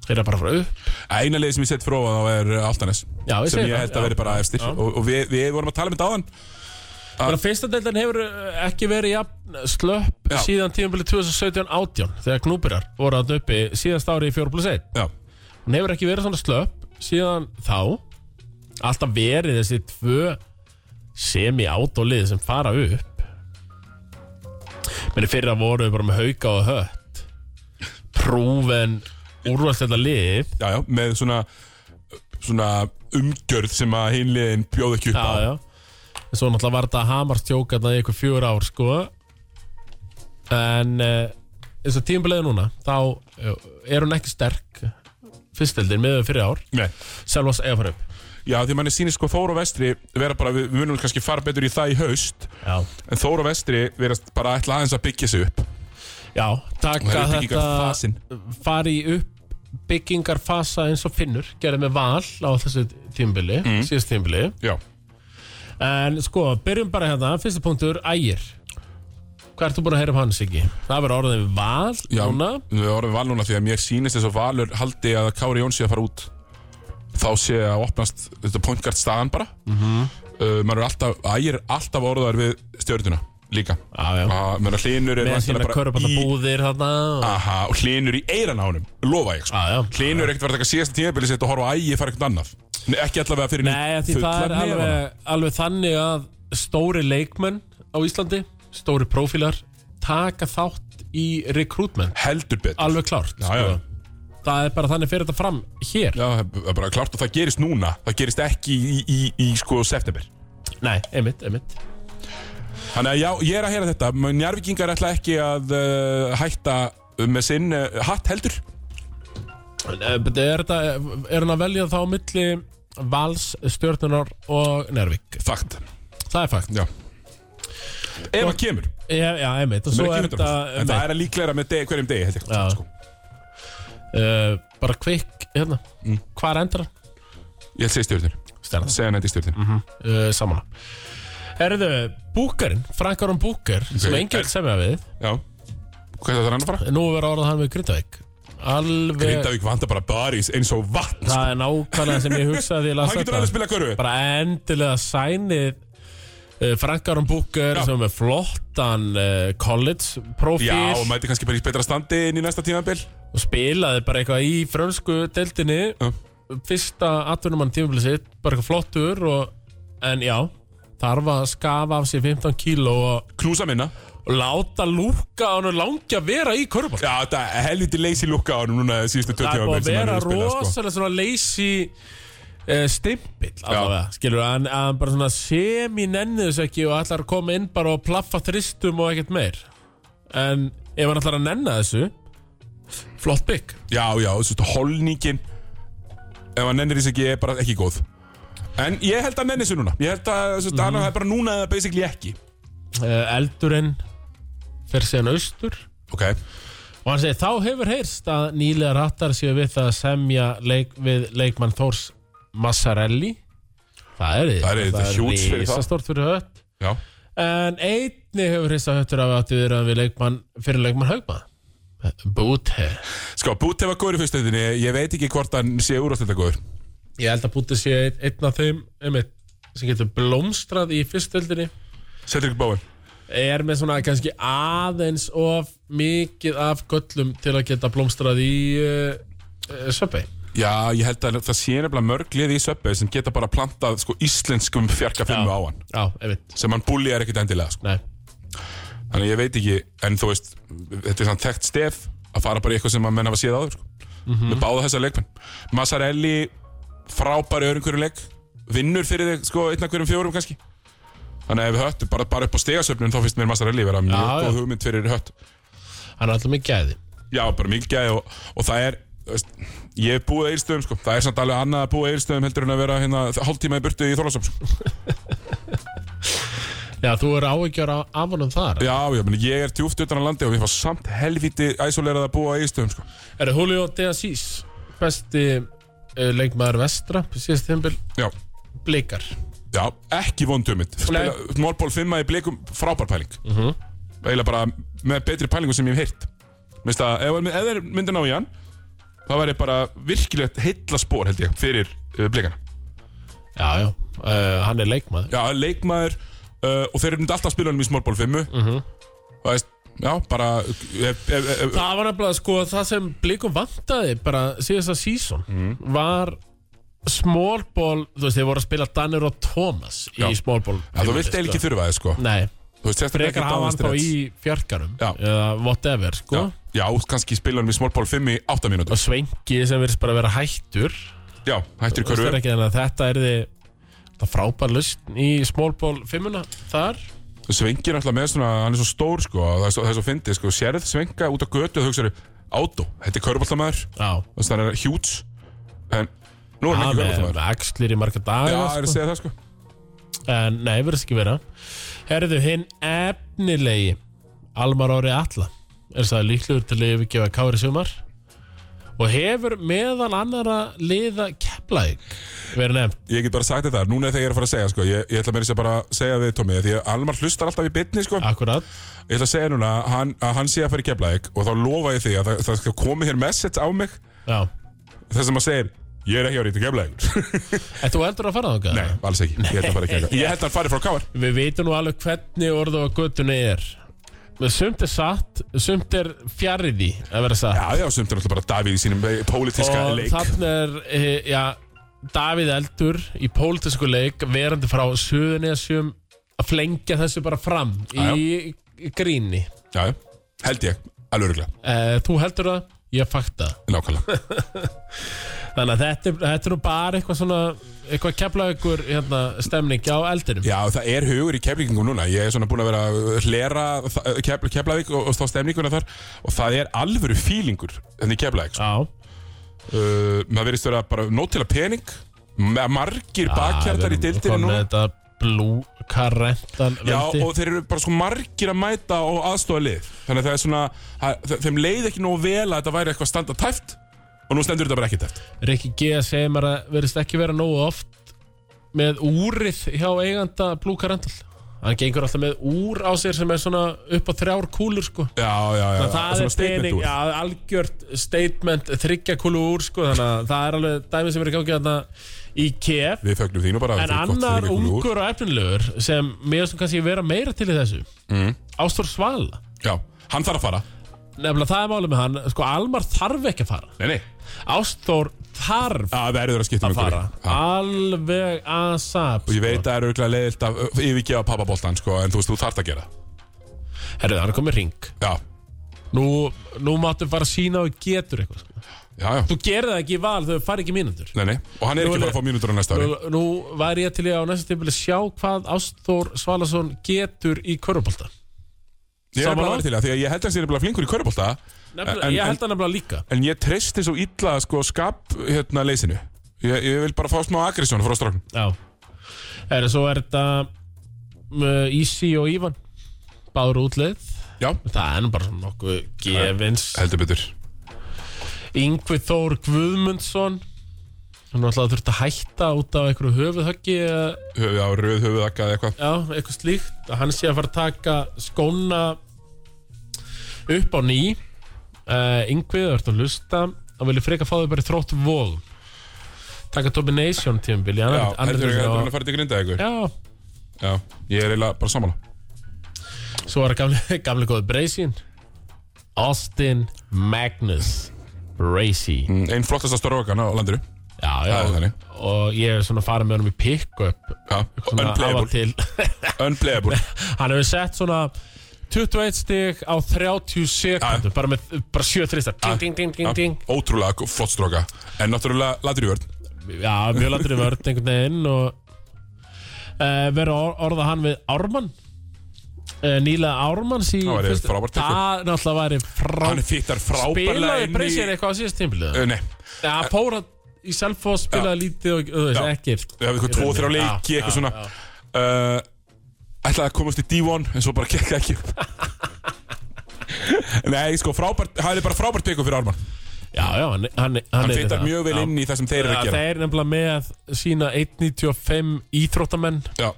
Speaker 2: Þeir eru bara að fara upp
Speaker 1: eina leið sem ég sett fróða þá er uh, Altanes
Speaker 2: Já, ég
Speaker 1: sem
Speaker 2: segi
Speaker 1: ég
Speaker 2: það,
Speaker 1: held
Speaker 2: já.
Speaker 1: að veri bara efstir
Speaker 2: Já.
Speaker 1: og, og við, við vorum að tala um þetta áðan
Speaker 2: Bara fyrsta deildan hefur eh, ekki verið jafn slöpp
Speaker 1: Já.
Speaker 2: síðan tíðanbili 2017-18 þegar knúpirar voru að uppi síðast ári í 4 plus 1
Speaker 1: já,
Speaker 2: Hún hefur ekki verið svona slöpp síðan þá Alltaf verið þessi tvö semi-átólið sem fara upp Meni fyrir að voru við bara með hauka og hött Prúven úrvast þetta lið
Speaker 1: já, já, með svona svona umgjörð sem að hinliðin bjóð ekki upp á
Speaker 2: Já, já En svo náttúrulega var þetta hamarstjók þarna í ykkur fjör ár sko En eh, eins og tímbilegði núna Þá eh, er hún ekki sterk Fyrstildin miður fyrir ár
Speaker 1: Nei.
Speaker 2: Selvas eða fara upp
Speaker 1: Já, því manni sýnir sko Þóra Vestri vera bara, við, við munum kannski fara betur í það í haust
Speaker 2: Já
Speaker 1: en Þóra Vestri verast bara ætla aðeins að byggja sig upp
Speaker 2: Já,
Speaker 1: Og það
Speaker 2: taka
Speaker 1: er
Speaker 2: þetta
Speaker 1: uppbyggingarfasin.
Speaker 2: fari í uppbyggingarfasa eins og finnur gerði með val á þessu tímbili
Speaker 1: Mm.
Speaker 2: síðast tímbili
Speaker 1: Já,
Speaker 2: en sko, byrjum bara hérna, fyrsta punktur ægir hvað ert þú búin að heyra um hans ekki? það verður orðið við val
Speaker 1: já
Speaker 2: núna
Speaker 1: við vorum val núna því að mér sýnist þess að Valur haldi að Kári Jóns sé að fara út þá sé að opnast þetta pointgart staðan bara mm
Speaker 2: Mhm.
Speaker 1: uh, maður er alltaf, ægir er alltaf orðar við stjórnuna líka
Speaker 2: já, já.
Speaker 1: Ah, maður er hlinur er
Speaker 2: með
Speaker 1: væntanlega
Speaker 2: sína körpallabúðir þarna og-
Speaker 1: aha, og hlinur í eiran á honum lofa ég sko
Speaker 2: Ah, Já, já.
Speaker 1: hlinur er ekkert verið að taka síðasta tímabili sitt og horfa á ægi fara ekkert annað Nei, ekki allavega fyrir
Speaker 2: Nei, því það er alveg, alveg þannig að stóri leikmenn á Íslandi stóri prófílar taka þátt í rekrútmenn
Speaker 1: heldur betur
Speaker 2: alveg klárt sko.
Speaker 1: Já, já.
Speaker 2: það er bara þannig fyrir þetta fram hér
Speaker 1: Já, það er bara klart og það gerist núna Það gerist ekki í, í, í sko september
Speaker 2: Nei, einmitt, einmitt
Speaker 1: Þannig að já, ég er að heyra þetta Men Njarvíkingar ætla ekki að uh, hætta með sinn uh, hatt heldur
Speaker 2: Eh, betur, Er, þetta, er hann að velja þá á milli Vals, Stjörnunar og Nervik
Speaker 1: Fakt,
Speaker 2: Það er fakt
Speaker 1: já Ef hann kemur,
Speaker 2: Já, já einmitt Og
Speaker 1: sem
Speaker 2: svo
Speaker 1: er
Speaker 2: er
Speaker 1: ekki 100%
Speaker 2: þetta
Speaker 1: En það
Speaker 2: einmitt,
Speaker 1: er að líklegra með deg, hverjum degi held ég,
Speaker 2: Já.
Speaker 1: sko.
Speaker 2: uh, Bara kvik, hérna
Speaker 1: Mm.
Speaker 2: Hvar endar hann?
Speaker 1: Ég held segi stjórnir,
Speaker 2: Stjörnur Mhm.
Speaker 1: segja nætti stjórnir
Speaker 2: uh, Samanlega Erðu, Eh, Búkarinn, Frank Aron Búkar sem
Speaker 1: Ok.
Speaker 2: enginn vil semja við
Speaker 1: Já Hvað er þetta hann að fara?
Speaker 2: Nú verður orðað hann við Grindavík Alveg,
Speaker 1: Grindavík vantar bara barís eins og vatn sko.
Speaker 2: það er nákvæmlega sem ég hugsaði því að ég las
Speaker 1: Hann getur
Speaker 2: þetta.
Speaker 1: alveg að spila körfu
Speaker 2: bara endilega sænið uh, Frank Aron Búkar
Speaker 1: Já.
Speaker 2: sem er með flottan uh, college
Speaker 1: Já, og
Speaker 2: profil
Speaker 1: mæti kannski bara í betra standi inn í næsta tímabil
Speaker 2: og spilaði bara eitthvað í frönsku deildinni
Speaker 1: Já.
Speaker 2: fyrsta atvinnumann tímabilið sitt bara eitthvað flottur og, en já þarf að skafa af sér 15 kíló og,
Speaker 1: Knúsa minna
Speaker 2: og láta lúka hann og langja vera í körubál
Speaker 1: Já, þetta er helviti leysi lukka á hann núna síðustu tvö
Speaker 2: það er
Speaker 1: tímabil
Speaker 2: búið að
Speaker 1: sem hann
Speaker 2: vera
Speaker 1: hefur spilað, sko.
Speaker 2: rosalega svona leysi uh, stimpill allavega, skilur að hann- að hann bara svona semi-nenni þessu ekki og ætlar að koma inn bara og plaffa þristum og ekkert meir en ef hann ætlar að nenna þessu flott bygg
Speaker 1: Já, já, þú veist, holningin Ef hann nennir þess ekki, er bara ekki góð En ég held að hann nenni þessu núna Ég held að,
Speaker 2: Mhm.
Speaker 1: þú veist, hann er bara núna eða basically ekki Eh,
Speaker 2: uh, eldurinn fer síðan austur
Speaker 1: Ok,
Speaker 2: og hann segir þá hefur heyrst að nýlega rattar séu við það að semja leik, við leikmann Þórs Massarelli það er,
Speaker 1: Það er- þetta er huge fyrir það.
Speaker 2: risastort fyrir hött
Speaker 1: já
Speaker 2: En einni hefur hrista höttur af átti viðraðan við leikmann, fyrir leikmann Haugma Búti
Speaker 1: Sko, Búti var góður í fyrstöndinni Ég veit ekki hvort hann sé úrastölda góður
Speaker 2: Ég held að Búti sé einn, einn af þeim einmitt, sem getur blómstrað í fyrstöldinni
Speaker 1: Cedric Bowen
Speaker 2: er með svona kannski aðeins of mikið af göllum til að geta blómstrað í uh, uh, söpvei
Speaker 1: Já, ég held að það sé nefnilega mörg liði í söpbi sem geta bara plantað sko íslenskum fjarkafimmu
Speaker 2: Já.
Speaker 1: á hann
Speaker 2: Já, einmitt,
Speaker 1: sem hann búljar ekkit endilega sko.
Speaker 2: nei
Speaker 1: Þannig að ég veit ekki, en þú veist þetta er svona þekkt stef að fara bara í eitthvað sem að menn hafa séð áður sko.
Speaker 2: Mhm.
Speaker 1: með báða þessa leikmenn Massarelli, frábæri öðrum hverjum leik vinnur fyrir þig sko einn af hverjum fjórum kannski Þannig að ef höttu bara, bara upp á stegasöfnun þá finnst mér Massarelli vera mjög
Speaker 2: Já, já.
Speaker 1: góð hugmynd fyrir hött
Speaker 2: Hann er alltaf með gæði
Speaker 1: Já, bara mikið gæði og, og það er þú veist, ég hef búið eilstöðum sko. það er samt alveg annað að búið eilstöðum heldur en að vera hérna, hálftíma í burtu í Þorlásöf sko.
Speaker 2: Já, þú er áhyggjör af af honum þar
Speaker 1: Já, já, meni, ég er tjúft utan á landi og ég var samt helviti æsolerað að búa á eilstöðum sko.
Speaker 2: Er Julio De Assis besti uh, leikmaður vestra síðast þimbil
Speaker 1: Já,
Speaker 2: blikar
Speaker 1: já, ekki vondumit
Speaker 2: Nei. Mhm.
Speaker 1: Mólból 5 í blikum, frábær pæling uh eiginlega bara með betri pælingu sem ég hef heyrt Mér finnst að ef, ef þeir myndu ná í hann það væri bara virkilegt heilla spór held ég fyrir uh, blikana
Speaker 2: Já, já, uh, hann er leikmaður
Speaker 1: Já, Eh, leikmaður uh, og þeir eru myndi alltaf að spila honum í smálból 5
Speaker 2: Mhm.
Speaker 1: Það veist, já, bara ef, ef, ef,
Speaker 2: Það var nefnilega sko það sem Blikum vantaði bara síðasta season
Speaker 1: Mhm.
Speaker 2: var small ball, þú veist, þeir voru að spila Danir og Thomas í
Speaker 1: Já.
Speaker 2: small ball
Speaker 1: ja, þú vilt eiginlega ekki þurfa þið, sko
Speaker 2: Nei,
Speaker 1: Þú veist, sérstaklega
Speaker 2: Mm. frekar
Speaker 1: ekki
Speaker 2: hafa hann þá
Speaker 1: downstretch.
Speaker 2: í fjarkanum
Speaker 1: Já.
Speaker 2: eða whatever, sko
Speaker 1: Já, já, kannski spila honum í smálból 5 í 8 mínútur
Speaker 2: og Svenki sem verðist bara að vera hættur
Speaker 1: Já, hættur í
Speaker 2: Þú veist
Speaker 1: körfu
Speaker 2: ekki þannig að þetta er þið það frábær lust í small ball fimmuna þar
Speaker 1: Svengir alltaf með svona, hann er svo stór, sko og Það er svo, það er svo fyndið, sko, sérð svenga út á götu og hugsaðu, átó, þetta er körfbóltamæður
Speaker 2: Já,
Speaker 1: Þú veist, það er hjúts En nú er hann ekki
Speaker 2: það með
Speaker 1: körfbóltamæður
Speaker 2: axlir í marga
Speaker 1: Já,
Speaker 2: daga
Speaker 1: það er að segja það, sko
Speaker 2: En Eh, nei, verðist ekki vera Herðu, hinn efnilegi Almar Ári Alla er það líklegur til að yfirgefa Kári sumar og hefur meðal annara liða keplæk verið nefnt
Speaker 1: Ég get bara sagt þetta, núna þegar ég er að fara að segja, sko Ég, ég ætla meira að segja bara að segja við Tómi Því að Almar hlustar alltaf í bytni, sko
Speaker 2: akkurat
Speaker 1: Ég ætla að segja núna að hann, að hann sé að fara í Keflavík og þá lofa ég því að það, það skal komi hér message á mig
Speaker 2: Já,
Speaker 1: þar sem að segir ég er ekki á rítu Keflavík
Speaker 2: en þú heldur að fara þangað?
Speaker 1: Nei, alls ekki, ég held að fara í Keflavík Ég held að hann fari frá Káar
Speaker 2: Við veitum nú alveg hvernig orðu á göttunni er Sumt er satt, sumt er fjarriði að vera satt
Speaker 1: Já, já, sumt er alltaf bara Davíð í sínum eh, pólitíska
Speaker 2: og
Speaker 1: leik
Speaker 2: þarna er eh, já, Davíð Eldur í pólitísku leik verandi frá Suðunesjum að flengja þessu bara fram
Speaker 1: Já,
Speaker 2: í gríni
Speaker 1: Já, já, held ég, alveg örgulega
Speaker 2: uh, þú heldur það, ég fakta það.
Speaker 1: Nákvæmlega
Speaker 2: þannig að þetta, er- þetta er nú bara eitthvað svona eitthvað kefla ykkur hérna, stemning á eldinum
Speaker 1: Já, það er hugur í Keflvíkingum núna Ég er svona búin að vera að hlera þa- Kefl- Keflavík og, og þá stemninguna þar og það er alvöru fílingur henni í Keflavík sko.
Speaker 2: Já,
Speaker 1: uh, maður verðist vera bara nót til að pening ma- margir bakhjartar í
Speaker 2: núna
Speaker 1: deildinu
Speaker 2: Komum
Speaker 1: núna
Speaker 2: með þetta blue karental
Speaker 1: Já,
Speaker 2: veldi.
Speaker 1: og þeir eru bara sko margir að mæta og aðstofa lið Þannig að það er svona, að, þe- þeim leið ekki nógu vel að þetta væri eitthvað standa tæft Og nú stendur þetta bara ekki tæft
Speaker 2: Rikki G segir mér að verðist ekki vera nógu oft með úrið hjá eiganda blue karental Hann gengur alltaf með úr á sér sem er svona upp á þrjár kúlur sko
Speaker 1: Já, já, já,
Speaker 2: Það er pening, já, algjört statement þryggja kúlu úr sko Þannig að það er alveg dæmi sem er í gangi þarna í KF
Speaker 1: Við fögnum þínu bara
Speaker 2: En
Speaker 1: fyrir gott
Speaker 2: annar
Speaker 1: þriggja kúlur úr.
Speaker 2: ungur og efnilegur sem mér finnst nú kannski vera meira til í þessu mm. Ástór Svala
Speaker 1: Já, hann þarf að fara
Speaker 2: Nefnilega það er málið með hann, sko Almar þarf ekki að fara
Speaker 1: Nei, nei
Speaker 2: Ástór þarf
Speaker 1: Það verður að skipta um
Speaker 2: að fara
Speaker 1: einhverju. Já.
Speaker 2: Alveg að sap
Speaker 1: Og ég veit að það er auðvitað leiðilt að ö, yfirgefa pappaboltan sko, En þú veist, þú þarft að gera
Speaker 2: Herðu, hann er komið ring
Speaker 1: Já,
Speaker 2: Nú, nú máttu fara að sína og getur eitthvað sko.
Speaker 1: já, já
Speaker 2: Þú gerði það ekki í val þegar þú farið ekki mínundur
Speaker 1: Nei, nei, og hann er
Speaker 2: Nú
Speaker 1: ekki
Speaker 2: er-
Speaker 1: bara að fá mínútur á næsta ári
Speaker 2: Nú, nú væri ég til í að á næsta tímpil sjá hvað Ástþór Svalason getur í körfubolta
Speaker 1: Ég er
Speaker 2: Sammála?
Speaker 1: bara að vera til það, því að ég held að hann sé nefnilega flinkur í körbólta
Speaker 2: Nefnilega, ég held það nefnilega líka
Speaker 1: En ég treysti svo illa sko skap hérna leysinu Ég, ég vil bara fá smá aggression frá strákn
Speaker 2: Já Er svo er þetta uh, Ísi og Ívan Báður útleið
Speaker 1: Já,
Speaker 2: Það er nú bara svona nokkuð gefins
Speaker 1: heldur betur
Speaker 2: Yngvi Þór Guðmundsson Hann var alltaf þurft að hætta út af einhverju höfuðhöggi eh, eða-
Speaker 1: Höfuð á röð, höfuð akka eða eitthvað
Speaker 2: Já, eitthvað slíkt Hann sé að fara að taka skóna upp á ný uh, Yngvi, það ert að hlusta Hann vilja freka fá þau bara í þrótt vóð Taka Domination tímabili
Speaker 1: Já, heldur ekki að hann að fara til grinda eitthvað
Speaker 2: Já,
Speaker 1: Já, ég er eiginlega bara saman
Speaker 2: Svo var gamli, gamli góði Bracing Austin Magnus Bracey
Speaker 1: Einn Mm, flottasta stórvakan á landinu
Speaker 2: Já,
Speaker 1: Það
Speaker 2: já,
Speaker 1: er þannig.
Speaker 2: og ég er svona farið með honum í pick-up
Speaker 1: Já,
Speaker 2: Svona af og
Speaker 1: unplayable
Speaker 2: til
Speaker 1: Unplayable
Speaker 2: Hann hefur sett svona 21 stig á 30 sekundum bara með, bara 7 tristar Ding, ding, ding, ding, ding
Speaker 1: Ótrúlega go- flott stróka En náttúrulega Ladrjörn
Speaker 2: Já, mjög landri vörð einhvern veginn og uh, vera or orða hann við Ármann uh, Nýlega Ármanns í
Speaker 1: Það væri
Speaker 2: fyrsta-
Speaker 1: frábært pick-up.
Speaker 2: Það náttúrulega væri frá
Speaker 1: Hann fittar frábærlega inn
Speaker 2: Spilaði
Speaker 1: í Eh,
Speaker 2: Breysir eitthvað á síðast tímbilið?
Speaker 1: Ö, Nei,
Speaker 2: Já, hann fór að í Selfoss spilaði lítið og þú veist,
Speaker 1: Já.
Speaker 2: ekkert
Speaker 1: við hefum eitthvað tvo, þrjá leiki Eitthvað svona uh, Ætlaði að komast í D1 En svo bara kekka ekki upp. Nei, sko, frábært Það er bara frábært byggjum fyrir Arman
Speaker 2: Já, já, hann, hann, hann,
Speaker 1: Hann
Speaker 2: yrði
Speaker 1: fittar
Speaker 2: það.
Speaker 1: mjög vel
Speaker 2: Já.
Speaker 1: inn í það sem þeir eru
Speaker 2: Já,
Speaker 1: að gera
Speaker 2: Þeir nefnilega með sína 1.95 íþróttamenn
Speaker 1: Já,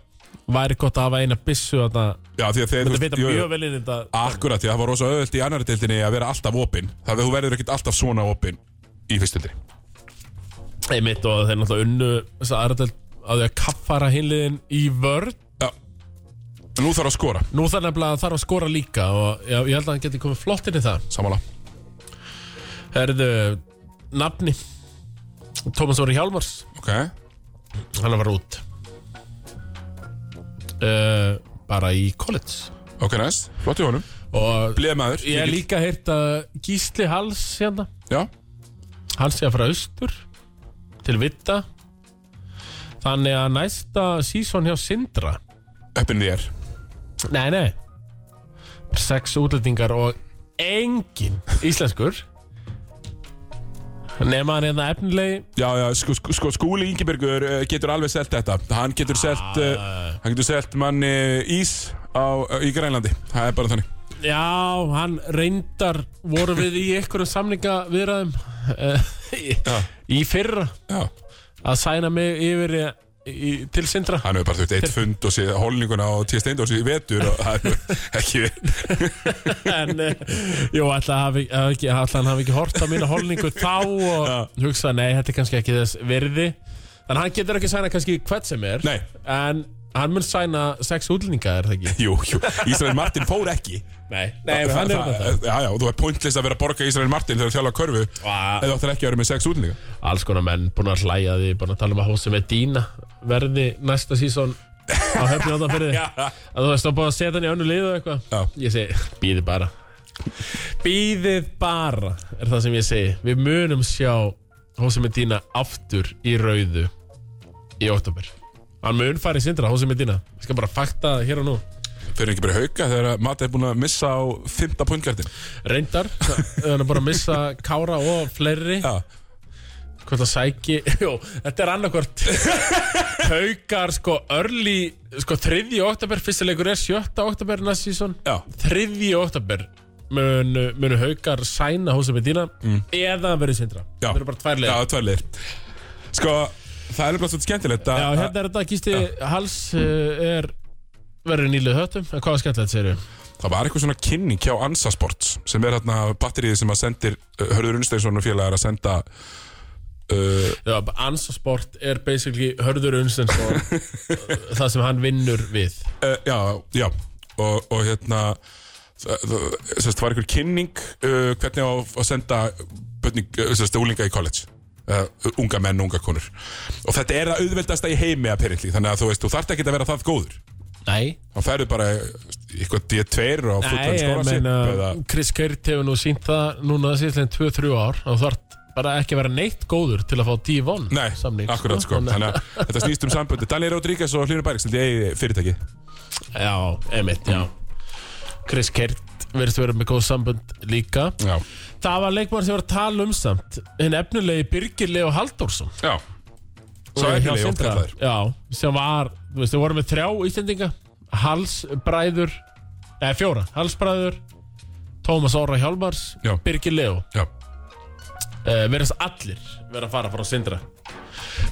Speaker 2: væri gott að hafa eina byssu þarna.
Speaker 1: já, því að þeir þú
Speaker 2: Þetta
Speaker 1: veist,
Speaker 2: fita
Speaker 1: jú, jú.
Speaker 2: mjög vel inn í þetta
Speaker 1: Akkurat, því að það var rosa auðvelt í annari deildinni að vera alltaf opinn Það að þú verður ekkert alltaf svona opinn í fyrstöldri
Speaker 2: einmitt og þeir náttúrulega unnu þess að aðradelt að því að kaffara hinliðin í vörn
Speaker 1: Já Nú þarf að skora,
Speaker 2: Nú þarf nefnilega að þarf að skora líka og já, ég held að hann geti komið flott inn í það
Speaker 1: samála
Speaker 2: Herðu, nafni Tómas Óri Hjálmars
Speaker 1: Ok,
Speaker 2: hann var út uh, bara í college
Speaker 1: ok, næst, flott í honum
Speaker 2: og
Speaker 1: Bleð maður
Speaker 2: ég hef
Speaker 1: mikill-
Speaker 2: líka heyrt að Gísli Hals hérna,
Speaker 1: Já,
Speaker 2: hann sé að fara austur til Vitta þannig að næsta sísón hjá Sindra
Speaker 1: öppin þér
Speaker 2: nei, nei sex útlendingar og engin íslenskur nema hann hérna efnilegi
Speaker 1: Já, já, sko, sko, sko skúli Ingebergur eh, getur alveg selt þetta Hann getur selt,
Speaker 2: Ah.
Speaker 1: uh,
Speaker 2: Eh,
Speaker 1: hann getur selt manni ís á, eh, í Grænlandi Það er bara þannig
Speaker 2: Já, hann reyndar voru við í einhverjum samninga viðræðum í, í fyrra
Speaker 1: Já,
Speaker 2: að sæna mig yfir í, í, til sindra
Speaker 1: hann hefur bara þurft eitt fund og séð holninguna og tíð steindórs í vetur og það er ekki
Speaker 2: en eh, jú, ætla að hafi, hafi ekki, ætla hann hafi ekki hort á mína holningu þá og hugsa, nei, þetta er kannski ekki þess virði en hann getur ekki sæna kannski hvert sem er
Speaker 1: Nei.
Speaker 2: en hann mun sæna sex útlendinga, er það ekki?
Speaker 1: Jú, jú, Ísrael Martin fór ekki
Speaker 2: Nei, nei,
Speaker 1: Þa-
Speaker 2: hann er
Speaker 1: það-
Speaker 2: þetta
Speaker 1: Já, já, og þú er pointlist að vera að borga Ísrael Martin þegar þú þjálfa körfu
Speaker 2: Vá.
Speaker 1: eða þú ættir ekki að vera með sex útlendinga
Speaker 2: alls konar menn búin að hlæja að því búin að tala um að hósi með Dína verði næsta sísón á höfni átan fyrir að þú veist þá búin að setja hann í önnu lið og
Speaker 1: Já.
Speaker 2: eitthvað ég segi, býðið bara býðið bara er það sem ég segi, við munum sjá hósi með Dína aftur í rauðu í oktober hann mun fara í sindra, hósi með Dína ég skal bara fakta það hér og nú
Speaker 1: Fyrir ekki bara í hauka þegar að Mata er búin að missa á fymta pointgjartin
Speaker 2: reyndar, hann er bara að missa Kára og fleiri
Speaker 1: Já,
Speaker 2: hvort það sæki Jó, þetta er annarkvort Haukar sko örli sko þriðji oktober, fyrsta leikur er sjötta oktober næst sísón,
Speaker 1: já,
Speaker 2: þriðji oktober munu, munu haukar sæna hósa með dýna mm. eða verið sindra,
Speaker 1: Já.
Speaker 2: það eru bara tvær
Speaker 1: já,
Speaker 2: leið
Speaker 1: tværleir
Speaker 2: hérna-
Speaker 1: Sko, það er bara svolítið skemmtilegt að
Speaker 2: Já, hérna er þetta, Gísti Hals uh, er verður nýlið höttum En hvað var skemmtilegt, segir við?
Speaker 1: Það var eitthvað svona kynning hjá Ansa Sports sem er hérna batterið sem að sendir uh, Hörður Unnsteinsson og félagar að senda uh,
Speaker 2: Já, Ansasport er basically Hörður Unstens og það sem hann vinnur við
Speaker 1: uh, Já, já og, og hérna það, það, sérst, það var eitthvað kynning uh, hvernig á að senda bönning, uh, sérst, úlinga í college Uh, unga menn, unga konur og þetta er það auðveldasta í heimi apparently þannig að þú veist, þú þarft ekki að vera það góður
Speaker 2: Nei
Speaker 1: þá ferðu bara eitthvað D2 og fullan
Speaker 2: Nei, ég
Speaker 1: skóra sér
Speaker 2: meina
Speaker 1: eða,
Speaker 2: Chris Kert hefur nú sínt það núna síðan 2-3 ár og þú þarf bara ekki að vera neitt góður til að fá D1
Speaker 1: Nei,
Speaker 2: samning
Speaker 1: akkurat sko Þannig að þetta snýst um samböndi Daniel Rodríguez og Hlynur Bæriks Þetta er fyrirtæki sko.
Speaker 2: Já, emitt, já Chris Kert verðist vera með góð sambund líka
Speaker 1: Já,
Speaker 2: Það var leikmann sem var að tala um samt hinn efnilegi Birgir Leo Halldórsson
Speaker 1: já Svo
Speaker 2: Hjá
Speaker 1: efnileg oft
Speaker 2: Sindra.
Speaker 1: kallaður
Speaker 2: Já, sem var, þú veist, þau voru með þrjá Íslendinga Halsbræður Nei, fjóra, Halsbræður Tómas Óra Hjálmars
Speaker 1: Já.
Speaker 2: Birgir Leo
Speaker 1: Já,
Speaker 2: uh, verðast allir vera að fara frá Sindra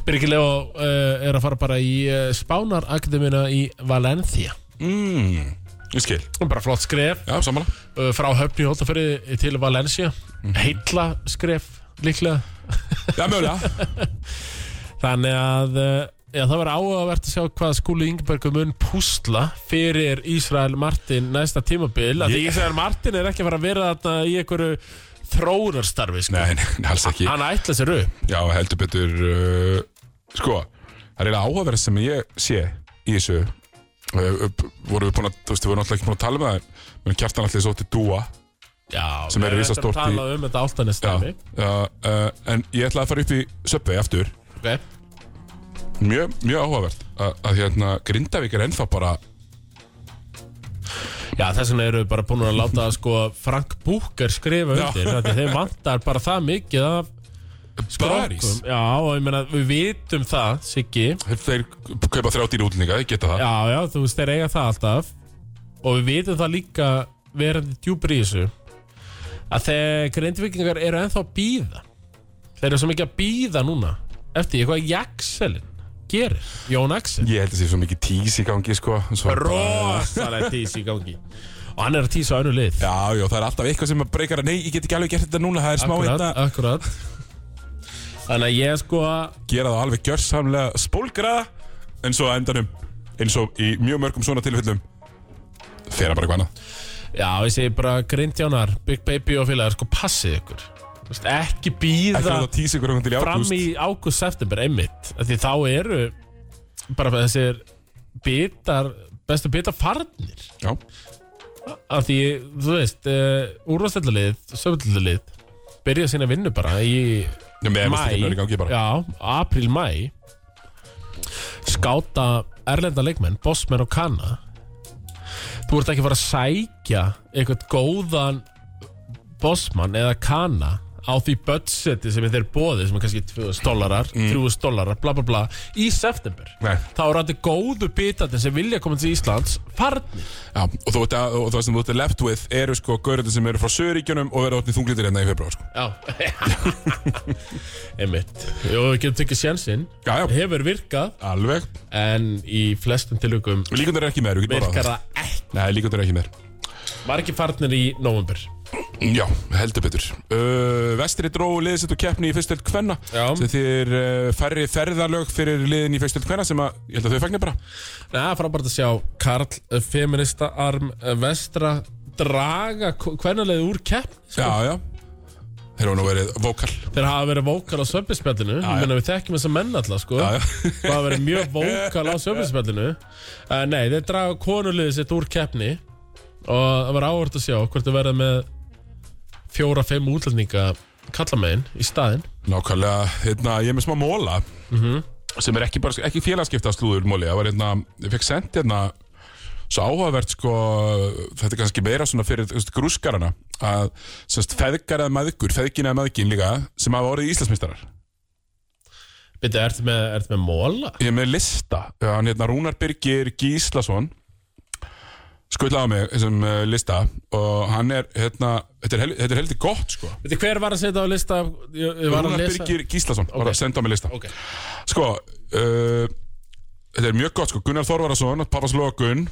Speaker 2: Birgir Leo uh, er að fara bara í uh, Spánar Akademina í Valencia
Speaker 1: mm, ég skil
Speaker 2: bara flott skref
Speaker 1: Já, sammála
Speaker 2: uh, frá höfni Hóltafyrði til Valencia
Speaker 1: Mhm.
Speaker 2: heilla skref líklega
Speaker 1: Já, mögulega
Speaker 2: þannig að uh, já, það var áhugavert að sjá hvað skúli Ingebergum mun púsla fyrir Ísrael Martin næsta tímabil af því
Speaker 1: Ég-
Speaker 2: Ísrael Martin er ekki að fara að vera þarna í einhverju þróunarstarfi sko.
Speaker 1: Nei, nei, alls ekki
Speaker 2: hann ætla sér upp
Speaker 1: Já, heldur betur uh, Sko, það er eiginlega áhugaverð sem ég sé í þessu Uh, upp, voru við búin að, þú veist, við vorum alltaf ekki búin að tala með það menn kjartan alltaf svo til dúa
Speaker 2: já,
Speaker 1: Sem er
Speaker 2: við
Speaker 1: risastórt
Speaker 2: ætlum að
Speaker 1: í-
Speaker 2: tala um þetta
Speaker 1: já,
Speaker 2: áltanistæmi
Speaker 1: já, uh, en ég ætlaði að fara upp í söpvei aftur
Speaker 2: okay.
Speaker 1: mjög, mjög áhugavert að, að hérna, Grindavík er ennþá bara
Speaker 2: Já, þess vegna eru við bara búin að láta sko, Frank Búker skrifa
Speaker 1: Já.
Speaker 2: undir þannig að þeir vantar bara það mikið af
Speaker 1: Barís
Speaker 2: strákum. Já, og ég meina, við vitum það, Siggi
Speaker 1: Þeir þeir kaupa þrjá dýra útlendinga, þeir geta það
Speaker 2: Já, já, þú veist, þeir eiga það alltaf og við vitum það líka verandi djúpir í þessu að þegar grindvikingar eru ennþá að býða þeir eru svo mikið að býða núna eftir eitthvað Jaxelin gerir, Jón Axel
Speaker 1: Ég held að það sé svo mikið tís í gangi sko svo
Speaker 2: rosalega tís í gangi og hann er að tísa önnu lið
Speaker 1: Já, já, það er alltaf eitthvað sem að breykar að Nei, ég get ekki alveg gert þetta núna, það er smá
Speaker 2: Akkurat,
Speaker 1: hérna
Speaker 2: akkurat Þannig að ég sko
Speaker 1: Gera það alveg gjörsamlega spólgraða En svo að endanum Eins og í mjög mörgum svona tilfellum Fer að bara eitthvað annað
Speaker 2: Já, ég segi bara grindjánar, Big Baby og félagar sko passið ykkur Þú veist, Ekki
Speaker 1: Ekki
Speaker 2: býða
Speaker 1: að það tís ykkur um til í
Speaker 2: fram
Speaker 1: ágúst
Speaker 2: í águst september einmitt Af Því þá eru bara þessir bitar, bestu bitar farnir
Speaker 1: Já,
Speaker 2: Af því, þú veist, uh, úrvastellalið, söfnallalið byrja sína vinnu bara í
Speaker 1: já með
Speaker 2: Maí.
Speaker 1: efastakilur í gangi bara
Speaker 2: Já, april, mæ Skáta erlenda leikmenn, bossmenn og kanna Þú ert ekki að fara að sækja eitthvað góðan bossmann eða kanna á því budgeti sem þeir bóði sem er kannski 2000 dólarar, 3000 dólarar bla bla bla, í september
Speaker 1: Mm. Nei.
Speaker 2: þá eru allir góðu bitandi sem vilja koma til Íslands farnir
Speaker 1: Já, og, þú, ert að- og það sem þú ert left with eru sko gaurðin sem eru frá Söríkjunum og verða átni þunglindir hérna í februar sko.
Speaker 2: Já Einmitt Jó, við getum tekið sjensinn
Speaker 1: Já, já,
Speaker 2: Hefur virkað
Speaker 1: alveg
Speaker 2: en í flestum tilugum
Speaker 1: Líkundur er ekki með, þér, við getum bara
Speaker 2: virkar
Speaker 1: það
Speaker 2: það ekki
Speaker 1: Nei, líkundur er ekki með þér.
Speaker 2: var ekki farnir í november
Speaker 1: Já, heldur betur uh, Vestri dró liðsett og keppni í fyrstöld kvenna
Speaker 2: Já.
Speaker 1: sem þýr uh, færri ferðalög fyrir liðin í fyrstöld kvenna sem að, ég held að þau fagnir bara
Speaker 2: Nei, frábært að sjá Karl, eh, feminista, arm, eh, vestra draga hvernig úr kepp
Speaker 1: Já, já Þeir hafa nú verið vókal
Speaker 2: þeir hafa verið vókal á sömbispjallinu
Speaker 1: já.
Speaker 2: ég meina við þekkjum þess að menna alltaf sko
Speaker 1: Já, já.
Speaker 2: það hafa verið mjög vókal á sömbispjallinu uh, nei, þeir draga konulegði sitt úr keppni og það var áhvert að sjá hvort þau verða með fjóra, fimm útlendinga kallamegin í staðinn
Speaker 1: Nákvæmlega, hérna, ég er með smá móla Mhm. sem er ekki, bara, ekki félagskipta slúður móli, það var hérna, ég fekk sent hérna svo áhugavert sko þetta er kannski meira svona fyrir þú veist, grúskarana að semst feðgar eða maðgur, feðgin eða maðgin líka sem hafa orðið Íslandsmeistarar
Speaker 2: Býttu, ertu með, ertu með móla?
Speaker 1: Ég er með lista Hann hérna Rúnar Birgir Gíslason Skullaði á mig þessum uh, lista Og hann er hérna Þetta er, hel, þetta er heldur gott sko
Speaker 2: Veitir, hver var að setja á lista? Ég, ég var
Speaker 1: Rúnar
Speaker 2: að lesa
Speaker 1: Birgir Gíslason Var
Speaker 2: Ok.
Speaker 1: að senda á mig lista eh,
Speaker 2: Ok,
Speaker 1: Sko uh, Þetta er mjög gott sko Gunnar Þorvarason Pappas Logun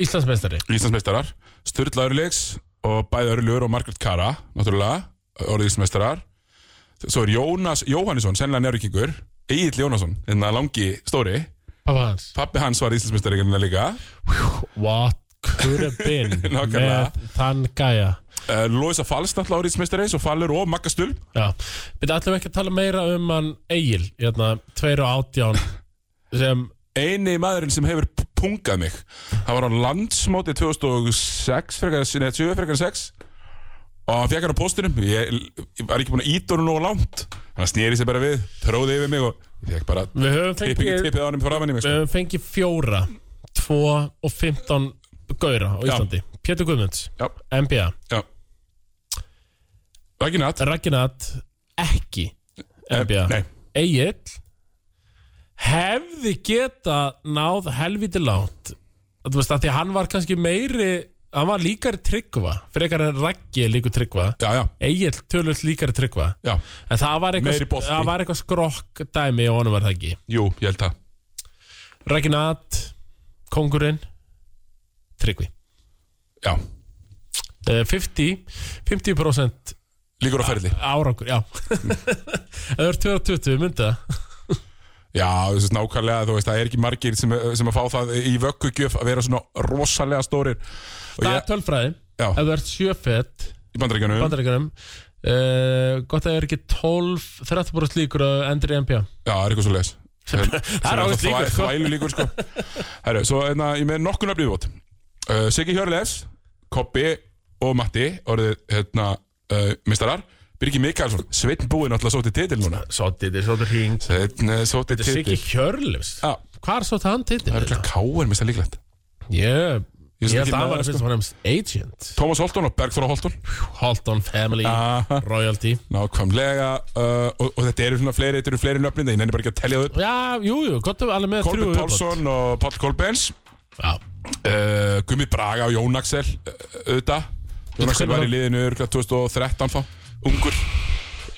Speaker 2: Íslandsmeistari
Speaker 1: Íslandsmeistarar Sturla Örlygs og bæði Örlygur og Margaret Kara Náttúrulega, orðið Íslandsmeistarar Svo er Jónas Jóhannesson, sennilega njárvíkingur Egil Jónasson, hérna langi stóri
Speaker 2: Pappa hans
Speaker 1: Pappi hans var Íslandsmeistari hérna líka
Speaker 2: What could have been
Speaker 1: Nákvæmlega.
Speaker 2: Með þann gæja
Speaker 1: uh, Loisa Fals, náttúrulega orðið Íslandsmeistari Svo Falur og Magga Stull
Speaker 2: Já Við ætlum ekki að tala meira um hann Egil Hérna 2 og 18 Sem
Speaker 1: Eini maðurinn sem hefur p- pungað mig Það var á landsmóti 2006 frekar, nei, 20 frekar 6 Og hann fekk hann á póstinum Ég, ég var ekki búin að íta honum nógu langt Hann snýri sér bara við, tróði yfir mig Og ég fekk bara
Speaker 2: Við höfum
Speaker 1: Tippingi
Speaker 2: fengið
Speaker 1: tippið á hann framan í mig
Speaker 2: Við
Speaker 1: sko.
Speaker 2: höfum fengið fjóra 2 og 15 Gauðra á Íslandi Pétur Guðmunds
Speaker 1: Já,
Speaker 2: NBA
Speaker 1: já Raggi Natt
Speaker 2: Ragnat Ekki NBA
Speaker 1: Eh, Nei,
Speaker 2: Egil hefði geta náð helviti lánt þú veist að því að hann var kannski meiri hann var líkari tryggva frekar en Raggi er líkur tryggva
Speaker 1: já, já,
Speaker 2: Egil tölvöld líkari tryggva
Speaker 1: já
Speaker 2: en það var
Speaker 1: Meiri
Speaker 2: eitthvað,
Speaker 1: bolti.
Speaker 2: það var eitthvað skrokk dæmi og honum var það ekki
Speaker 1: Jú, ég held það
Speaker 2: Raggi Nat, Kongurinn Tryggvi
Speaker 1: Já,
Speaker 2: Eh, 50, 50%
Speaker 1: líkur á ferli
Speaker 2: árangur, já það er 2020, myndi það
Speaker 1: Já, þessi nákvæmlega, þú veist, það er ekki margir sem, sem að fá það í vökkugjöf að vera svona rosalega stórir og
Speaker 2: það
Speaker 1: ég,
Speaker 2: er tölfræði,
Speaker 1: já,
Speaker 2: ef þú ert sjöfett
Speaker 1: í bandaríkjunum
Speaker 2: bandaríkjunum uh, gott að það er ekki 12 30% líkur E að endur í NBA
Speaker 1: Já, það er eitthvað svo leis Það
Speaker 2: er ágætt líkur, sko.
Speaker 1: Þvælu líkur, sko Herru, svo einna, ég er með nokkur nöfn viðbót uh, Siggi Hjörleifs, Koppi og Matti orðið, hérna, uh, mistarar Birgi Mikkelsson, Sveinn Búi náttúrulega sótti titil núna
Speaker 2: Sottir, sottir hring Ah.
Speaker 1: Sveinn eh, sótti
Speaker 2: Siggi
Speaker 1: titil
Speaker 2: Hjörlefs
Speaker 1: Já,
Speaker 2: Hvað er sottir hann
Speaker 1: það er
Speaker 2: titil?
Speaker 1: ekki káir, mista líklegt
Speaker 2: Ég
Speaker 1: Ég
Speaker 2: Ég
Speaker 1: sé ekki
Speaker 2: held að hann
Speaker 1: með
Speaker 2: var
Speaker 1: það,
Speaker 2: fyrst og fremst agent
Speaker 1: Tómas Holton og Bergþóra Holton
Speaker 2: Halton Family
Speaker 1: Aha.
Speaker 2: Royalty
Speaker 1: Nákvæmlega, uh, og, og þetta eru svona fleiri, þetta eru fleiri nöfnin Ég nenni bara ekki að telja þau upp.
Speaker 2: Já, jú, jú, gott að við alveg með þrjú
Speaker 1: Kolbjörn Pálsson og Páll Kolbens
Speaker 2: Já,
Speaker 1: uh, Gummi Braga og Jón Axel uh, auðvitað Jón Axel var í liðinu örugglega 2013 þá ungur,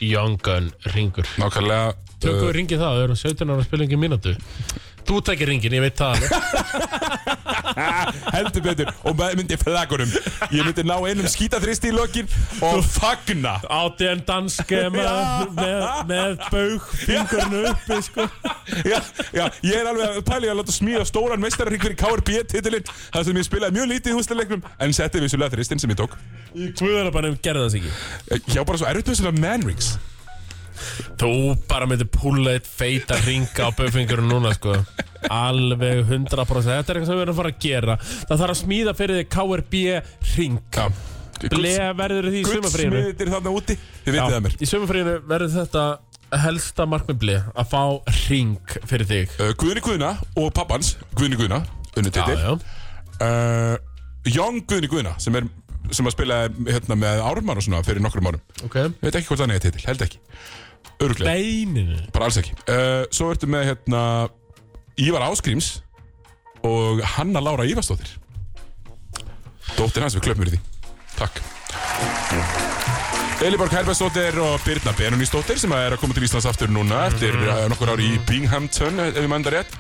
Speaker 2: Young Gun ringur
Speaker 1: nákvæmlega
Speaker 2: Tökum
Speaker 1: uh,
Speaker 2: við ringið það, við erum 17 ára spilingi mínútu Þú tekir ringin, ég veit það alveg.
Speaker 1: Uh, heldur betur og maður myndi flagurum ég myndi ná einum skítaþristi í lokin og fagna
Speaker 2: ADN danske með, með, með baug fingurnu uppi sko
Speaker 1: já, já, ég er alveg að pæli að láta smíða stóran meistararringur í KRB titilinn þar sem ég spilaði mjög lítið í húsleiknum en setti vissulega þristinn sem ég tók Eh,
Speaker 2: Í guðanabænum gerði það sig ekki
Speaker 1: ég á bara svo erfitt með svona man rings
Speaker 2: Þú bara myndir púla eitt feita ringa á böfingurinn núna sko Alveg 100% Þetta er eitthvað sem við erum að fara að gera Það þarf að smíða fyrir þig KRB ring
Speaker 1: já,
Speaker 2: Blea verður því í sumafríðinu
Speaker 1: guldsmiðir þarna úti þið vitið það mér
Speaker 2: Í sumafríðinu verður þetta helsta markmið blei Að fá ring fyrir þig
Speaker 1: uh, Guðni Guðna og pappans Guðni Guðna, unnu titil
Speaker 2: já
Speaker 1: uh, Young Guðni Guðna sem, er, sem að spila hérna, með Ármann og svona fyrir nokkrum árum
Speaker 2: Ok
Speaker 1: ég veit ekki hvort þannig er titil, held ekki öruglega,
Speaker 2: Beininu
Speaker 1: bara alls ekki uh, svo ertu með hérna, Ívar Áskríms og Hanna Lára Ívarsdóttir dóttir hans, við klöpum yfir því takk Eliborg Herbertsdóttir og Birna Benunísdóttir sem er að koma til Íslands aftur núna
Speaker 2: Mhm.
Speaker 1: eftir mm. nokkur ári í Binghamton ef ég manda rétt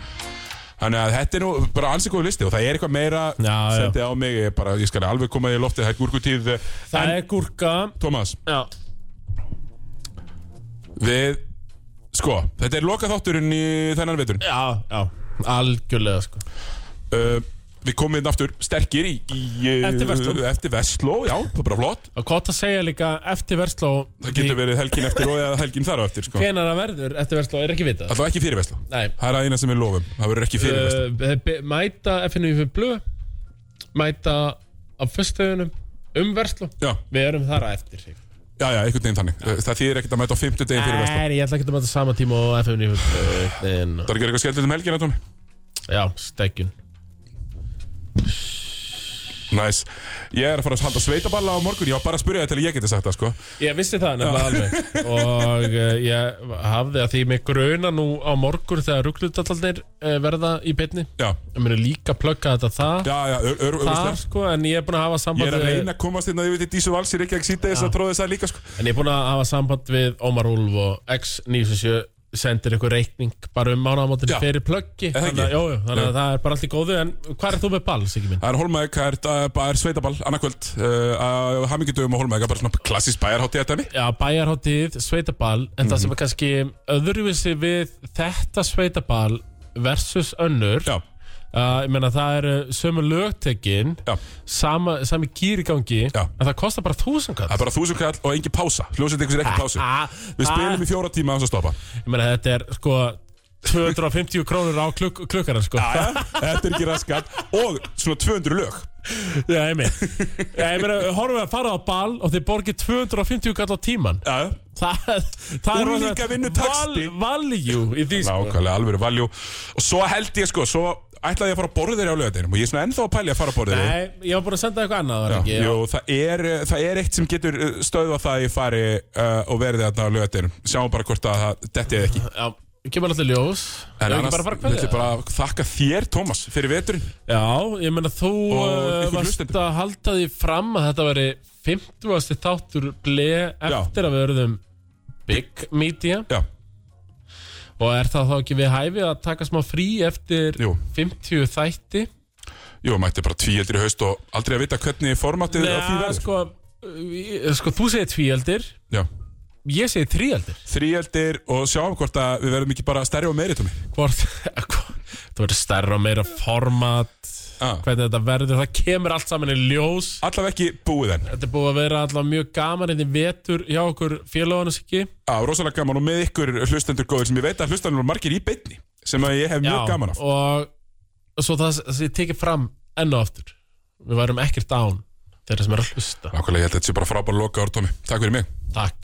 Speaker 1: Þannig að þetta er nú bara alls eitthvað listi og það er eitthvað meira
Speaker 2: Já, já.
Speaker 1: sendið á mig, ég, bara, ég skal alveg koma í loftið, það er gúrkutíð eh,
Speaker 2: Það er gúrka
Speaker 1: Thomas,
Speaker 2: Já
Speaker 1: við, sko, þetta er lokaþátturinn í þennan veturinn
Speaker 2: Já, já Algjörlega sko
Speaker 1: uh, Við komum inn aftur sterkir í, í uh,
Speaker 2: Eftir Versló.
Speaker 1: eftir Vestló, já, það er bara flott
Speaker 2: Og hvað það segja líka eftir versló
Speaker 1: Það getur verið helgin eftir og eða helgin þar á eftir, sko
Speaker 2: Hvenær það verður eftir versló er ekki vitað
Speaker 1: Það var ekki fyrir Vestló,
Speaker 2: Nei
Speaker 1: það er að eina sem við lofum, það verður ekki fyrir Vestló
Speaker 2: uh, þeir be- mæta FNUF Blö mæta á föstuðunum um verslu
Speaker 1: Já,
Speaker 2: við erum þar að eftir sig
Speaker 1: já, já, einhvern veginn þannig Eh, Það, það þýðir ekkert að mæta á fimmtudegin fyrir Vestló
Speaker 2: Nei, ég ætla ekki að mæta sama tíma á FNUF Blö en,
Speaker 1: Það er ekki eitthvað skelltilegt um helgina, Tómi?
Speaker 2: já, stegjun
Speaker 1: Næs, ég er að fara að halda sveitaballa á morgun, ég var bara að spyrja það til að ég geti sagt það, sko
Speaker 2: ég vissi það nefnilega alveg og uh, ég hafði að því mig gruna nú á morgun þegar rugglutallarnir uh, verða í beinni
Speaker 1: Já,
Speaker 2: ég muni líka að plugga þetta það
Speaker 1: já, já, ör, ör,
Speaker 2: þar
Speaker 1: öruglega
Speaker 2: sko, en ég er búin að hafa
Speaker 1: Ég
Speaker 2: samband
Speaker 1: er að
Speaker 2: við-
Speaker 1: reyna að komast inn að yfir til Dísu Vals í Reykjavík síta þess að tróði það líka sko.
Speaker 2: En ég er búinn að hafa samband við Ómar Úlf og X97 sendir ykkur reikning bara um mánaðamótin
Speaker 1: Já.
Speaker 2: fyrir plöggi
Speaker 1: það
Speaker 2: þannig, að-
Speaker 1: ekki?
Speaker 2: jú, jú, þannig að það er bara allt í góðu en hvað er þú með bals ekki minn?
Speaker 1: Það er Holmæk, það er, það er, það er sveitaball, annarkvöld, uh, hamingjadöfum á Holmæk, það er bara svona klassís bæjarhátti þetta mi.
Speaker 2: Já, bæjarháttíð, sveitaball en það sem
Speaker 1: Mhm.
Speaker 2: er kannski öðruvísi við þetta sveitaball versus önnur
Speaker 1: Já,
Speaker 2: uh, ég meina það eru sömu lögtekin
Speaker 1: já,
Speaker 2: sama, sami gýrigangi
Speaker 1: Já.
Speaker 2: en það kostar bara þúsund
Speaker 1: það
Speaker 2: kall
Speaker 1: er bara þúsund kall og engin pása, hljósið ykkur sér ekki pásu.
Speaker 2: Ah,
Speaker 1: Við
Speaker 2: ah,
Speaker 1: spilum í fjóra tíma hans að stoppa.
Speaker 2: ég meina þetta er sko 250 krónur á kluk klukkara sko
Speaker 1: Já, já, þetta er ekki raskat og svona 200 lög.
Speaker 2: Já, ég meina, ég meina horfum við að fara á ball og þið borgið 250 kall á tíman
Speaker 1: Já, já.
Speaker 2: Það, það er
Speaker 1: Unglingavinnutaxti.
Speaker 2: val- value í því sko.
Speaker 1: Nákvæmlega, alveg valjú Og svo held ég sko, svo ætlaði ég að fara að borða þeirri á lögadeinum Og ég er svona ennþá að pæli að fara að borða þeirri
Speaker 2: Nei, ég var búin að senda eitthvað annað var ekki
Speaker 1: Jú, það er, eh, það er eitt sem getur eh, stöðvað það að ég fari uh, og verði þarna á lögadeinum Sjáum bara hvort að það detti eða ekki
Speaker 2: Já, kemur alltaf ljós
Speaker 1: En
Speaker 2: Ég ekki
Speaker 1: annars,
Speaker 2: bara að fara að
Speaker 1: við ætlum
Speaker 2: kveðja
Speaker 1: bara að þakka þér, Tómas, fyrir veturinn
Speaker 2: Já, ég meina þú
Speaker 1: Og
Speaker 2: uh,
Speaker 1: ykkur
Speaker 2: varst
Speaker 1: hlustendum.
Speaker 2: að halda því fram að þetta veri 50. þáttur ble eftir að við verðum Big Media
Speaker 1: Já,
Speaker 2: og er það þá ekki við hæfi að taka smá frí eftir
Speaker 1: jú,
Speaker 2: 50 þætti
Speaker 1: jú, mætti bara tvíeldir í haust og aldrei að vita hvernig formatið að því
Speaker 2: Nei,
Speaker 1: verður
Speaker 2: sko, uh, sko, þú segir tvíaldir
Speaker 1: Já,
Speaker 2: ég segir þríaldir
Speaker 1: þríeldir og sjáum hvort að við verðum ekki bara stærri og meiri tómi
Speaker 2: Hvort, það verður stærra og meira format
Speaker 1: ah.
Speaker 2: hvernig þetta verður, það kemur allt saman í ljós
Speaker 1: Allavega ekki búið enn
Speaker 2: Þetta er búið að vera alltaf mjög gaman einnig vetur hjá okkur félagunum sikki
Speaker 1: Já, rosalega gaman og með ykkur hlustendur góður sem ég veit að hlustendur eru margir í beinni sem að ég hef mjög gaman af
Speaker 2: Og svo það sem ég tekið fram enn og aftur Við værum ekkert án þeirra sem er að hlusta
Speaker 1: Nákvæmlega, ég held að þetta sé bara frábæra loka orð, Tómi Takk fyrir mig
Speaker 2: Takk